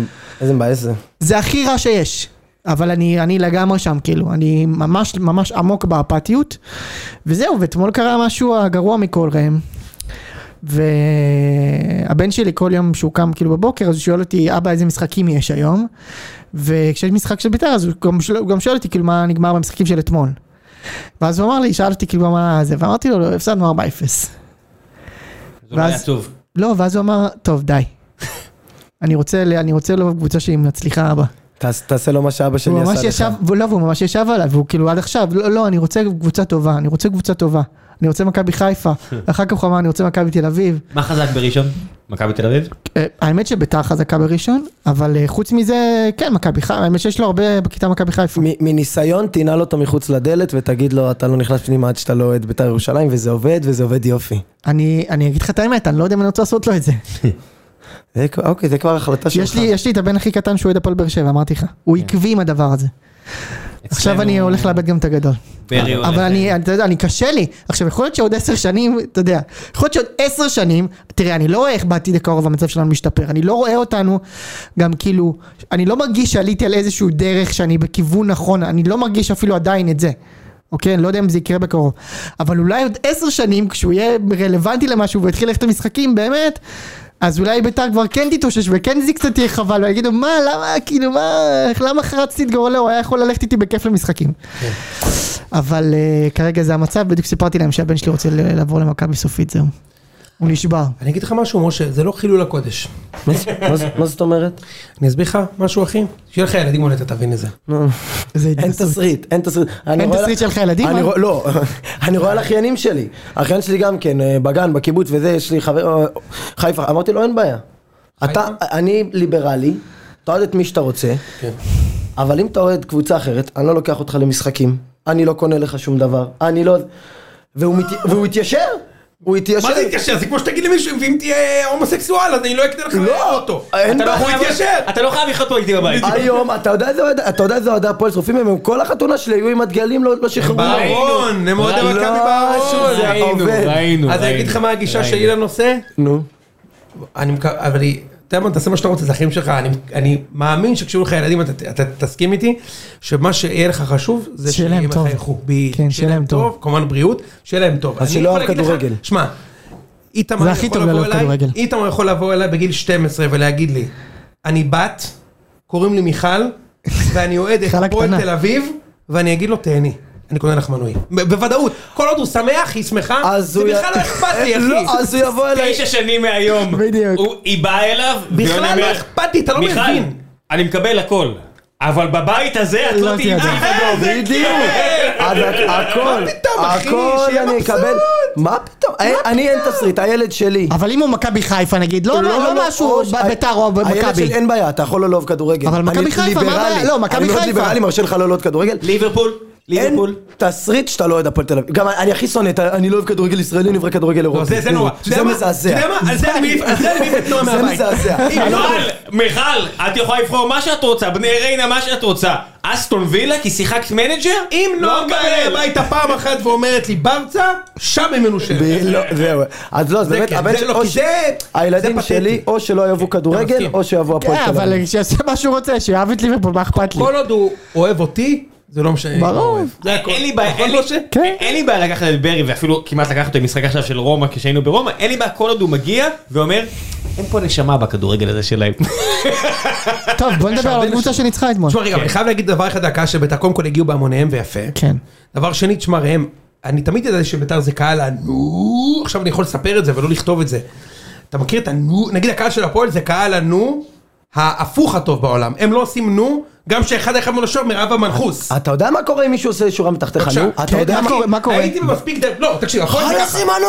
איזה מבאס זה. זה הכי רע שיש. אבל אני, אני לגמרי שם, כאילו, אני ממש ממש עמוק באפתיות. וזהו, ואתמול קרה משהו הגרוע מכל ראם. והבן שלי כל יום שהוא קם כאילו בבוקר, אז הוא שואל אותי, אבא, איזה משחקים יש היום? וכשיש משחק של בית"ר, אז הוא גם, שואל- הוא גם שואל אותי, כאילו, מה נגמר במשחקים של אתמול. ואז הוא אמר לי, שאל אותי, כאילו, מה זה, ואמרתי לו, "לא, הפסדנו 4-0. זה אולי ואז- עצוב. לא, ואז הוא אמר, טוב, די. אני רוצה, ל- אני רוצה לו קבוצה שהיא מצליחה, אבא. תעש- תעשה לו מה שאבא שלי הוא עשה לך. ממש ישב, והוא- לא, והוא ממש ישב עליו, והוא כאילו עד עכשיו, לא, לא, אני רוצה קבוצה טובה, אני רוצה קבוצה טובה. אני רוצה מכבי חיפה, אחר כך הוא אמר, אני רוצה מכבי תל אביב. מה חזק בראשון? מכבי תל אביב? אה, האמת שביתר חזקה בראשון, אבל אה, חוץ מזה, כן, מכבי חיפה, האמת שיש לו הרבה בכיתה מכבי חיפה. מ- מניסיון תנעל אותו מחוץ לדלת ותגיד לו אתה לא נכנס פנימה עד שאתה לא אוהד בית"ר ירושלים וזה עובד וזה עובד יופי. אני אני אגיד לך את האמת, אני לא יודע אם אני רוצה לעשות לו את זה. זה כבר- אוקיי זה כבר החלטה שלך. יש לי- יש לי את הבן הכי קטן שהוא אוהד הפועל באר שבע, אמרתי לך. הוא עקבי עם הדבר הזה. עכשיו אני הולך לאבד גם את הגדול. ברי הולך- אבל אני, אתה יודע, אני קשה לי. עכשיו, יכול להיות שעוד עשר שנים, אתה יודע, יכול להיות שעוד עשר שנים, תראה, אני לא רואה איך בעתיד הקרוב המצב שלנו משתפר, אני לא רואה אותנו, גם כאילו, אני לא מרגיש שעליתי על איזשהו דרך שאני בכיוון נכון, אני לא מרגיש אפילו עדיין את זה. אוקיי, אני לא יודע אם זה יקרה בקרוב. אבל אולי עוד עשר שנים, כשהוא יהיה רלוונטי למשהו ויתחיל ללכת למשחקים, באמת, אז אולי ביתר כבר כן תתאושש וכן זה קצת יהיה חבל, ויגידו, מה, למה, כאילו, מה, למה חרצתי את גורלו, הוא היה יכול ללכת איתי בכיף למשחקים. אבל אה, כרגע זה המצב, בדיוק סיפרתי להם שהבן שלי רוצה ל- לעבור למכבי סופית, זהו. הוא נשבר. אני אגיד לך משהו, משה, זה לא חילול הקודש. מה זה- מה זה- מה זאת אומרת? אני אסביר לך משהו, אחי? שיהיה לך ילדים עולה, אתה תבין את זה. זה אין התנסות. תסריט, אין תסריט. אני אין רואה- תסריט שלך ילדים, אני אה? רואה- לא, אני רואה על אחיינים שלי. האחיין שלי גם כן, אה, בגן, בקיבוץ וזה, יש לי חבר, אה, חיפה. אמרתי לו, אין בעיה. אתה, אני ליברלי, אתה אוהד את מי שאתה רוצה, כן. אבל אם אתה אוהד קבוצה אחרת, אני לא לוקח אותך למשחקים, אני לא קונה לך שום דבר, אני לא... והוא מת- והוא התיישר, הוא התיישר. מה זה התיישר? זה כמו שתגיד למישהו, ואם תהיה הומוסקסואל, אז אני לא אקנה לך לא, אוטו. אין אתה לא בעיה. הוא חייב- התיישר. אתה לא חייב לחיות פה איתי בבית. היום, אתה יודע איזה אוהד- אתה יודע איזה אוהדי הפועל שרופים הם, הם כל החתונה שלי היו עם הדגלים, לא לא שחררו. בעיה. בארון, הם עוד ראינו. מכבי לא, בארון. שזה ראינו, עובד. ראינו. אז אני אגיד ראינו. לך מה הגישה ראינו. שלי לנושא? נו. אני מקווה, אבל היא- אתה יודע מה, תעשה מה שאתה רוצה, זה החיים שלך, אני- אני מאמין שכשיהיו לך ילדים, אתה- אתה תסכים איתי, שמה שיהיה לך חשוב, זה שיהיה להם טוב. יחייכו. בדיוק. כן, שיהיה להם טוב. לא כמובן בריאות, שיהיה להם טוב. אז אני שלא יכול אוהב להגיד לך- כדורגל. שמע, איתמר זה הכי יכול טוב לבוא ללא אליי- כדורגל. איתמר יכול לבוא אליי בגיל 12 ולהגיד לי, אני בת, קוראים לי מיכל, ואני אוהד את מיכל הפועל הקטנה. תל אביב, ואני אגיד לו תהני. אני קונה לך מנוי. ב- בוודאות. כל עוד הוא שמח, היא שמחה, אז זה הוא... י- בכלל לא אכפת לי, אחי. לא, אז הוא יבוא אליי. תשע שנים מהיום. בדיוק. הוא- היא באה אליו. בכלל לא ואומרת, אכפת לי, אתה לא מיכל, מבין. אני מקבל הכל. אבל בבית הזה את לא לא תהיי תהיה זה. בדוב. בדיוק. אז הכ- הכל, מה פתאום, אחי? הכל שיהיה אני מבסוט. אקבל. מה פתאום? אני- אני אין תסריט, הילד שלי. אבל אם הוא מכבי חיפה נגיד, לא, לא, לא משהו או ש- ב- ביתר או הילד מכבי. שלי אין בעיה, אתה יכול לא לאהוב כדורגל. אבל מכבי אני חיפה, מה ליברלי. הבעיה? לא, מכבי אני מאוד חיפה. ליברלי, מרשה לך לא לאהוב כדורגל. ליברפול. אין ליברפול. תסריט שאתה לא אוהד הפועל תל אביב. גם אני הכי שונא, את ה- אני לא אוהב כדורגל ישראלי, אני אוהב כדורגל לא, אירופי. זה זה נורא. אתה יודע זה מה? מזעזע. אתה יודע מה? על זה אני מעיף- על זה אני מעיף את נועה זה מהבית. מזעזע. אם לא- מיכל, מיכל, את יכולה לבחור מה שאת רוצה, בני ריינה מה שאת רוצה. אסטון וילה כי שיחקת מנג'ר? לא אם לא לא נועה באה אליי הביתה פעם אחת ואומרת לי ברצה, שם היא מנושבת. ב- לא, זהו. אז לא, אז באמת, כן, הבן זה שלי, לא, או כי ש- זה- הילדים זה שלי, פתטי. או שלא יאהבו כדורגל, מסכים. או שיאהבו הפועל כן, תל אביב. אבל שיעשה מה שהוא רוצה, שיאהב את ליברפול, מה אכפת לי? כל עוד הוא אוהב אותי, זה לא משנה. ברור. זה הכל. אין לי בעיה, נכון, אין לי- משה? כן. אין לי בעיה לקחת את ברי ואפילו כמעט לקחת אותו למשחק עכשיו של רומא כשהיינו ברומא, אין לי בעיה כל עוד הוא מגיע ואומר, אין פה נשמה בכדורגל הזה שלהם. טוב, בוא נדבר על עוד קבוצה שניצחה אתמול. תשמע רגע, אבל אני חייב להגיד דבר אחד דקה שביתר קודם כל הגיעו בהמוניהם ויפה. כן. דבר שני, תשמע ראם, אני תמיד ידעתי שביתר זה קהל הנו, עכשיו אני יכול לספר את זה ולא לכתוב את זה. אתה מכיר את הנו, נגיד הקהל של הפועל זה קהל הנו, ההפוך הטוב בעולם. הם לא עושים נו, גם שאחד אחד מול השוער מרב המנחוס. אה, אתה יודע מה קורה אם מישהו עושה שורה מתחתיך, עכשיו, נו? אתה כן, יודע מה מה... קורה? מה קורה? הייתי במספיק דרך, לא, תקשיב, הפועל זה חלאס ככה. עם הנו!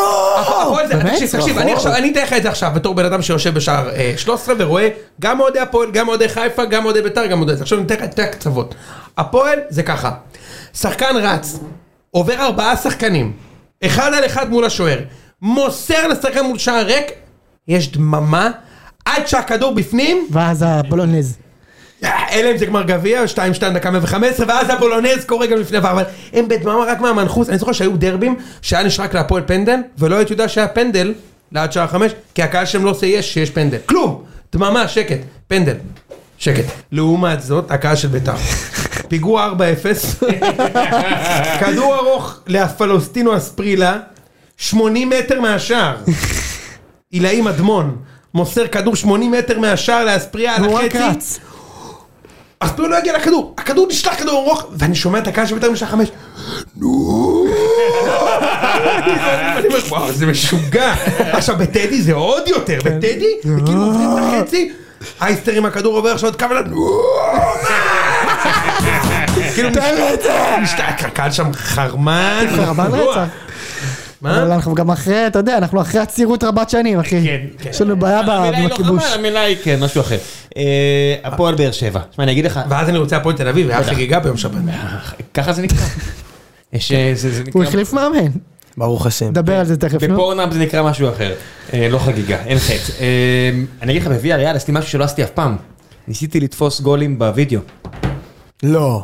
הפועל זה, באמת? תקשיב, תקשיב, נכון. אני עכשיו- אני אתן לך את זה עכשיו בתור בן אדם שיושב בשער אה, 13 ורואה גם אוהדי הפועל, גם אוהדי חיפה, גם אוהדי בית"ר, גם אוהדי... זה. עכשיו אני אתן לך את שתי הקצוות. הפועל זה ככה, שחקן רץ, עובר ארבעה שחקנים, אחד על אחד מול השוער, מוסר לשחקן מול שער ריק, יש דממה. עד שהכדור בפנים, ואז הבולונז. אה, אלא אם זה גמר גביע, 2-2 דקה 115, ואז הבולונז קורה גם לפני, אבל הם בדממה רק מהמנחוס, אני זוכר שהיו דרבים, שהיה נשרק להפועל פנדל, ולא הייתי יודע שהיה פנדל, לעד שעה חמש, כי הקהל שלהם לא עושה יש שיש פנדל, כלום, דממה, שקט, פנדל, שקט. לעומת זאת, הקהל של בית"ר, פיגוע 4-0, כדור ארוך להפלוסטינו אספרילה, 80 מטר מהשער, עילאי מדמון. מוסר כדור 80 מטר מהשער לאספריה על והוא רק החצי, רץ. אז פלו לא הגיע לכדור, הכדור נשלח כדור ארוך, ואני שומע את הקהל של בית"ר משלח חמש. נו! אני אומר, וואו, זה משוגע. עכשיו בטדי זה עוד יותר, כן. בטדי, זה כאילו עוברים את החצי, אייסטר עם הכדור עובר עכשיו עוד כמה... נו! כאילו משתק, הקהל שם חרמן. כן, חרבן גרוע. כן, רצח. מה? אבל אנחנו גם אחרי, אתה יודע, אנחנו אחרי עצירות רבת שנים, אחי. כן, כן. יש לנו בעיה ב- המילה היא לא בכיבוש. חבל, המילה היא כן, משהו אחר. אה, הפועל באר שבע. שמע, אני אגיד לך, ואז אני רוצה הפועל תל אביב, והיה חגיגה ביום שבת. ככה זה נקרא. יש, אה, זה זה הוא נקרא... החליף מאמן. ברוך השם. נדבר על זה תכף, נו. בפורנאם זה נקרא משהו אחר. אה, לא חגיגה, אין חטא. אה, אני אגיד לך, בוויה ריאל עשיתי משהו שלא עשיתי אף פעם. ניסיתי לתפוס גולים בווידאו. לא.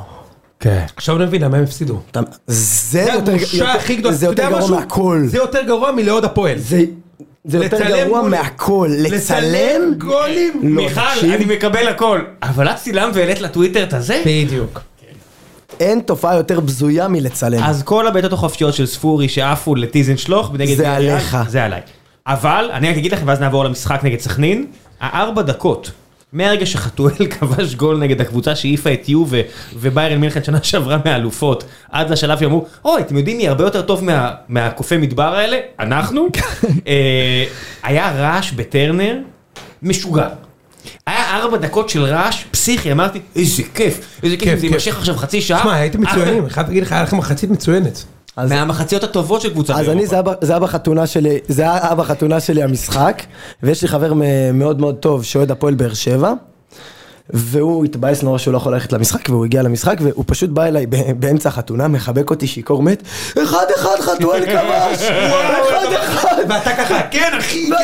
כן. עכשיו אני מבין למה הם הפסידו. אתה- זה זה יותר- הבושה הכי גדולה. זה אתה יותר יודע גרוע משהו? מהכל. זה יותר גרוע מלעוד הפועל. זה- זה יותר לצלם גרוע גולים. מהכל. לצלם? גולים? לא, מיכל, תקשיב. אני מקבל הכל. אבל את צילמת והעלית לטוויטר את הזה? בדיוק. אין תופעה יותר בזויה מלצלם. אז כל הבעיטות החופשיות של ספורי שעפו לטיזן שלוך נגד... זה בני ריאל, עליך. זה עליי. אבל, אני רק אגיד לכם, ואז נעבור למשחק נגד סכנין. הארבע דקות, מהרגע שחתואל כבש גול נגד הקבוצה שהעיפה את יו ו- וביירן מינכן שנה שעברה מהאלופות, עד לשלב שאמרו, אוי, אתם יודעים מי הרבה יותר טוב מה- מהקופי מדבר האלה? אנחנו. אה, היה רעש בטרנר משוגע. היה ארבע דקות של רעש פסיכי, אמרתי, איזה כיף, איזה כיף, כיף, אם זה כיף. יימשך עכשיו חצי שעה. תשמע, הייתם מצוינים, אני חייב להגיד לך, היה לכם מחצית מצוינת. אז- מהמחציות הטובות של קבוצת אז אירופה. אני, זה אבא- זה אבא חתונה שלי, זה היה אבא חתונה שלי המשחק, ויש לי חבר מ- מאוד מאוד טוב שאוהד הפועל באר שבע, והוא התבאס נורא שהוא לא יכול ללכת למשחק, והוא הגיע למשחק, והוא פשוט בא אליי ב- באמצע החתונה, מחבק אותי שיכור מת, אחד אחד חתואל כבש, אחד אחד, ואתה ככה, כן אחי, לא."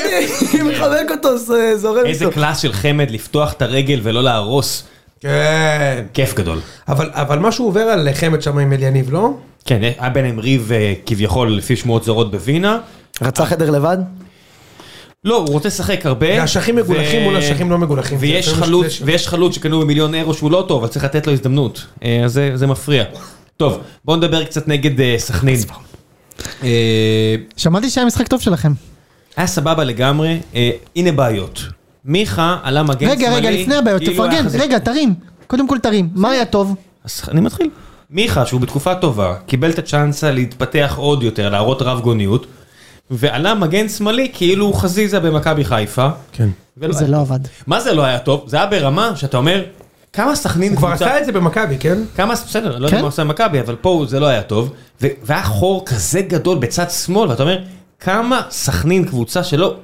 ואני מחבק אותו, זה- זורם איזה איתו. קלאס של חמד לפתוח את הרגל ולא להרוס. כן. כיף גדול. אבל אבל משהו עובר על חמד שם עם אל יניב, לא? כן, היה ביניהם ריב אה, כביכול לפי שמועות זרות בווינה. רצה אה. חדר לבד? לא, הוא רוצה לשחק הרבה. זה אשכים מגולחים ו- מול אשכים לא מגולחים. ויש זה יותר חלוץ, משתלש. ויש חלוץ שקנו במיליון אירו שהוא לא טוב, אז צריך לתת לו הזדמנות. אה, אז זה- זה מפריע. טוב, בואו נדבר קצת נגד אה, סכנין. אה, שמעתי שהיה משחק טוב שלכם. היה סבבה לגמרי, אה, הנה בעיות. מיכה עלה מגן שמאלי. רגע, רגע, לפני הבעיות, כאילו היה תפרגן, חזק. רגע, תרים. קודם כל תרים. מה היה טוב? אז אני מתחיל. מיכה, שהוא בתקופה טובה, קיבל את הצ'אנסה להתפתח עוד יותר, להראות רב גוניות, ועלה מגן שמאלי כאילו הוא חזיזה במכבי חיפה. כן. ולא זה היה- לא עבד. מה זה לא היה טוב? זה היה ברמה שאתה אומר, כמה סכנין הוא כבר קבוצה- עשה את זה במכבי, כן? כמה, בסדר, לא יודע כן? מה עושה מכבי, אבל פה זה לא היה טוב. ו- והיה חור כזה גדול בצד שמאל, ואתה אומר, כמה סכנין קבוצה שלא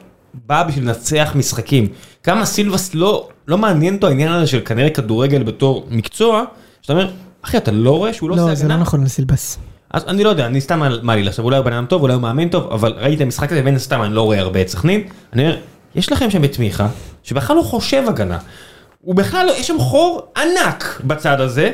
באה בשביל לנצח משחקים. כמה סילבס לא, לא מעניין אותו העניין הזה של כנראה כדורגל בתור מקצוע, שאתה אומר, אחי, אתה לא רואה שהוא לא, לא, עושה זה הגנה? לא נכון לסילבס. אז אני לא יודע, אני סתם על- מה לי עכשיו, אולי הוא בן אדם טוב, אולי הוא מאמן טוב, אבל ראיתי את המשחק הזה, בין הסתם אני לא רואה הרבה את סכנין. אני אומר, יש לכם שם את מיכה, שבכלל לא חושב הגנה. הוא בכלל לא, יש שם חור ענק בצד הזה,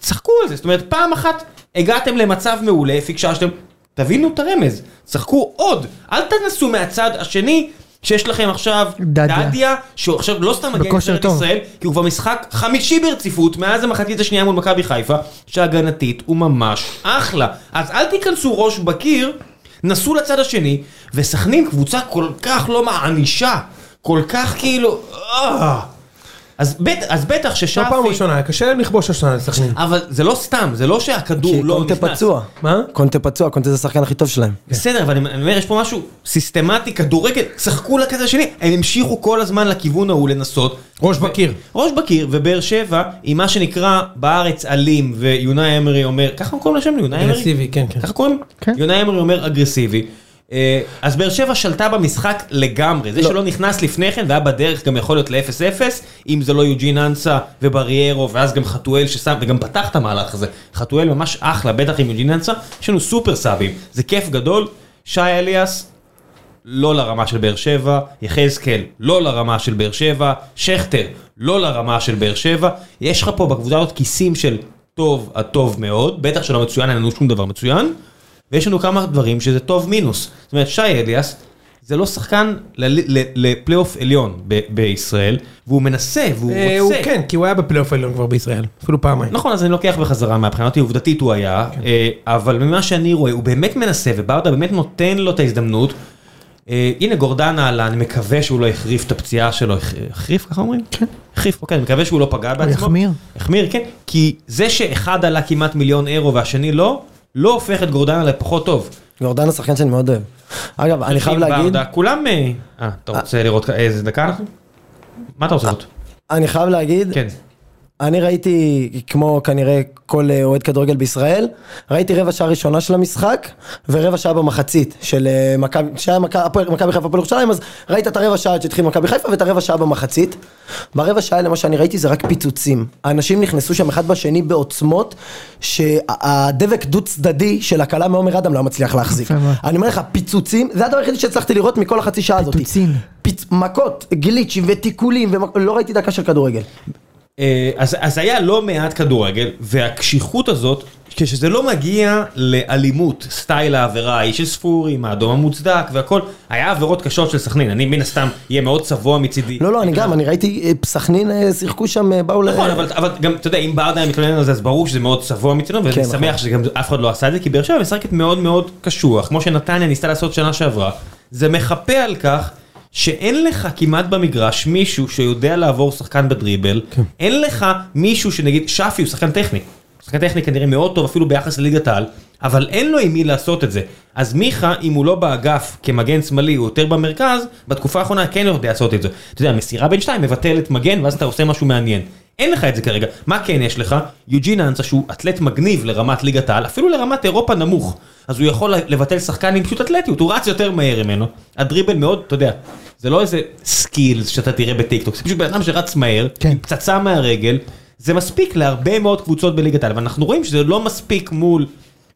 צחקו על זה, זאת אומרת, פעם אחת הגעתם למצב מעולה, פיקששתם, תבינו את הרמז, צחקו עוד, אל תנסו מהצד השני שיש לכם עכשיו דדיה. דדיה, שהוא עכשיו לא סתם מגיע בכושר לנבחרת טוב. ישראל, כי הוא כבר משחק חמישי ברציפות, מאז המחצית השנייה מול מכבי חיפה, שהגנתית הוא ממש אחלה. אז אל תיכנסו ראש בקיר, נסו לצד השני, וסכנין קבוצה כל כך לא מענישה, כל כך כאילו... אה. אז, בט, אז בטח זו ששאפי... הפעם הראשונה, קשה להם לכבוש השנה לסכנין. אבל זה לא סתם, זה לא שהכדור כי לא קונטה נכנס. פצוע. מה? קונטה פצוע, קונטה זה השחקן הכי טוב שלהם. כן. בסדר, אבל אני אני אומר, יש פה משהו סיסטמטי, כדורגל, שחקו לכזה השני, הם המשיכו כל הזמן לכיוון ההוא לנסות. ראש בקיר. ראש בקיר ובאר שבע, עם מה שנקרא בארץ אלים, ויונאי אמרי אומר, ככה קוראים לשם יונאי אמרי? אה, אגרסיבי, כן, כן. ככה קוראים? כן. יונאי אמרי אומר אגרסיבי. אה, אז באר שבע שלטה במשחק לגמרי, זה שלא נכנס לפני כן והיה בדרך גם יכול להיות ל-0-0, אם זה לא יוג'ין אנסה ובריירו ואז גם חתואל ששם, וגם פתח את המהלך הזה, חתואל ממש אחלה, בטח עם יוג'ין אנסה, יש לנו סופר סאבים, זה כיף גדול, שי אליאס, לא לרמה של באר שבע, יחזקאל, לא לרמה של באר שבע, שכטר, לא לרמה של באר שבע. יש לך פה בקבוצה הזאת כיסים של טוב הטוב מאוד, בטח שלא מצוין, אין לנו שום דבר מצוין, ויש לנו כמה דברים שזה טוב מינוס. זאת אומרת, שי אליאס זה לא שחקן ל- ל- לפלייאוף עליון ב- בישראל, והוא מנסה והוא אה, רוצה. הוא כן, כי הוא היה בפלייאוף העליון כבר בישראל, אפילו פעמיים. נכון, אז אני לוקח בחזרה מהבחינה אותי, עובדתית הוא היה, כן. אה, אבל ממה שאני רואה, הוא באמת מנסה, וברדה באמת נותן לו את ההזדמנות. אה, הנה גורדנה עלה, אני מקווה שהוא לא החריף את הפציעה שלו, הח- החריף ככה אומרים? כן. החריף, אוקיי, אני מקווה שהוא לא פגע בעצמו. החמיר. החמיר, כן. כי זה שאחד עלה כמעט מיליון אירו והשני לא, לא הופך את גורדנה לפחות טוב. גורדן הוא שחקן שאני מאוד אוהב. אגב, אני חייב ברדה, להגיד, כולם... אה, אה, אתה רוצה לראות כ- איזה דקה אנחנו? מה אה, אתה רוצה לראות? אני חייב להגיד, כן. אני ראיתי, כמו כנראה כל אה, אוהד כדורגל בישראל, ראיתי רבע שעה ראשונה של המשחק, ורבע שעה במחצית של אה, מכבי, שהיה מכ- הפועל- מכבי חיפה הפועל ירושלים, אז ראית את הרבע שעה עד שהתחיל מכבי חיפה, ואת הרבע שעה במחצית. ברבע שעה, למה שאני ראיתי, זה רק פיצוצים. האנשים נכנסו שם אחד בשני בעוצמות, שהדבק דו צדדי של הכלה מעומר אדם לא היה מצליח להחזיק. יפה מאוד. אני אומר לך, פיצוצים, זה הדבר היחידי שהצלחתי לראות מכל החצי שעה הזאת. פיצוצים. פיצ... מכות, גליצ'ים ותיקולים, ומכ- לא ראיתי דקה של כדורגל. אה, אז, אז היה לא מעט כדורגל, והקשיחות הזאת, כשזה לא מגיע לאלימות, סטייל העבירה, האיש של ספורי, עם האדום המוצדק והכל, היה עבירות קשות של סכנין, אני מן הסתם אהיה מאוד צבוע מצידי. לא, לא, אני גם, אני ראיתי, אה, סכנין אה, שיחקו שם, אה, באו ל... נכון, אבל, אבל גם, אתה יודע, אם ברדה היה מתלונן על זה, אז ברור שזה מאוד צבוע מצדנו, ואני כן, שמח נכון. שגם אף אחד לא עשה את זה, כי באר שבע משחקת מאוד מאוד קשוח, כמו שנתניה ניסתה לעשות שנה שעברה. זה מחפה על כך שאין לך כמעט במגרש מישהו שיודע לעבור שחקן בדריבל, כן. אין לך מישהו שנגיד, שפי הוא שחקן טכני. שחקן טכני כנראה מאוד טוב אפילו ביחס לליגת העל, אבל אין לו עם מי לעשות את זה. אז מיכה, אם הוא לא באגף כמגן שמאלי, הוא יותר במרכז, בתקופה האחרונה כן יודע לעשות את זה. אתה יודע, מסירה בין שתיים, מבטלת מגן, ואז אתה עושה משהו מעניין. אין לך את זה כרגע. מה כן יש לך? יוג'ין אנסה שהוא אתלט מגניב לרמת ליגת העל, אפילו לרמת אירופה נמוך. אז הוא יכול לבטל שחקן עם פשוט אתלטיות, הוא רץ יותר מהר ממנו. הדריבל מאוד, אתה יודע, זה לא איזה סקילס שאתה תראה בטיקטוק, זה פשוט בן אדם שרץ מהר, כן. עם פצצה מהרגל, זה מספיק להרבה מאוד קבוצות בליגת העל, ואנחנו רואים שזה לא מספיק מול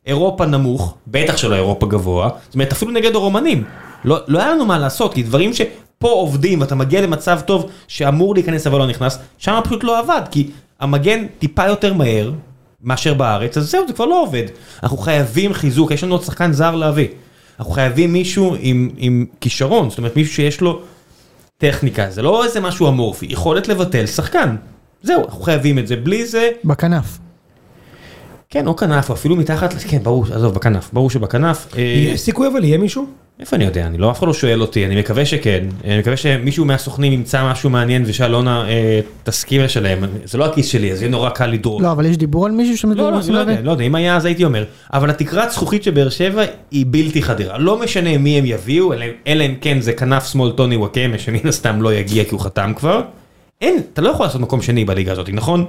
אירופה נמוך, בטח שלא אירופה גבוה, זאת אומרת אפילו נגד הרומנים, לא, לא היה לנו מה לעשות, כי דברים שפה עובדים ואתה מגיע למצב טוב שאמור להיכנס אבל לא נכנס, שם פשוט לא עבד, כי המגן טיפה יותר מהר מאשר בארץ, אז זהו, זה כבר לא עובד. אנחנו חייבים חיזוק, יש לנו עוד שחקן זר להביא. אנחנו חייבים מישהו עם, עם כישרון, זאת אומרת מישהו שיש לו טכניקה, זה לא איזה משהו אמורפי, יכולת לבטל שחקן. זהו, אנחנו חייבים את זה, בלי זה, בכנף. כן, או כנף, או אפילו מתחת, ל- כן, ברור, עזוב, בכנף, ברור שבכנף. אה, יש סיכוי אבל יהיה מישהו? איפה אני יודע, אני לא, אף אחד לא שואל אותי, אני מקווה שכן, אני מקווה שמישהו מהסוכנים ימצא משהו מעניין ושאלונה אה, תסכים לשלם, אני- זה לא הכיס שלי, אז יהיה נורא קל לדרוש. לא, אבל יש דיבור על מישהו לא, שמדברים לא, על אני לא יודע, סולרי? לא יודע, אם היה אז הייתי אומר. אבל התקרת זכוכית של באר שבע היא בלתי חדירה. לא משנה מי הם יביאו, אלא- אלא אם כן זה כנף שמאל טוני וואקמה, שמן הסתם לא יגיע כי הוא חתם כבר. אין, אתה לא יכול לעשות מקום שני בליגה הזאת, נכון?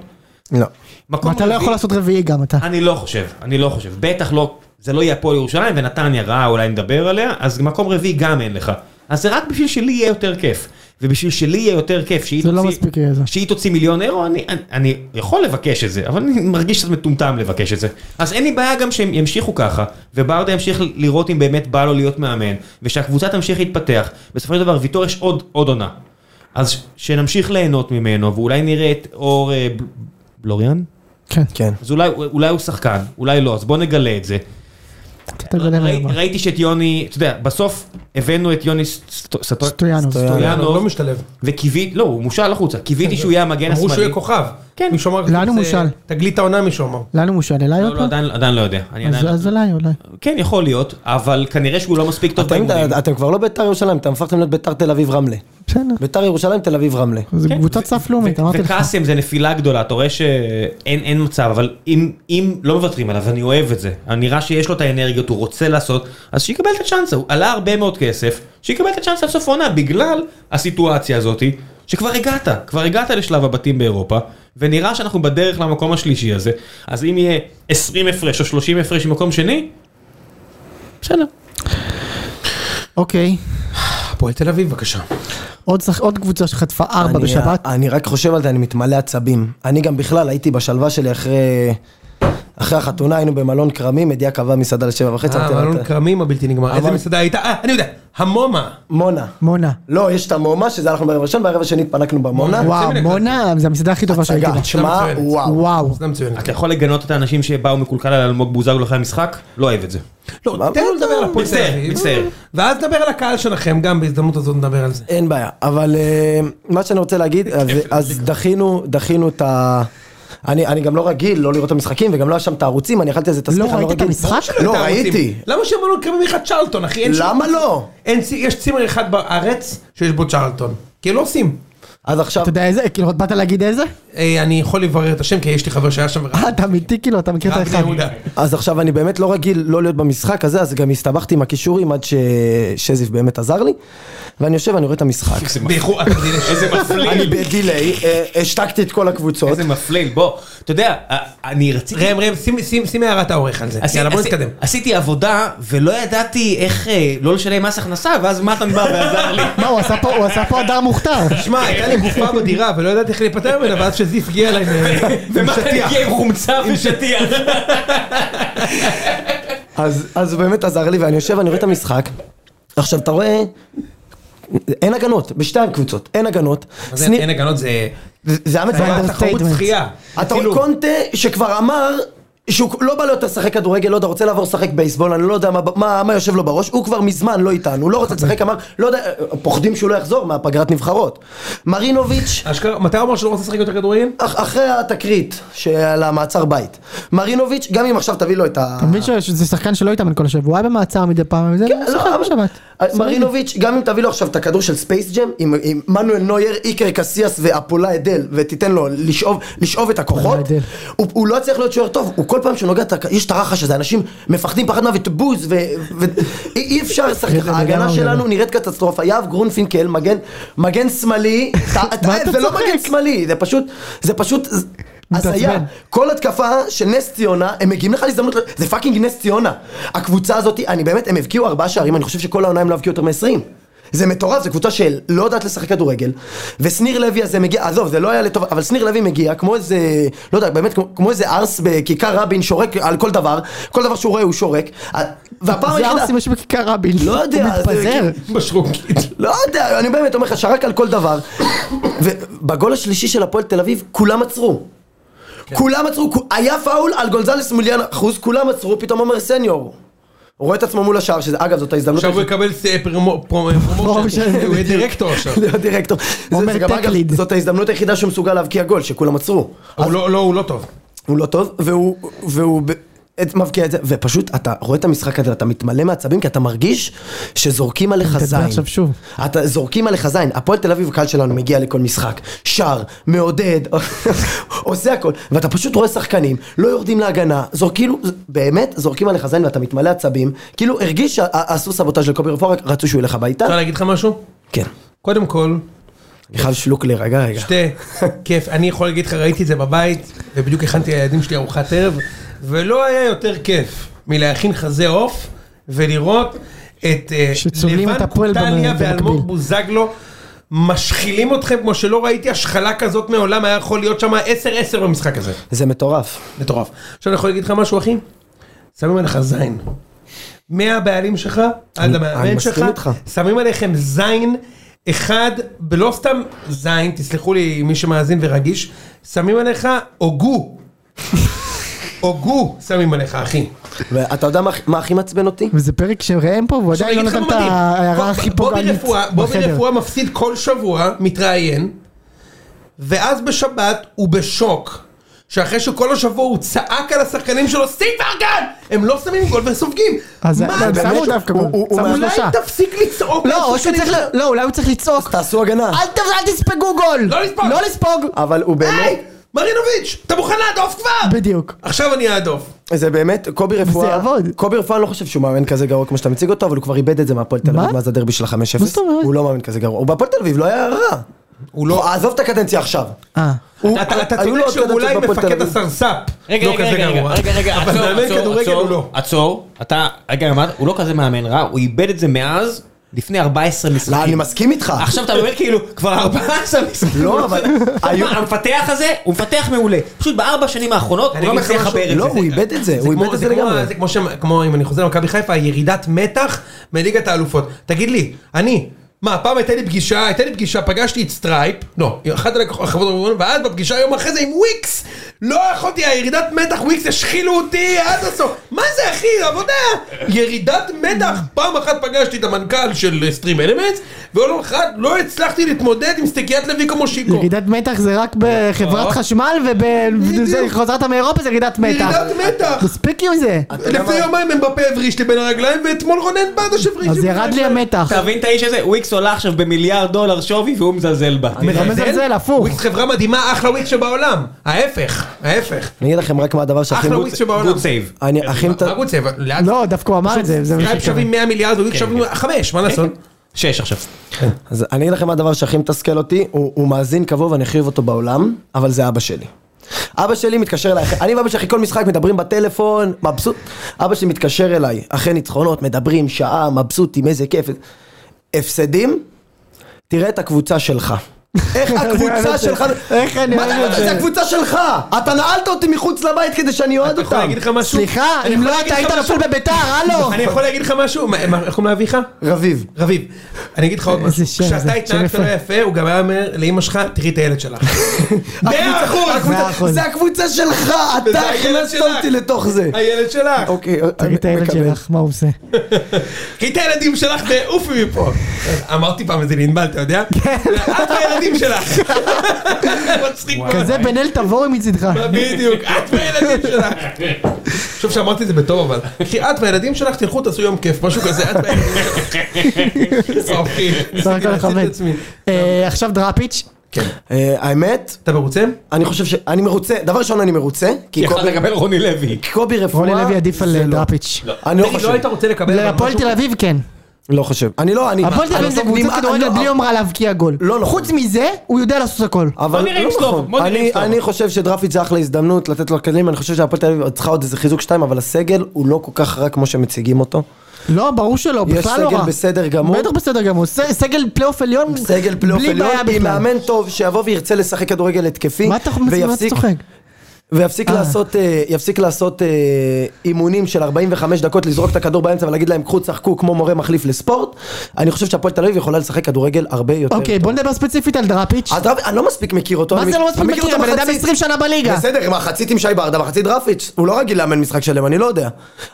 לא. מקום אתה לא רביעי- יכול לעשות רביעי גם אתה. אני לא חושב, אני לא חושב. בטח לא, זה לא יהיה הפועל ירושלים ונתניה רעה, אולי נדבר עליה, אז מקום רביעי גם אין לך. אז זה רק בשביל שלי יהיה יותר כיף. ובשביל שלי יהיה יותר כיף שהיא זה לא תוציא, מספיק יהיה זה. שהיא תוציא מיליון אירו, אני, אני, אני יכול לבקש את זה, אבל אני מרגיש קצת מטומטם לבקש את זה. אז אין לי בעיה גם שהם ימשיכו ככה, וברדה ימשיך לראות אם באמת בא לו להיות מאמן, ושהקבוצה תמשיך להתפתח. בסופו של דבר ויטור יש עוד, עוד עונה. אז ש- שנמשיך ליהנות ממנו, ואולי נראה את אור אה, ב- בלוריאן? כן. כן. לא, אז אולי, אולי הוא שחקן, אולי לא, אז בוא נגלה את זה. קצת הגולה ראי- וארבע. ראיתי שאת יוני, אתה יודע, בסוף הבאנו את יוני סטו- סטו- סטויאנוב. הוא לא סטויאנוב, משתלב. וקיוויתי, לא, הוא מושל החוצה, קיוויתי שהוא יהיה המגן השמאלי. אמרו שהוא יהיה כוכב. כן. מישהו אמר, לאן הוא זה מושל? תגלית העונה מישהו אמר. לאן הוא מושל? אליי לא, עוד לא, פעם? עדיין- עדיין לא יודע. אני אז- עדיין- אז אליי אולי. כן, יכול להיות, אבל כנראה שהוא לא מספיק טוב אתם- באימונים. אתם כבר לא ביתר ירושלים, אתם הפכתם להיות ביתר תל אביב רמלה. בסדר. ביתר ירושלים, תל אביב רמלה. זה כן, קבוצת ו- סף לאומית, ו- אמרתי לך. וקאסם זה נפילה גדולה, אתה רואה שאין אין מצב, אבל אם, אם לא מוותרים עליו, אני אוהב את זה. נראה שיש לו את האנרגיות, הוא רוצה לעשות, אז שיקבל את הצ'אנס, הוא עלה הרבה מאוד כסף, שיקבל את הצ'אנס עד סוף העונה, בגלל הסיטואציה הזאת, שכבר הגעת, כבר הגעת לשלב הבתים באירופה, ונראה שאנחנו בדרך למקום השלישי הזה, אז אם יהיה 20 הפרש או 30 הפרש ממקום שני, בסדר. אוקיי. הפועל תל אביב בבקשה. עוד שח- עוד קבוצה שחטפה ארבע אני- אה, בשבת. אני רק חושב על זה, אני מתמלא עצבים. אני גם בכלל הייתי בשלווה שלי אחרי... אחרי החתונה היינו במלון כרמים, אדיה קבע מסעדה לשבע וחצי. אה, אמרתי לה, מלון כרמים הבלתי נגמר. איזה אבל- מסעדה הייתה? אה, אני יודע. המומה. מונה. מונה. לא, יש את המומה, שזה הלכנו בערב הראשון, בערב השני התפנקנו במונה. יוצא מן וואו, הכלל. מונה, זו המסעדה הכי טובה שהייתי הצגה, בה. תשמע, מצוינת. וואו. וואו. סתם מצוינת. אתה יכול לגנות את האנשים שבאו מקולקל על אלמוג בוזגלו אחרי המשחק? לא אוהב את זה. לא, תן לו לדבר על הפועל תל מצטער, אביב. מצטער. ואז נדבר על הקהל שלכם, גם בהזדמנות הזאת נדבר על זה. אין בעיה, אבל אה, מה שאני רוצה להגיד, אז- אז דחינו, דחינו את ה... אני, אני גם לא רגיל לא לראות את המשחקים וגם לא היה שם את הערוצים, אני אכלתי איזה תסביך, אני לא ראית את רגיל. המשחק? ברור שלא, את לא הערוצים. ראיתי. למה שמלון כרמים אחד צ'רלטון, אחי? אין שם- למה לא? אין צי- יש צימר אחד בארץ שיש בו צ'רלטון. כי לא עושים. אז עכשיו, אתה יודע איזה? כאילו, באת להגיד איזה? אה, אני יכול לברר את השם, כי יש לי חבר שהיה שם. אה, אתה אמיתי כאילו, אתה מכיר את רב האחד. יהודה. אז עכשיו אני באמת לא רגיל לא להיות במשחק הזה, אז גם הסתבכתי עם הכישורים עד ש... שזיף באמת עזר לי, ואני יושב ואני רואה את המשחק. באיחור, אתה יודע, יש- איזה אני מפליל. בדיליי, אה, השתקתי את כל הקבוצות. איזה מפליל, בוא, אתה יודע, א- אני רציתי... ראם, ראם, שים- שים- שים הערת העורך על זה. עשי- יאללה, בוא עשי- נתקדם. עשיתי עבודה, ולא ידעתי איך אה, לא לשלם מס הכנסה, ואז מתן בא ועזר לי. מה, הוא עשה פה- הוא עשה פה הדר מוכתר. שמע, הייתה לי גופה בדירה ולא ידעתי איך להיפטר ממנה, ואז שזיף הגיע אליי עם- עם ומתן שטיח. הגיע עם חומצה ושטיח. אז, אז באמת עזר לי, ואני יושב, אני רואה את המשחק. עכשיו, אתה רואה... אין הגנות, בשתי הקבוצות, אין הגנות. מה זה, סני- אין הגנות זה... זה זה היה זה היה מצוין. תחרות understatement. שחייה. אתה רואה צילום. קונטה שכבר אמר שהוא לא בא להיות לשחק כדורגל, לא יודע, רוצה לעבור לשחק בייסבול, אני לא יודע מה, מה, מה יושב לו בראש, הוא כבר מזמן לא איתנו, הוא לא רוצה לשחק, אמר, לא יודע, פוחדים שהוא לא יחזור מהפגרת נבחרות. מרינוביץ', אשכרה, מתי הוא אמר שהוא לא רוצה לשחק יותר כדורגל? אח, אחרי התקרית של המעצר בית, מרינוביץ', גם אם עכשיו תביא לו את ה... אתה מבין ש- שזה שחקן שלא התאמן כל השבוע, הוא היה במעצר מדי פעם, וזה, הוא לא, שחק אבל- בשבת. אז מרינוביץ', גם אם תביא לו עכשיו את הכדור של ספייס ג'ם, עם עם מנואל נויר, איקר קסיאס ואפולה אדל, ותיתן לו לשאוב- לשאוב את הכוחות, אפולה אדל. הוא הוא לא צריך להיות שוער טוב, הוא כל פעם שהוא נוגע, את הכ- יש את הרחש הזה, אנשים מפחדים פחד מוות, בוז, ו- ו- אי אי אפשר לשחק אני ככה, יודע מה ההגנה הוא שלנו מדבר. נראית קטסטרופה, יהב גרונפינקל, מגן- מגן שמאלי, אתה- אתה- אתה זה לא צוחק? מגן שמאלי, זה פשוט, זה פשוט... ז- מתעצבן. הזיה, כל התקפה של נס ציונה, הם מגיעים לך להזדמנות, ל- זה פאקינג נס ציונה. הקבוצה הזאת, אני באמת, הם הבקיעו ארבעה שערים, אני חושב שכל העונה הם לא הבקיעו יותר מ-20. זה מטורף, זו קבוצה של לא יודעת לשחק כדורגל, ושניר לוי הזה מגיע, עזוב, זה לא היה לטוב, אבל שניר לוי מגיע כמו איזה, לא יודע, באמת, כמו, כמו איזה ארס בכיכר רבין, שורק על כל דבר, כל דבר שהוא רואה הוא שורק, ה- והפעם זה היחידה, ארסים יש בכיכר רבין. לא יודע, הוא זה- מתפזר. בשרוקית. לא יודע, אני באמת אומר לך, שרק על כל דבר, ובגול השלישי של הפועל תל אביב, כולם עצרו. כן. כולם עצרו, כו- היה פאול על גולזלס מוליאן אחוז, כולם עצרו, פתאום אומר סניור. הוא רואה את עצמו מול השער, שזה אגב זאת ההזדמנות. עכשיו הוא יקבל ס- פרמו- פרומו- לא פרומושן, הוא יהיה דירקטור עכשיו. להיות לא, דירקטור. זה- עומר זה גם, אגב, טקליד. זאת ההזדמנות היחידה שהוא מסוגל להבקיע גול, שכולם עצרו. הוא לא, לא, הוא לא טוב. הוא לא טוב, והוא, והוא ב- את, מבקיע את זה, ופשוט אתה רואה את המשחק הזה, אתה מתמלא מעצבים, כי אתה מרגיש שזורקים עליך מדבר זין. עכשיו שוב. אתה, זורקים עליך זין. הפועל תל אביב, הקהל שלנו מגיע לכל משחק, שר, מעודד, עושה הכל, ואתה פשוט רואה שחקנים, לא יורדים להגנה, זורקים, באמת, זורקים עליך זין ואתה מתמלא עצבים, כאילו הרגיש שעשו סבוטאז' לקובי רפואה, רק רצו שהוא ילך הביתה. אפשר להגיד לך משהו? כן. קודם כל, אני חייב שלוק להירגע רגע. שתה, כיף. אני יכול להגיד לך, ראיתי את זה בבית, ובדיוק הכנתי לילדים שלי ארוחת ערב, ולא היה יותר כיף מלהכין חזה עוף ולראות את אה, שצובלים את הפועל קוטליה במ- ואלמוג במקביל. בוזגלו. משחילים אתכם כמו שלא ראיתי השחלה כזאת מעולם, היה יכול להיות שם 10-10 במשחק הזה. זה מטורף. מטורף. עכשיו אני יכול להגיד לך משהו, אחי? שמים עליך זין. מהבעלים שלך, עד אני- אני המאמן מסכים שלך, איתך. שמים עליכם זין אחד, ולא סתם זין, תסלחו לי מי שמאזין ורגיש, שמים עליך הוגו. הוגו שמים עליך, אחי. ואתה יודע מה- מה הכי מעצבן אותי? וזה פרק שראם פה, והוא עכשיו, עדיין לא אני אגיד נתן לך מה את מדהים. ההערה בוב- הכי בובי פוגענית רפואה- בובי בחדר. רפואה מפסיד כל שבוע, מתראיין, ואז בשבת הוא בשוק. שאחרי שכל השבוע הוא צעק על השחקנים שלו, סטיב וארגן! הם לא שמים גול וסופגים! אז אה, מה, הם באמת? שמו דווקא גול, הוא- הוא- הוא שמו אולי שלושה. תפסיק לצעוק על לא, או שהוא השחקנים צריך, שלו. ל- לא, אולי הוא צריך לצעוק. תעשו הגנה. אל ת- אל תספגו גול! לא לספוג. לא לספוג! אבל הוא באמת, היי, מרינוביץ', אתה מוכן להדוף כבר? בדיוק. עכשיו אני אעדוף. זה באמת, קובי רפואה, יעבוד. קובי רפואה אני לא חושב שהוא מאמן כזה גרוע כמו שאתה מציג אותו, אבל הוא כבר איבד את זה מהפועל תל מה? אביב מאז הדרבי של ה-5-0. מה זאת אומרת? הוא לא מאמן כזה גרוע, הוא בהפועל תל אביב לא היה רע. הוא לא, לא... עזוב את הקדנציה עכשיו. אה. הוא- אתה אתה היו לו צודק עוד שהוא קדנציות אולי בהפועל תל מפקד אביב. הסרסאפ. רגע, לא רגע, כזה רגע, גרוע. רגע, רגע, אבל עצור, מאמן עצור, כדורגל עצור, הוא לא. עצור, אתה, רגע, אמרת, הוא לא כזה מאמן רע, הוא איבד את זה מאז, לפני 14 משחקים. לא, אני מסכים איתך. עכשיו אתה באמת כאילו, כבר 14 משחקים. לא, אבל- היו- מה, המפתח הזה, הוא מפתח מעולה. פשוט בארבע שנים האחרונות, הוא אני לא אגיד לך מצליח משהו, לחבר את זה. לא, הוא איבד את זה, הוא כמו- איבד את זה כמו- לגמרי. זה כמו, שם, כמו אם אני חוזר למכבי חיפה, ירידת מתח מליגת האלופות. תגיד לי, אני, מה, פעם הייתה לי פגישה, הייתה לי פגישה, פגשתי את סטרייפ, לא, אחת החברות המובילות, ואז בפגישה יום אחרי זה עם וויקס! לא יכולתי, הירידת מתח, וויקס השחילו אותי עד הסוף. מה זה אחי, עבודה? ירידת מתח. פעם אחת פגשתי את המנכ"ל של סטרים אלמנטס, ועוד אחת לא הצלחתי להתמודד עם סטיקיית לוי כמו שיקו. ירידת מתח זה רק בחברת נכון. חשמל ובחוזרת מאירופה זה ירידת מתח. ירידת מתח. מספיק עם זה. לפני יומיים אמבפה הבריש לי בין הרגליים, ואתמול רונן בדש הבריש לי אז בין ירד לי הרגליים. המתח. אתה מבין את האיש הזה? וויקס עולה עכשיו במיליארד דולר שווי והוא מזלזל בה. לא מזלזל, הפוך. כן. וויקס חברה מדהימה, אחלה וויקס שבעולם. ההפך, ההפך. אני אגיד לכם רק מה הדבר שהכי... אחלה מ- וויקס אה, שבעולם. גוד סייב. אני הכי... מת- רק וויקס, אבל לאט. לא, דווקא הוא אמר את זה, זה מה סקייפ שקרה. שווים 100 מיליארד, וויקס כן, שווים 5, מה לעשות? כן. שש עכשיו. אז אני אגיד לכם מה הדבר שהכי מתסכל אותי, הוא, הוא מאזין קבוע ואני אחריב אותו בעולם, אבל זה אבא שלי. אבא שלי מתקשר אליי, אני ואבא שלי אחרי כל משחק מדברים בטלפון, מבסוט. אבא שלי מתקשר אליי, אחרי ניצחונות, מדברים שעה, מבסוטים, איזה כיף. הפסדים, תראה את הקבוצה שלך. איך הקבוצה שלך, איך אני מה אוהב אתה את יודע, זה. זה הקבוצה שלך, אתה נעלת אותי מחוץ לבית כדי שאני אוהד אתה יכול אותם. להגיד לך משהו? סליחה, אני אם יכול לא להגיד אתה לך היית משהו? נופל בביתר, הלו! אני יכול להגיד לך משהו? מה- מה- איך קוראים לאביך? רביב, רביב. אני אגיד לך עוד איזה משהו. שם, כשאתה זה שם התנהגת יפה. לא יפה, הוא גם היה אומר לאמא שלך, תראי את הילד שלך. מאה אחוז! מאה אחוז. זה הקבוצה שלך, נכון. וזה אתה הילד הכנסת שלך. אותי לתוך זה. הילד שלך. אוקיי, תגיד את הילד מקבל. לא, שלך, מה הוא עושה? קחי את הילדים שלך ועופי מפה. אמרתי פעם את זה לענבל, אתה יודע? כן. את והילדים שלך. מצחיק מאוד. לא, כזה בן אל תבורי מצידך. בדיוק, את והילדים שלך. אני חושב שאמרתי את זה בטוב אבל. אחי, את והילדים שלך תלכו תעשו יום כיף, משהו כזה, את והילדים שלך. אוקיי. בסך הכל עשיתי את לכבד. עצמי. אה, עכשיו דראפיץ', אה, האמת, אתה מרוצה? אני חושב ש... אני מרוצה, דבר ראשון אני מרוצה, כי יכולת קובי- לקבל רוני לוי. כי קובי רפואה... רוני לוי עדיף על זה אה, לא. דראפיץ'. אני לא תגיד, לא היית חושב. רוצה לקבל... אבל להפועל משהו? תל אביב כן. לא חושב. אני לא, אני... הפועל תל אני אביב זה בסוף קבוצת נמעט- כדורגל לא, בלי יומרה להבקיע גול. לא, לא. חוץ מזה, הוא יודע לעשות הכל. אבל בוא נראה אם לא סלוב, נכון. בוא נראה אם אני- סלוב. אני חושב שדרפיץ' זה אחלה הזדמנות לתת לו כלים, אני חושב שהפועל תל אביב עוד צריכה עוד איזה חיזוק שתיים, אבל הסגל הוא לא כל כך רע כמו שמציגים אותו. לא, ברור שלא, יש בכלל לא רע. סגל בסדר גמור. בטח בסדר גמור. ס- סגל פלייאוף עליון, סגל פלייאוף בלי בעיה עליון, עם בכלל. מאמן טוב שיבוא וירצה לשחק כדורגל התקפי, מה אתה מה אתה ויפסיק- צוחק? ויפסיק אה. לעשות, אה, יפסיק לעשות אה, אימונים של 45 דקות, לזרוק את הכדור באמצע ולהגיד להם קחו, צחקו כמו מורה מחליף לספורט. אני חושב שהפועל תל אביב יכולה לשחק כדורגל הרבה יותר. אוקיי, בוא נדבר ספציפית על דראפיץ'. אז דראפיץ', אני לא מספיק מכיר אותו. מה אני זה לא אני מספיק מכיר? אותו הבן אדם מחצית. 20 שנה בליגה. בסדר, מחצית עם שי ברדה, מחצית דראפיץ'. הוא לא רגיל לאמן משחק שלם, אני לא יודע.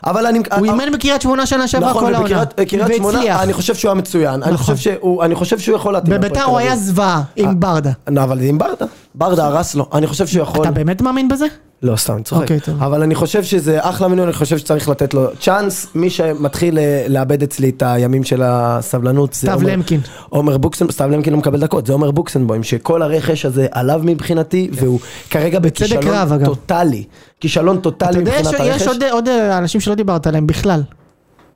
אבל אני... הוא אימן בקריית שמונה שנה שעברה אה, נכון, כל העונה. ובקריית קריית והצליח. שמונה, אה, אני חושב שהוא היה מצוין. אני נכון. חושב שהוא- אני חושב שהוא יכול להתאים. בביתר להפועל הוא תל היה אביב. זוועה עם ברדה. לא, אבל זה עם ברדה. ברדה הרס לו. אני חושב שהוא יכול... אתה באמת מאמין בזה? לא, סתם, אני צוחק. אוקיי, טוב. אבל אני חושב שזה אחלה מינוי, אני חושב שצריך לתת לו צ'אנס. מי שמתחיל אה, לאבד אצלי את הימים של הסבלנות זה... סתיו עומר- למקין. עומר בוקסנבוים, סתיו למקין לא מקבל דקות, זה עומר בוקסנבוים, שכל הרכש הזה עליו מבחינתי, והוא כרגע כן. רב, בכישלון אגב. טוטאלי. כישלון אתה טוטאלי יודע מבחינת הרכש. שיש עוד- עוד אה, אנשים שלא דיברת עליהם בכלל.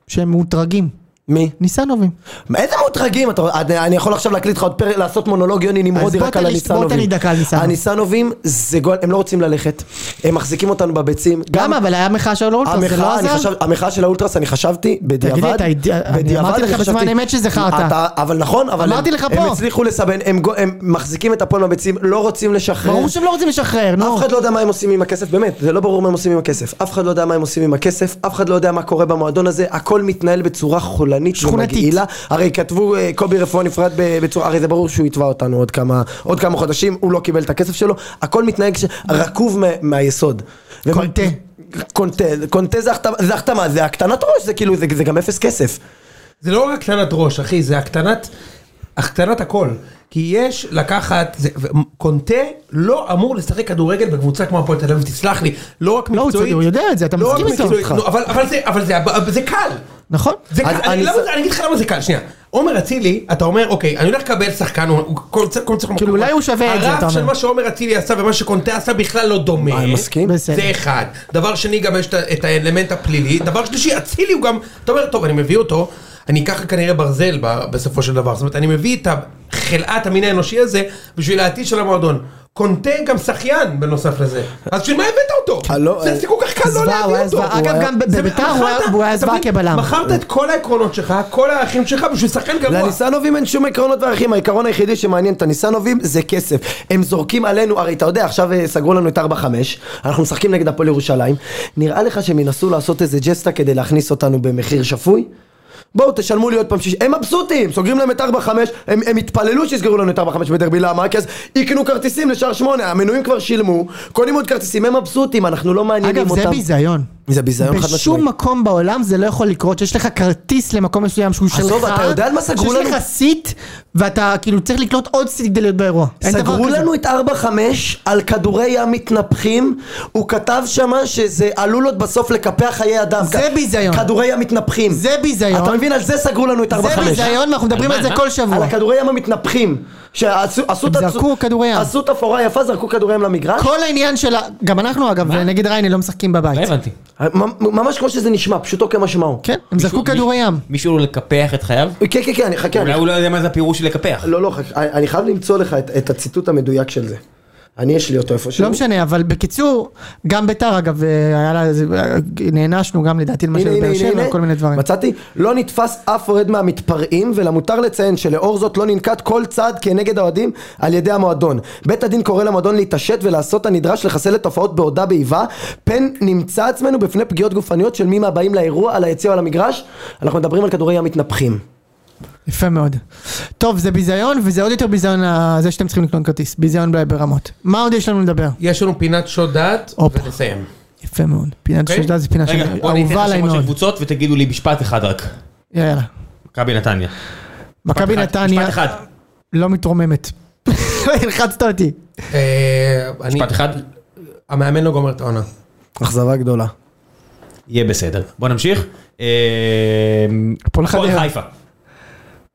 שהם מאותרגים. מי? ניסנובים. איזה מותרגים אתה רואה? אני- אני יכול עכשיו להקליט לך עוד פרק, לעשות מונולוג יוני נמרודי בוא רק תן על לי- הניסנובים. בוא תן לי דקה על ניסנוב. הניסנובים זה גול, הם לא רוצים ללכת, הם מחזיקים אותנו בביצים. גם אבל היה מחאה של אולטרס, זה לא המחאה, אני עזר? חשב- המחאה של האולטרס, אני חשבתי, בדיעבד, לי, אתה אידיוט, אני אמרתי לך אני בזמן חשבתי- אמת שזה חרטא. אתה- אבל נכון, אבל אמרתי הם- לך הם פה. הצליחו לסבן, הם גו- הם מחזיקים את הפועל בביצים, לא רוצים לשחרר. ברור שהם לא רוצים לשחרר, נו. אף אחד לא יודע מה הם עושים עם הכסף, באמת, זה לא ברור מה הם עושים עם הכסף. אף אחד לא יודע מה הם עושים עם הכסף, אף אחד לא יודע מה קורה במועדון הזה, הכל מתנהל בצורה חולנית שכונתית. ומגעילה. הרי כתבו אה, קובי רפואה נפרד ב- בצורה, הרי זה ברור שהוא יתבע אותנו עוד כמה, עוד כמה חודשים, הוא לא קיבל את הכסף שלו, הכל מתנהג ש- רקוב מה- מהיסוד. ומר- קונטה. קונטה, קונטה זה החתמה- זה החתמה, זה הקטנת ראש, זה כאילו, זה זה גם אפס כסף. זה לא רק הקטנת ראש, אחי, זה הקטנת, הקטנת הכל. כי יש לקחת, זה, ו- קונטה לא אמור לשחק כדורגל בקבוצה כמו הפועל תל אביב, תסלח לי, לא רק לא, הוא מקצועית. צודק, הוא יודע את זה, אתה לא רק מסכים איתו. מקצועית, נו, אבל, אבל, זה, אבל זה, אבל זה קל. נכון? זה אז קל, אני, אני- למה, זה- אני אגיד לך למה זה קל, שנייה. עומר אצילי, אתה אומר, אוקיי, אני הולך לקבל שחקן, הוא- הוא כל צ- כל צחק... כאילו, אולי הוא שווה את זה, אתה הרף של אומר. מה שעומר אצילי עשה ומה שקונטה עשה בכלל לא דומה. אה, אני מסכים. בסדר. זה אחד. דבר שני, גם יש את ה- את האלמנט הפלילי. דבר שלישי, אצילי הוא גם, אתה אומר, טוב, אני מביא אותו, אני אקח כנראה ברזל ב- בסופו של דבר. זאת אומרת, אני מביא את חלאת המין האנושי הזה בשביל העתיד של המועדון. קונטה גם שחיין בנוסף לזה. אז בשביל מה הבאת אה, אותו? הלו, זה זה כל כך קל לא זוועה, הוא להביא היה אותו. זוועה. אגב, היה- גם ב- זה- בביתר הוא היה- מכרת- הוא היה אתה זוועה מבין? כבלם. מכרת את כל העקרונות שלך, כל הערכים שלך בשביל שחקן לא, גרוע. לניסנובים אין שום עקרונות וערכים, העיקרון היחידי שמעניין את הניסנובים זה כסף. הם זורקים עלינו, הרי אתה יודע, עכשיו אה, סגרו לנו את 4-5, אנחנו משחקים נגד הפועל ירושלים, נראה לך שהם ינסו לעשות איזה ג'סטה כדי להכניס אותנו במחיר שפוי? בואו תשלמו לי עוד פעם שיש... הם מבסוטים! סוגרים להם את 4-5, הם, הם התפללו שיסגרו לנו את 4-5 בדרבי, למה? כי אז יקנו כרטיסים לשער 8, המנויים כבר שילמו, קונים עוד כרטיסים, הם מבסוטים, אנחנו לא מעניינים אגב, אותם. זה ביזיון. זה ביזיון חד משמעי. בשום מקום בעולם זה לא יכול לקרות, שיש לך כרטיס למקום מסוים שהוא שלך. עזוב, אתה יודע על מה סגרו לנו? שיש לך סיט, ואתה כאילו צריך לקנות עוד סיט כדי להיות באירוע. אין דבר סגרו כזה. לנו את 4-5 על כדורי ים מתנפחים, הוא כתב שמה שזה עלול עוד בסוף לקפח חיי אדם. זה כ- ביזיון. כדורי ים מתנפחים. זה ביזיון. אתה מבין? על זה סגרו לנו את 4-5. זה ביזיון, ואנחנו מדברים על על זה מה? כל על שבוע. הכדורי ים המתנפחים. שעשו עשו הם את הצ- זרקו כדורי ים. עשו תפאורה יפה, זרקו כדורי ים למגרש. כל העניין של ה... גם אנחנו אגב, נגד ריינה לא משחקים בבית. לא הבנתי. מ- אה, ממש כמו שזה נשמע, פשוטו כמשמעו. כן, הם זרקו מישהו- כדורי ים. מישהו לקפח את חייו? כן, כן, כן, אני חכה. אולי אני- הוא לא יודע מה זה הפירוש של לקפח. לא, לא, חכה, אני- אני חייב למצוא לך את- את הציטוט המדויק של זה. אני, יש לי אותו איפשהו. לא משנה, אבל בקיצור, גם ביתר אגב, אה, היה לה, איזה- אה, נענשנו גם לדעתי למשל הנה, בבאר הנה, הנה, שבע, הנה. כל מיני דברים. מצאתי, לא נתפס אף אוהד מהמתפרעים, ולמותר לציין שלאור זאת לא ננקט כל צעד כנגד האוהדים על ידי המועדון. בית הדין קורא למועדון להתעשת ולעשות הנדרש לחסל את תופעות בעודה באיבה, פן נמצא עצמנו בפני פגיעות גופניות של מי מהבאים לאירוע, על היציע או על המגרש. אנחנו מדברים על כדורי ים מתנפחים. יפה מאוד. טוב, זה ביזיון, וזה עוד יותר ביזיון ה- זה שאתם צריכים לקנות כרטיס. ביזיון ב- ברמות. מה עוד יש לנו לדבר? יש לנו פינת שוד דעת, הופה. ונסיים. יפה מאוד. פינת אוקיי. שושדה זה פינה רגע, שאני- בוא ניתן אהובה לך עליי שמות של מאוד. קבוצות ותגידו לי משפט אחד רק. יאללה. מכבי נתניה. מכבי משפט אחד, נתניה משפט אחד. לא מתרוממת. הלחצת אותי. אה, אני- משפט אחד. המאמן לא גומר את העונה. אכזבה גדולה. יהיה בסדר. בוא נמשיך. אה, הפועל חדרה. חיפה.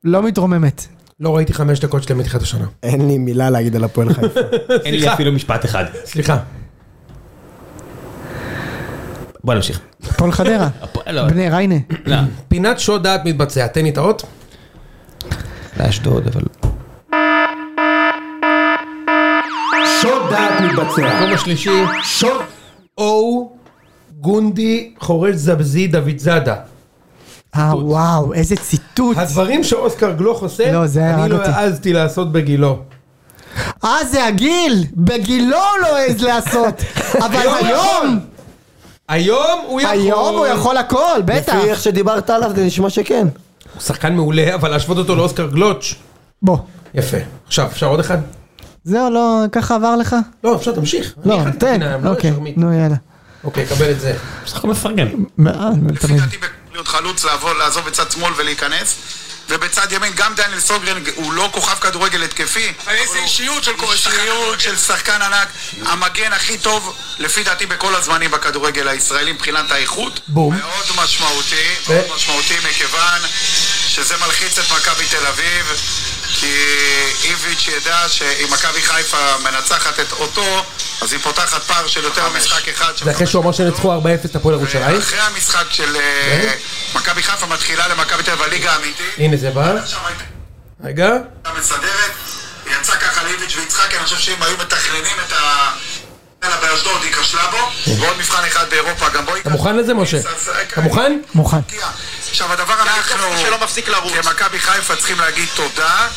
לא מתרוממת. לא ראיתי חמש דקות שלהם מתחילת השנה. אין לי מילה להגיד על הפועל חיפה. אין לי סליחה. אפילו משפט אחד. סליחה. בוא נמשיך. הפועל חדרה. הפועל- לא, בני ריינה. לא. פינת שוד דעת מתבצע, תן לי את האות. לאשדוד אבל. שוד דעת מתבצע. מקום השלישי, שוד. או גונדי חורש זבזי דוד זאדה. אה וואו, איזה ציטוט. הדברים שאוסקר גלוך עושה, לא, זה אני הרג לא אותי. העזתי לעשות בגילו. אה, זה הגיל! בגילו הוא לא העז לעשות. אבל היום הוא היום, היום הוא יכול. היום הוא יכול הכל, בטח. לפי איך שדיברת עליו זה נשמע שכן. הוא שחקן מעולה, אבל להשוות אותו לאוסקר גלוץ'. בוא. יפה. עכשיו, אפשר עוד אחד? זהו, לא, ככה עבר לך? לא, אפשר, תמשיך. לא, אני אחד תן. מהביניים, לא אוקיי, השרמית. נו יאללה. אוקיי, קבל את זה. בסך הכל מפרגן. מעל, לפי דעתי להיות חלוץ, לעבור- לעזוב בצד שמאל ולהיכנס. ובצד ימין גם דניאל סוגרן הוא לא כוכב כדורגל התקפי. איזה אישיות של כל שחקן. אישיות של שחקן ענק. המגן הכי טוב, לפי דעתי, בכל הזמנים בכדורגל הישראלי מבחינת האיכות. בום. מאוד משמעותי, מאוד משמעותי מכיוון שזה מלחיץ את מכבי תל אביב. כי איביץ' ידע שאם מכבי חיפה מנצחת את אותו, אז היא פותחת פער של יותר ממשחק אחד. של זה אחרי חמש שהוא אמר נקודות. שנצחו 4-0 את הפועל ירושלים. אחרי המשחק של אה, מכבי חיפה מתחילה למכבי תל אביב הליגה האמיתית. הנה זה בא. עכשיו הייתה רגע. מסדרת, יצא ככה לאיביץ' ויצחקי, אני חושב שאם היו מתכננים את ה... אלא באשדוד היא כשלה בו, ועוד מבחן אחד באירופה גם בו היא כן. אתה מוכן לזה, משה? אז- אז- אתה מוכן? מוכן. עכשיו הדבר אנחנו, כן, שלא מפסיק לרוץ, כמכבי חיפה צריכים להגיד תודה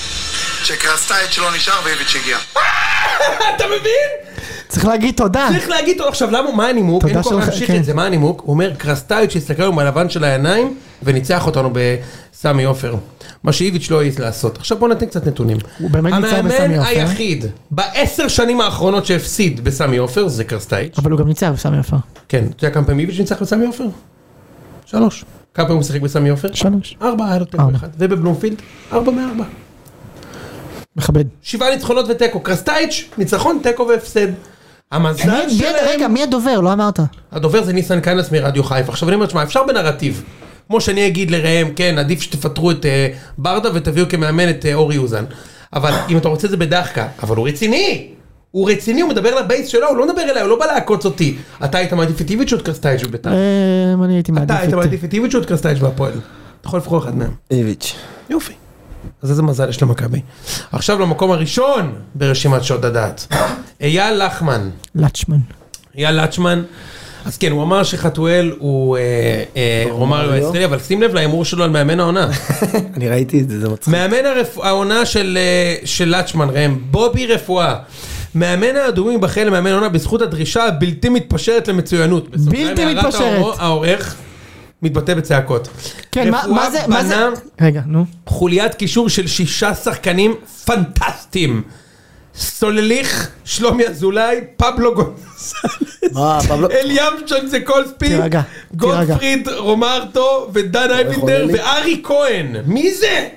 שקרסטייץ' לא נשאר ואיביץ' הגיע. אתה מבין? צריך להגיד תודה. צריך להגיד לו עכשיו למה, מה הנימוק? תודה אין כוח שלך, להמשיך כן. את זה, מה הנימוק? הוא אומר, קרסטייץ' שהסתכל היום בלבן של העיניים וניצח אותנו ב... סמי עופר. מה שאיביץ' לא העז לעשות. עכשיו בוא נתן קצת נתונים. הוא באמת נמצא בסמי המאמן עופר. היחיד בעשר שנים האחרונות שהפסיד בסמי עופר זה קרסטייץ'. אבל הוא גם ניצב, סמי עופר. כן, אתה יודע כמה פעמים איביץ' ניצח בסמי עופר? שלוש. כמה פעמים הוא שיחק בסמי עופר? שלוש. ארבע, היה לו תיקו ארבע. אחד. ובבלומפילד? ארבע מארבע. מכבד. שבעה ניצחונות ותיקו. קרסטייץ', ניצחון, תיקו והפסד. המזל מי- מי- שלהם... רגע, מי הדובר? לא אמרת. הדובר זה ניסן קנס מרדיו חיפה. עכשיו אני אומר, תשמע, אפשר בנרטיב. כמו שאני אגיד לראם, כן, עדיף שתפטרו את אה, ברדה ותביאו כמאמן את אה, אורי אוזן. אבל אם אתה רוצה את זה בדחקה, אבל הוא רציני! הוא רציני, הוא מדבר לבייס שלו, הוא לא מדבר אליי, הוא לא בא לעקוץ אותי. אתה היית מעדיף את איביץ' או את קרסטייג' בביתר? אה, אני הייתי אתה היית מעדיף את... מעדיף את איביץ' או את קרסטייג' בהפועל? אתה יכול לבחור אחד מהם. איביץ'. יופי. אז איזה מזל יש למכבי. עכשיו למקום הראשון ברשימת שעות הדעת. אייל לחמן. לצ'מן. אייל לצ'מן. אז כן, הוא אמר שחתואל הוא אה, אה, רומאריו לא? הישראלי, אבל שים לב להימור שלו על מאמן העונה. אני ראיתי את זה, זה מצחיק. מאמן הרפ- העונה של, אה, של לצ'מן, ראם, בובי רפואה. מאמן האדומים ייבחר למאמן העונה בזכות הדרישה הבלתי מתפשרת למצוינות. בסוגריים, בלתי הערת מתפשרת. האור- העורך מתבטא בצעקות. כן, מה- מה רפואה זה... מה זה... בנה- רגע, נו. חוליית קישור של שישה שחקנים פנטסטיים. סולליך, שלומי אזולאי, פבלו גונסלס, אה, פבלו- אליאם צ'נצקולספי, לא. תירגע, תירגע. גוטפריד רומרטו ודן אייבינדר חוללי. וארי כהן. מי זה?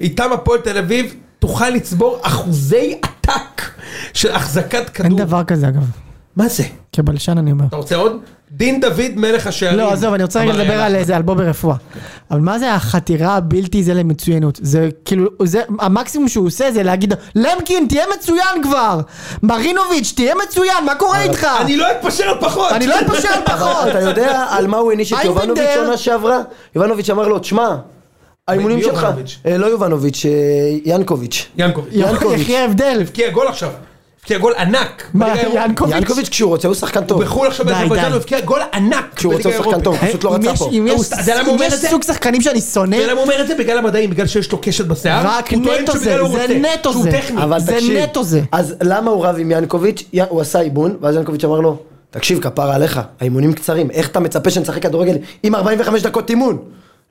איתם הפועל תל אביב תוכל לצבור אחוזי עתק של החזקת אין כדור. דבר כזה, אגב. מה זה? כבלשן אני אומר. אתה רוצה עוד? דין דוד מלך השערים. לא, עזוב, אני רוצה רגע אמר לדבר יאללה. על איזה, על בובי רפואה. אבל מה זה החתירה הבלתי זה למצוינות? זה כאילו, זה, המקסימום שהוא עושה זה להגיד, למקין, תהיה מצוין כבר! מרינוביץ', תהיה מצוין, מה קורה איתך? אני לא אתפשר על פחות. אה. אני לא אתפשר על אבל פחות! אתה יודע על מה הוא העניש את אייבנדר- יובנוביץ' עונה שעברה? יובנוביץ' אמר לו, תשמע, האימונים מי שלך, יובנוביץ'? אה, לא יובנוביץ', אה, ינקוביץ'. ינקוביץ'. יונקוביץ'. יחי ההבדל. הבקיע גול עכשיו. הבקיע גול ענק. מה, בליגה האירופית. ינקוביץ'? ינקוביץ' כשהוא רוצה הוא שחקן טוב. בחו"ל עכשיו די, באזרבייג'אן די. הוא הבקיע גול ענק. כשהוא רוצה בליגה הוא שחקן האירופית. טוב, הוא פשוט לא אם רצה יש- פה. אם יש- הוא- זה למה הוא אם אומר יש את זה? סוג שחקנים שאני שונא, ולמה הוא אומר את זה? בגלל המדעים, בגלל שיש לו קשת בשיער? רק הוא טוען נטו שבגלל זה, הוא זה רוצה, נטו שהוא זה. טכני. אבל זה תקשיב, נטו זה. אז למה הוא רב עם ינקוביץ'? י- הוא עשה איבון, ואז ינקוביץ' אמר לו, תקשיב, כפרה עליך, האימונים קצרים, איך אתה מצפה שנשחק כדורגל עם 45 דקות אימון?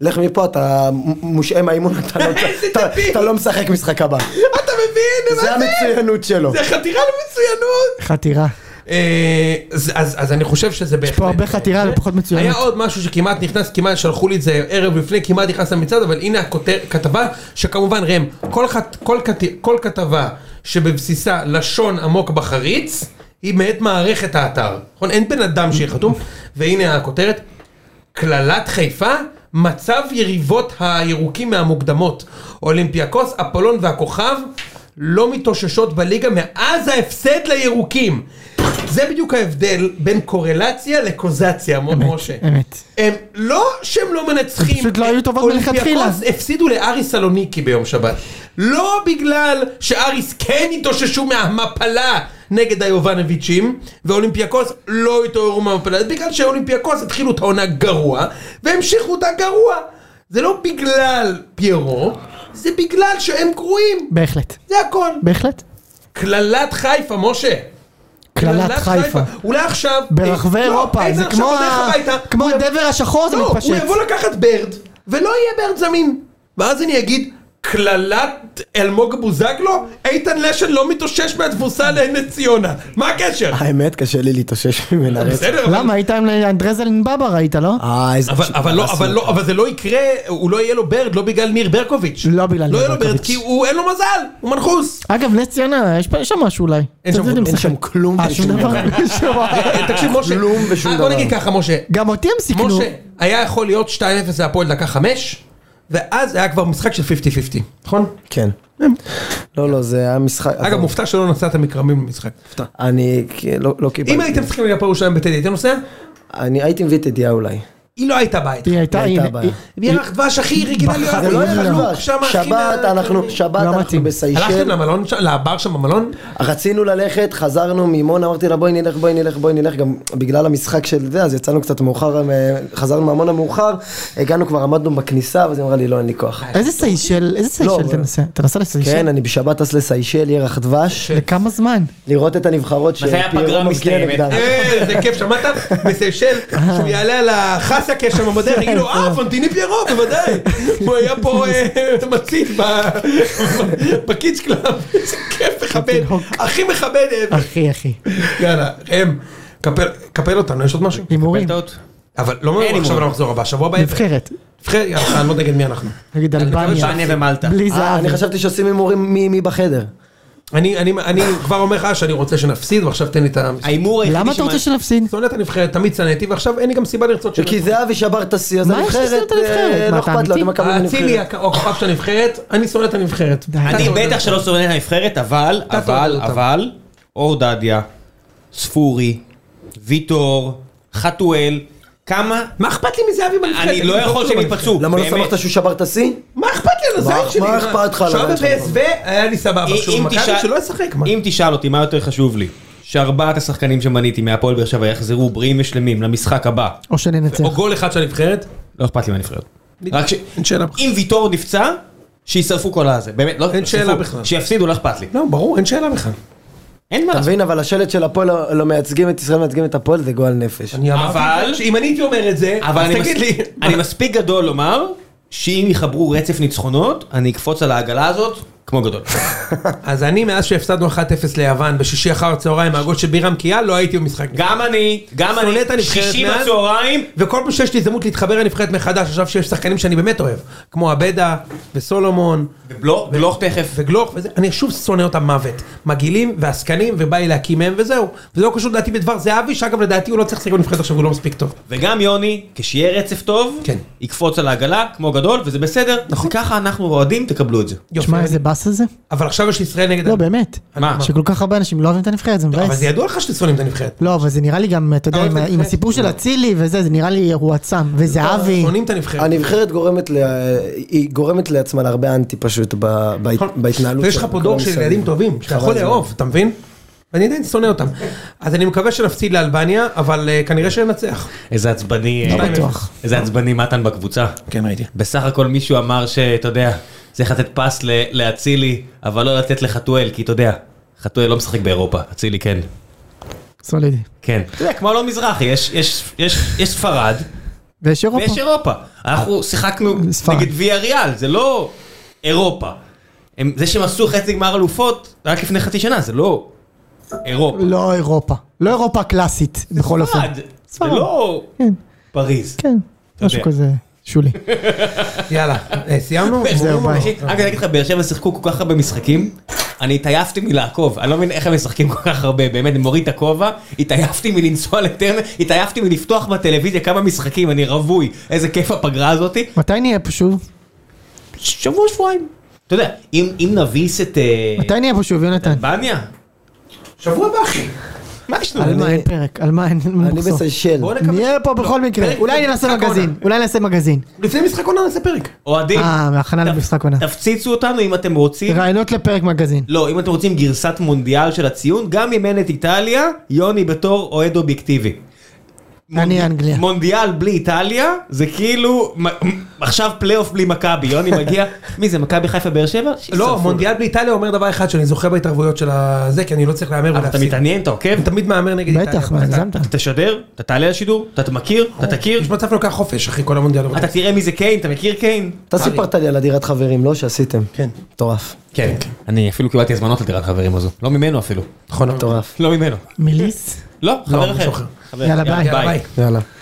לך מפה, אתה מ- מושעה מהאימון, אתה לא- איזה אתה- דביל. אתה לא משחק משחק הבא. אתה מבין? מה זה זה? המצוינות שלו. זה חתירה למצוינות. חתירה. אה, אז- אז אז אני חושב שזה בהחלט... פה הרבה חתירה זה. ופחות מצוינות. היה עוד משהו שכמעט נכנס, כמעט שלחו לי את זה ערב לפני, כמעט נכנס למצעד, אבל הנה הכתבה, שכמובן ראם, כל חת- כל כת- כל כתבה שבבסיסה לשון עמוק בחריץ, היא מאת מערכת האתר. נכון? אין בן אדם שיהיה חתום, והנה הכותרת, קללת חיפה, מצב יריבות הירוקים מהמוקדמות. אולימפיאקוס, אפולון והכוכב לא מתאוששות בליגה מאז ההפסד לירוקים. זה בדיוק ההבדל בין קורלציה לקוזציה, מון אמת, משה. אמת. הם לא שהם לא מנצחים. פשוט לא היו טובות אולימפיאקוס מלכתחילה. הפסידו לארי סלוניקי ביום שבת. לא בגלל שאריס כן התאוששו מהמפלה נגד היובנוביצ'ים, ואולימפיאקוס לא התעוררו מהמפלה, זה בגלל שאולימפיאקוס התחילו את העונה גרוע, והמשיכו אותה גרוע. זה לא בגלל פיירו, זה בגלל שהם גרועים. בהחלט. זה הכל. בהחלט. קללת חיפה, משה. קללת חיפה. אולי עכשיו... ברחבי אה, לא, אירופה, איתן זה עכשיו כמו בדרך ה- הביתה, כמו הוא הדבר השחור זה לא, הוא מתפשט. יבוא לקחת ברד, ולא יהיה ברד זמין. ואז אני אגיד, קללת אלמוג בוזגלו? איתן לשן לא מתאושש מהתבוסה לנס ציונה. מה הקשר? האמת, קשה לי להתאושש ממנה. בסדר, אבל- למה, היית עם אנדרזלין בבא ראית, לא? אה, איזה... אבל, אבל, לא, אבל, לא, אבל זה לא יקרה, הוא לא יהיה לו ברד, לא בגלל ניר ברקוביץ'. לא בגלל לא ניר יהיה לו ברד, ברקוביץ'. כי הוא, אין לו מזל, הוא מנחוס. אה, אגב, נס ציונה, יש פה- יש שם משהו אולי. אין שם- אתה יודע, אין משחק. שם כלום אה, שום ושום דבר. שום דבר. אה, תקשיב, משה, כלום ושום אה, בוא דבר. נגיד ככה, משה, גם אותי הם סיכנו. משה, היה יכול להיות 2-0 להפועל דקה 5, ואז היה כבר משחק של 50-50, נכון? כן. לא, לא, זה היה משחק... אגב, מופתע שלא נסעת מקרמים למשחק. אני כן, לא לא קיבלתי. אם הייתם צריכים לגבי ירושלים בטדי, הייתם נוסע? אני הייתי מביא את ידיעה אולי. היא לא הייתה בית. היא הייתה, הייתה הנה, הבעיה. היא- ירח דבש הכי רגילה להיות. זה לא, לא היה לא. חלוק, שבת אנחנו, שבת לא אנחנו מתאים. הלכתם בסיישל. למלון, שם- לבר שם במלון? רצינו ללכת, חזרנו מימון, אמרתי לה בואי נלך, בואי נלך, בואי נלך, גם בגלל המשחק של זה, אז יצאנו קצת מאוחר, אה, חזרנו מהמון המאוחר, הגענו כבר עמדנו בכניסה, ואז היא אמרה לי לא, אין לי כוח. אה, איזה סיישל, איזה לא, סיישל אבל- תנסה? תנסה לסיישל? כן, אני בשבת טס לסיישל, ירח דבש, לכמה זמן? לראות את הנבחרות מתי הפגרה שפיירו מבקיע מסתיימת? נגדם. אה, איזה כיף, שמעת? בסיישל, שהוא יעלה על ה-11 באסיה קשר במדעי, תגיד לו, אה, פונטיני פיירו, בוודאי. הוא היה פה אה, מצית ב- בקידס קלאב. איזה כיף מכבד, הכי מכבד. אה, אחי, אחי. יאללה, ראם, קפל- קפל אותנו, יש עוד משהו? הימורים. פלטות. אבל לא מעבר עכשיו הימורים. למחזור הבא, שבוע הבא. נבחרת. נבחרת, יאללה, אני לא נגד מי אנחנו. נגיד אלבניה. אלבניה ומלטה. בלי אה, זהב. אני חשבתי שעושים הימורים מי מי בחדר. אני- אני אני כבר אומר לך שאני רוצה שנפסיד, ועכשיו תן לי את ה... ההימור היחידי למה אתה רוצה שנפסיד? שונא את הנבחרת, תמיד שנאתי, ועכשיו אין לי גם סיבה לרצות שנפסיד. כי זהבי שבר את השיא, אז מה יש לזה הנבחרת, את הנבחרת? אה, מה, אתה לא אכפת לו, אמיתי? אתם מכבי האצילי, הנבחרת. הכ- הכוכב של הנבחרת, אני שונא את הנבחרת. די. אני אתה בטח שלא סובל הנבחרת, אבל, אתה אבל, סובל אותם. אבל, אור דדיה, ספורי, ויטור, חתואל, כמה... מה אכפת לי מזהבי בנבחרת? אני לא יכול שהם ייפצעו, למה לא באמת. שמחת שהוא שבר את השיא? מה אכפת לי על הזין מה- שלי? מה אכפת לך על שעה הזין שלך? בפסו, היה לי סבבה. אם- שוב, אם מכבי תשאל- שלא ישחק, מה? אם תשאל אותי מה יותר חשוב לי, שארבעת השחקנים שמניתי מהפועל באר שבע יחזרו בריאים ושלמים למשחק הבא, או שננצח. או גול אחד של הנבחרת? לא אכפת לי מהנבחרת. רק ש... אין שאלה בכלל. אם ויטור נפצע, שישרפו כל הזה, באמת, לא... אין שאלה שישרפו. בכלל. שיפסידו, לא אכפת לי. לא, ברור, אין שאלה בכלל. אין מה אתה לעשות. מבין, אבל השלט של הפועל לא מייצגים את ישראל, מייצגים את הפועל, זה גועל נפש. אני אמרתי אבל- לך שאם אני הייתי אומר את זה, אבל אז אני, תגיד מס... לי. אני מספיק גדול לומר שאם יחברו רצף ניצחונות, אני אקפוץ על העגלה הזאת כמו גדול. אז אני, מאז שהפסדנו 1-0 ליוון בשישי אחר הצהריים, מהגול של בירם קיאל, לא הייתי במשחק. גם אני, גם שונא אני, את הנבחרת שישי מאז? בצהריים, וכל פעם שיש לי הזדמנות להתחבר לנבחרת מחדש, עכשיו שיש שחקנים שאני באמת אוהב, כמו עבדה וסולומון ובלוך בלוך תכף. וגלוך וזה, אני שוב שונא אותם מוות. מגעילים ועסקנים, ובא לי להקים מהם וזהו. וזה לא קשור לדעתי בדבר זהבי, שאגב לדעתי הוא לא צריך לשחק בנבחרת עכשיו, הוא לא מספיק טוב. וגם יוני, כשיהיה רצף טוב, כן. יקפוץ על העגלה כמו גדול, וזה בסדר. נכון. ככה אנחנו אוהדים, תקבלו את זה. יופי, שמע, אני- איזה באס הזה? אבל עכשיו יש ישראל נגד... לא, באמת. מה? שכל כך הרבה אנשים לא אוהבים את הנבחרת, זה אבל מבאס. זה ידוע לך שאתם שונאים את הנבחרת. לא, אבל זה נראה לי גם, אתה יודע, אוהב את עם ה- עם הנבחרת? הסיפור של אצילי וזה, זה נראה לי הועצם. לא, וזהבי. שונאים את הנבחרת. הנבחרת גורמת ל... היא גורמת לעצמה להרבה אנטי פשוט ב- בהת- בהתנהלות נכון. ויש לך פה כל דור של המסביב. ילדים טובים, שאתה יכול חבל הזמן. לאהוב, אתה מבין? ואני עדיין שונא אותם. אז אני מקווה שנפסיד לאלבניה, אבל אה, כנראה שננצח. איזה עצבני, לא אה, בטוח. איזה עצבני מתן בקבוצה. כן, ראיתי. בסך הכל מישהו אמר שאתה יודע, צריך לתת פס ל- לאצילי, אבל לא לתת לחתואל, כי אתה יודע, חתואל לא משחק באירופה, אצילי כן. סולידי. כן. אתה יודע, כמו אלון מזרחי, יש- יש- יש יש ספרד ויש אירופה. ויש אירופה. אנחנו שיחקנו ספרד. נגד ויה ריאל, זה לא אירופה. הם- זה שהם עשו חצי גמר אלופות רק לפני חצי שנה, זה לא אירופה. לא אירופה. לא אירופה הקלאסית, בכל אופן. ספרד, זה ספרד. לא כן, פריז. כן. אתה משהו יודע. כזה שולי. יאללה, אה, סיימנו? אוקיי, זהו, ביי. אגב, אני אגיד לך, באר שבע שיחקו כל כך הרבה משחקים, אני התעייפתי מלעקוב, אני לא מבין איך הם משחקים כל כך הרבה, באמת, אני מוריד את הכובע, התעייפתי מלנסוע לטרנר, התעייפתי מלפתוח בטלוויזיה כמה משחקים, אני רווי, איזה כיף הפגרה הזאתי, מתי נהיה פה שוב? שבוע שבועיים. אתה יודע, אם אם נביס את... אה, מתי נהיה פה שוב, יונתן? בניה? שבוע הבא, אחי. מה יש לנו? על מה אין פרק? על מה אין אני מחזור? בסיישל. בוא נקווה. נהיה פה בכל מקרה. פרק אולי זה נעשה משחק מגזין. עונה. אולי נעשה מגזין. לפני משחק עונה נעשה פרק. אוהדים, אה, הכנה ת- למשחק עונה. תפציצו אותנו אם אתם רוצים. רעיונות לפרק מגזין. לא, אם אתם רוצים גרסת מונדיאל של הציון, גם אם אין את איטליה, יוני בתור אוהד אובייקטיבי. מונד- אנגליה. מונדיאל בלי איטליה, זה כאילו, מ- עכשיו פלייאוף בלי מכבי, יוני מגיע, מי זה, מכבי חיפה באר שבע? לא, שישרפו. מונדיאל באיטליה אומר דבר אחד, שאני זוכה בהתערבויות של הזה, כי אני לא צריך להמר אבל אתה ולהפסיד. מתעניין, אתה עוקב, אני תמיד מהמר נגד איטליה. בטח, אבל מה, אתה- הגזמת. אתה תשדר, אתה תעלה לשידור, אתה מכיר, אתה תכיר, יש מצב שאתה לוקח חופש, אחי, כל המונדיאל. אתה תראה מי זה קיין, אתה מכיר קיין? אתה סיפרת לי על הדירת חברים, לא? שעשיתם. אה, כן. מטורף. כן. אני אפילו קיבלתי הזמנות לדירת חברים הזו, לא ממנו אפילו. נכון, מטורף. לא ממנו. מליס? לא, חבר מישהו אחר. אחר. חבר. יאללה ביי. יאללה, ביי. יאללה.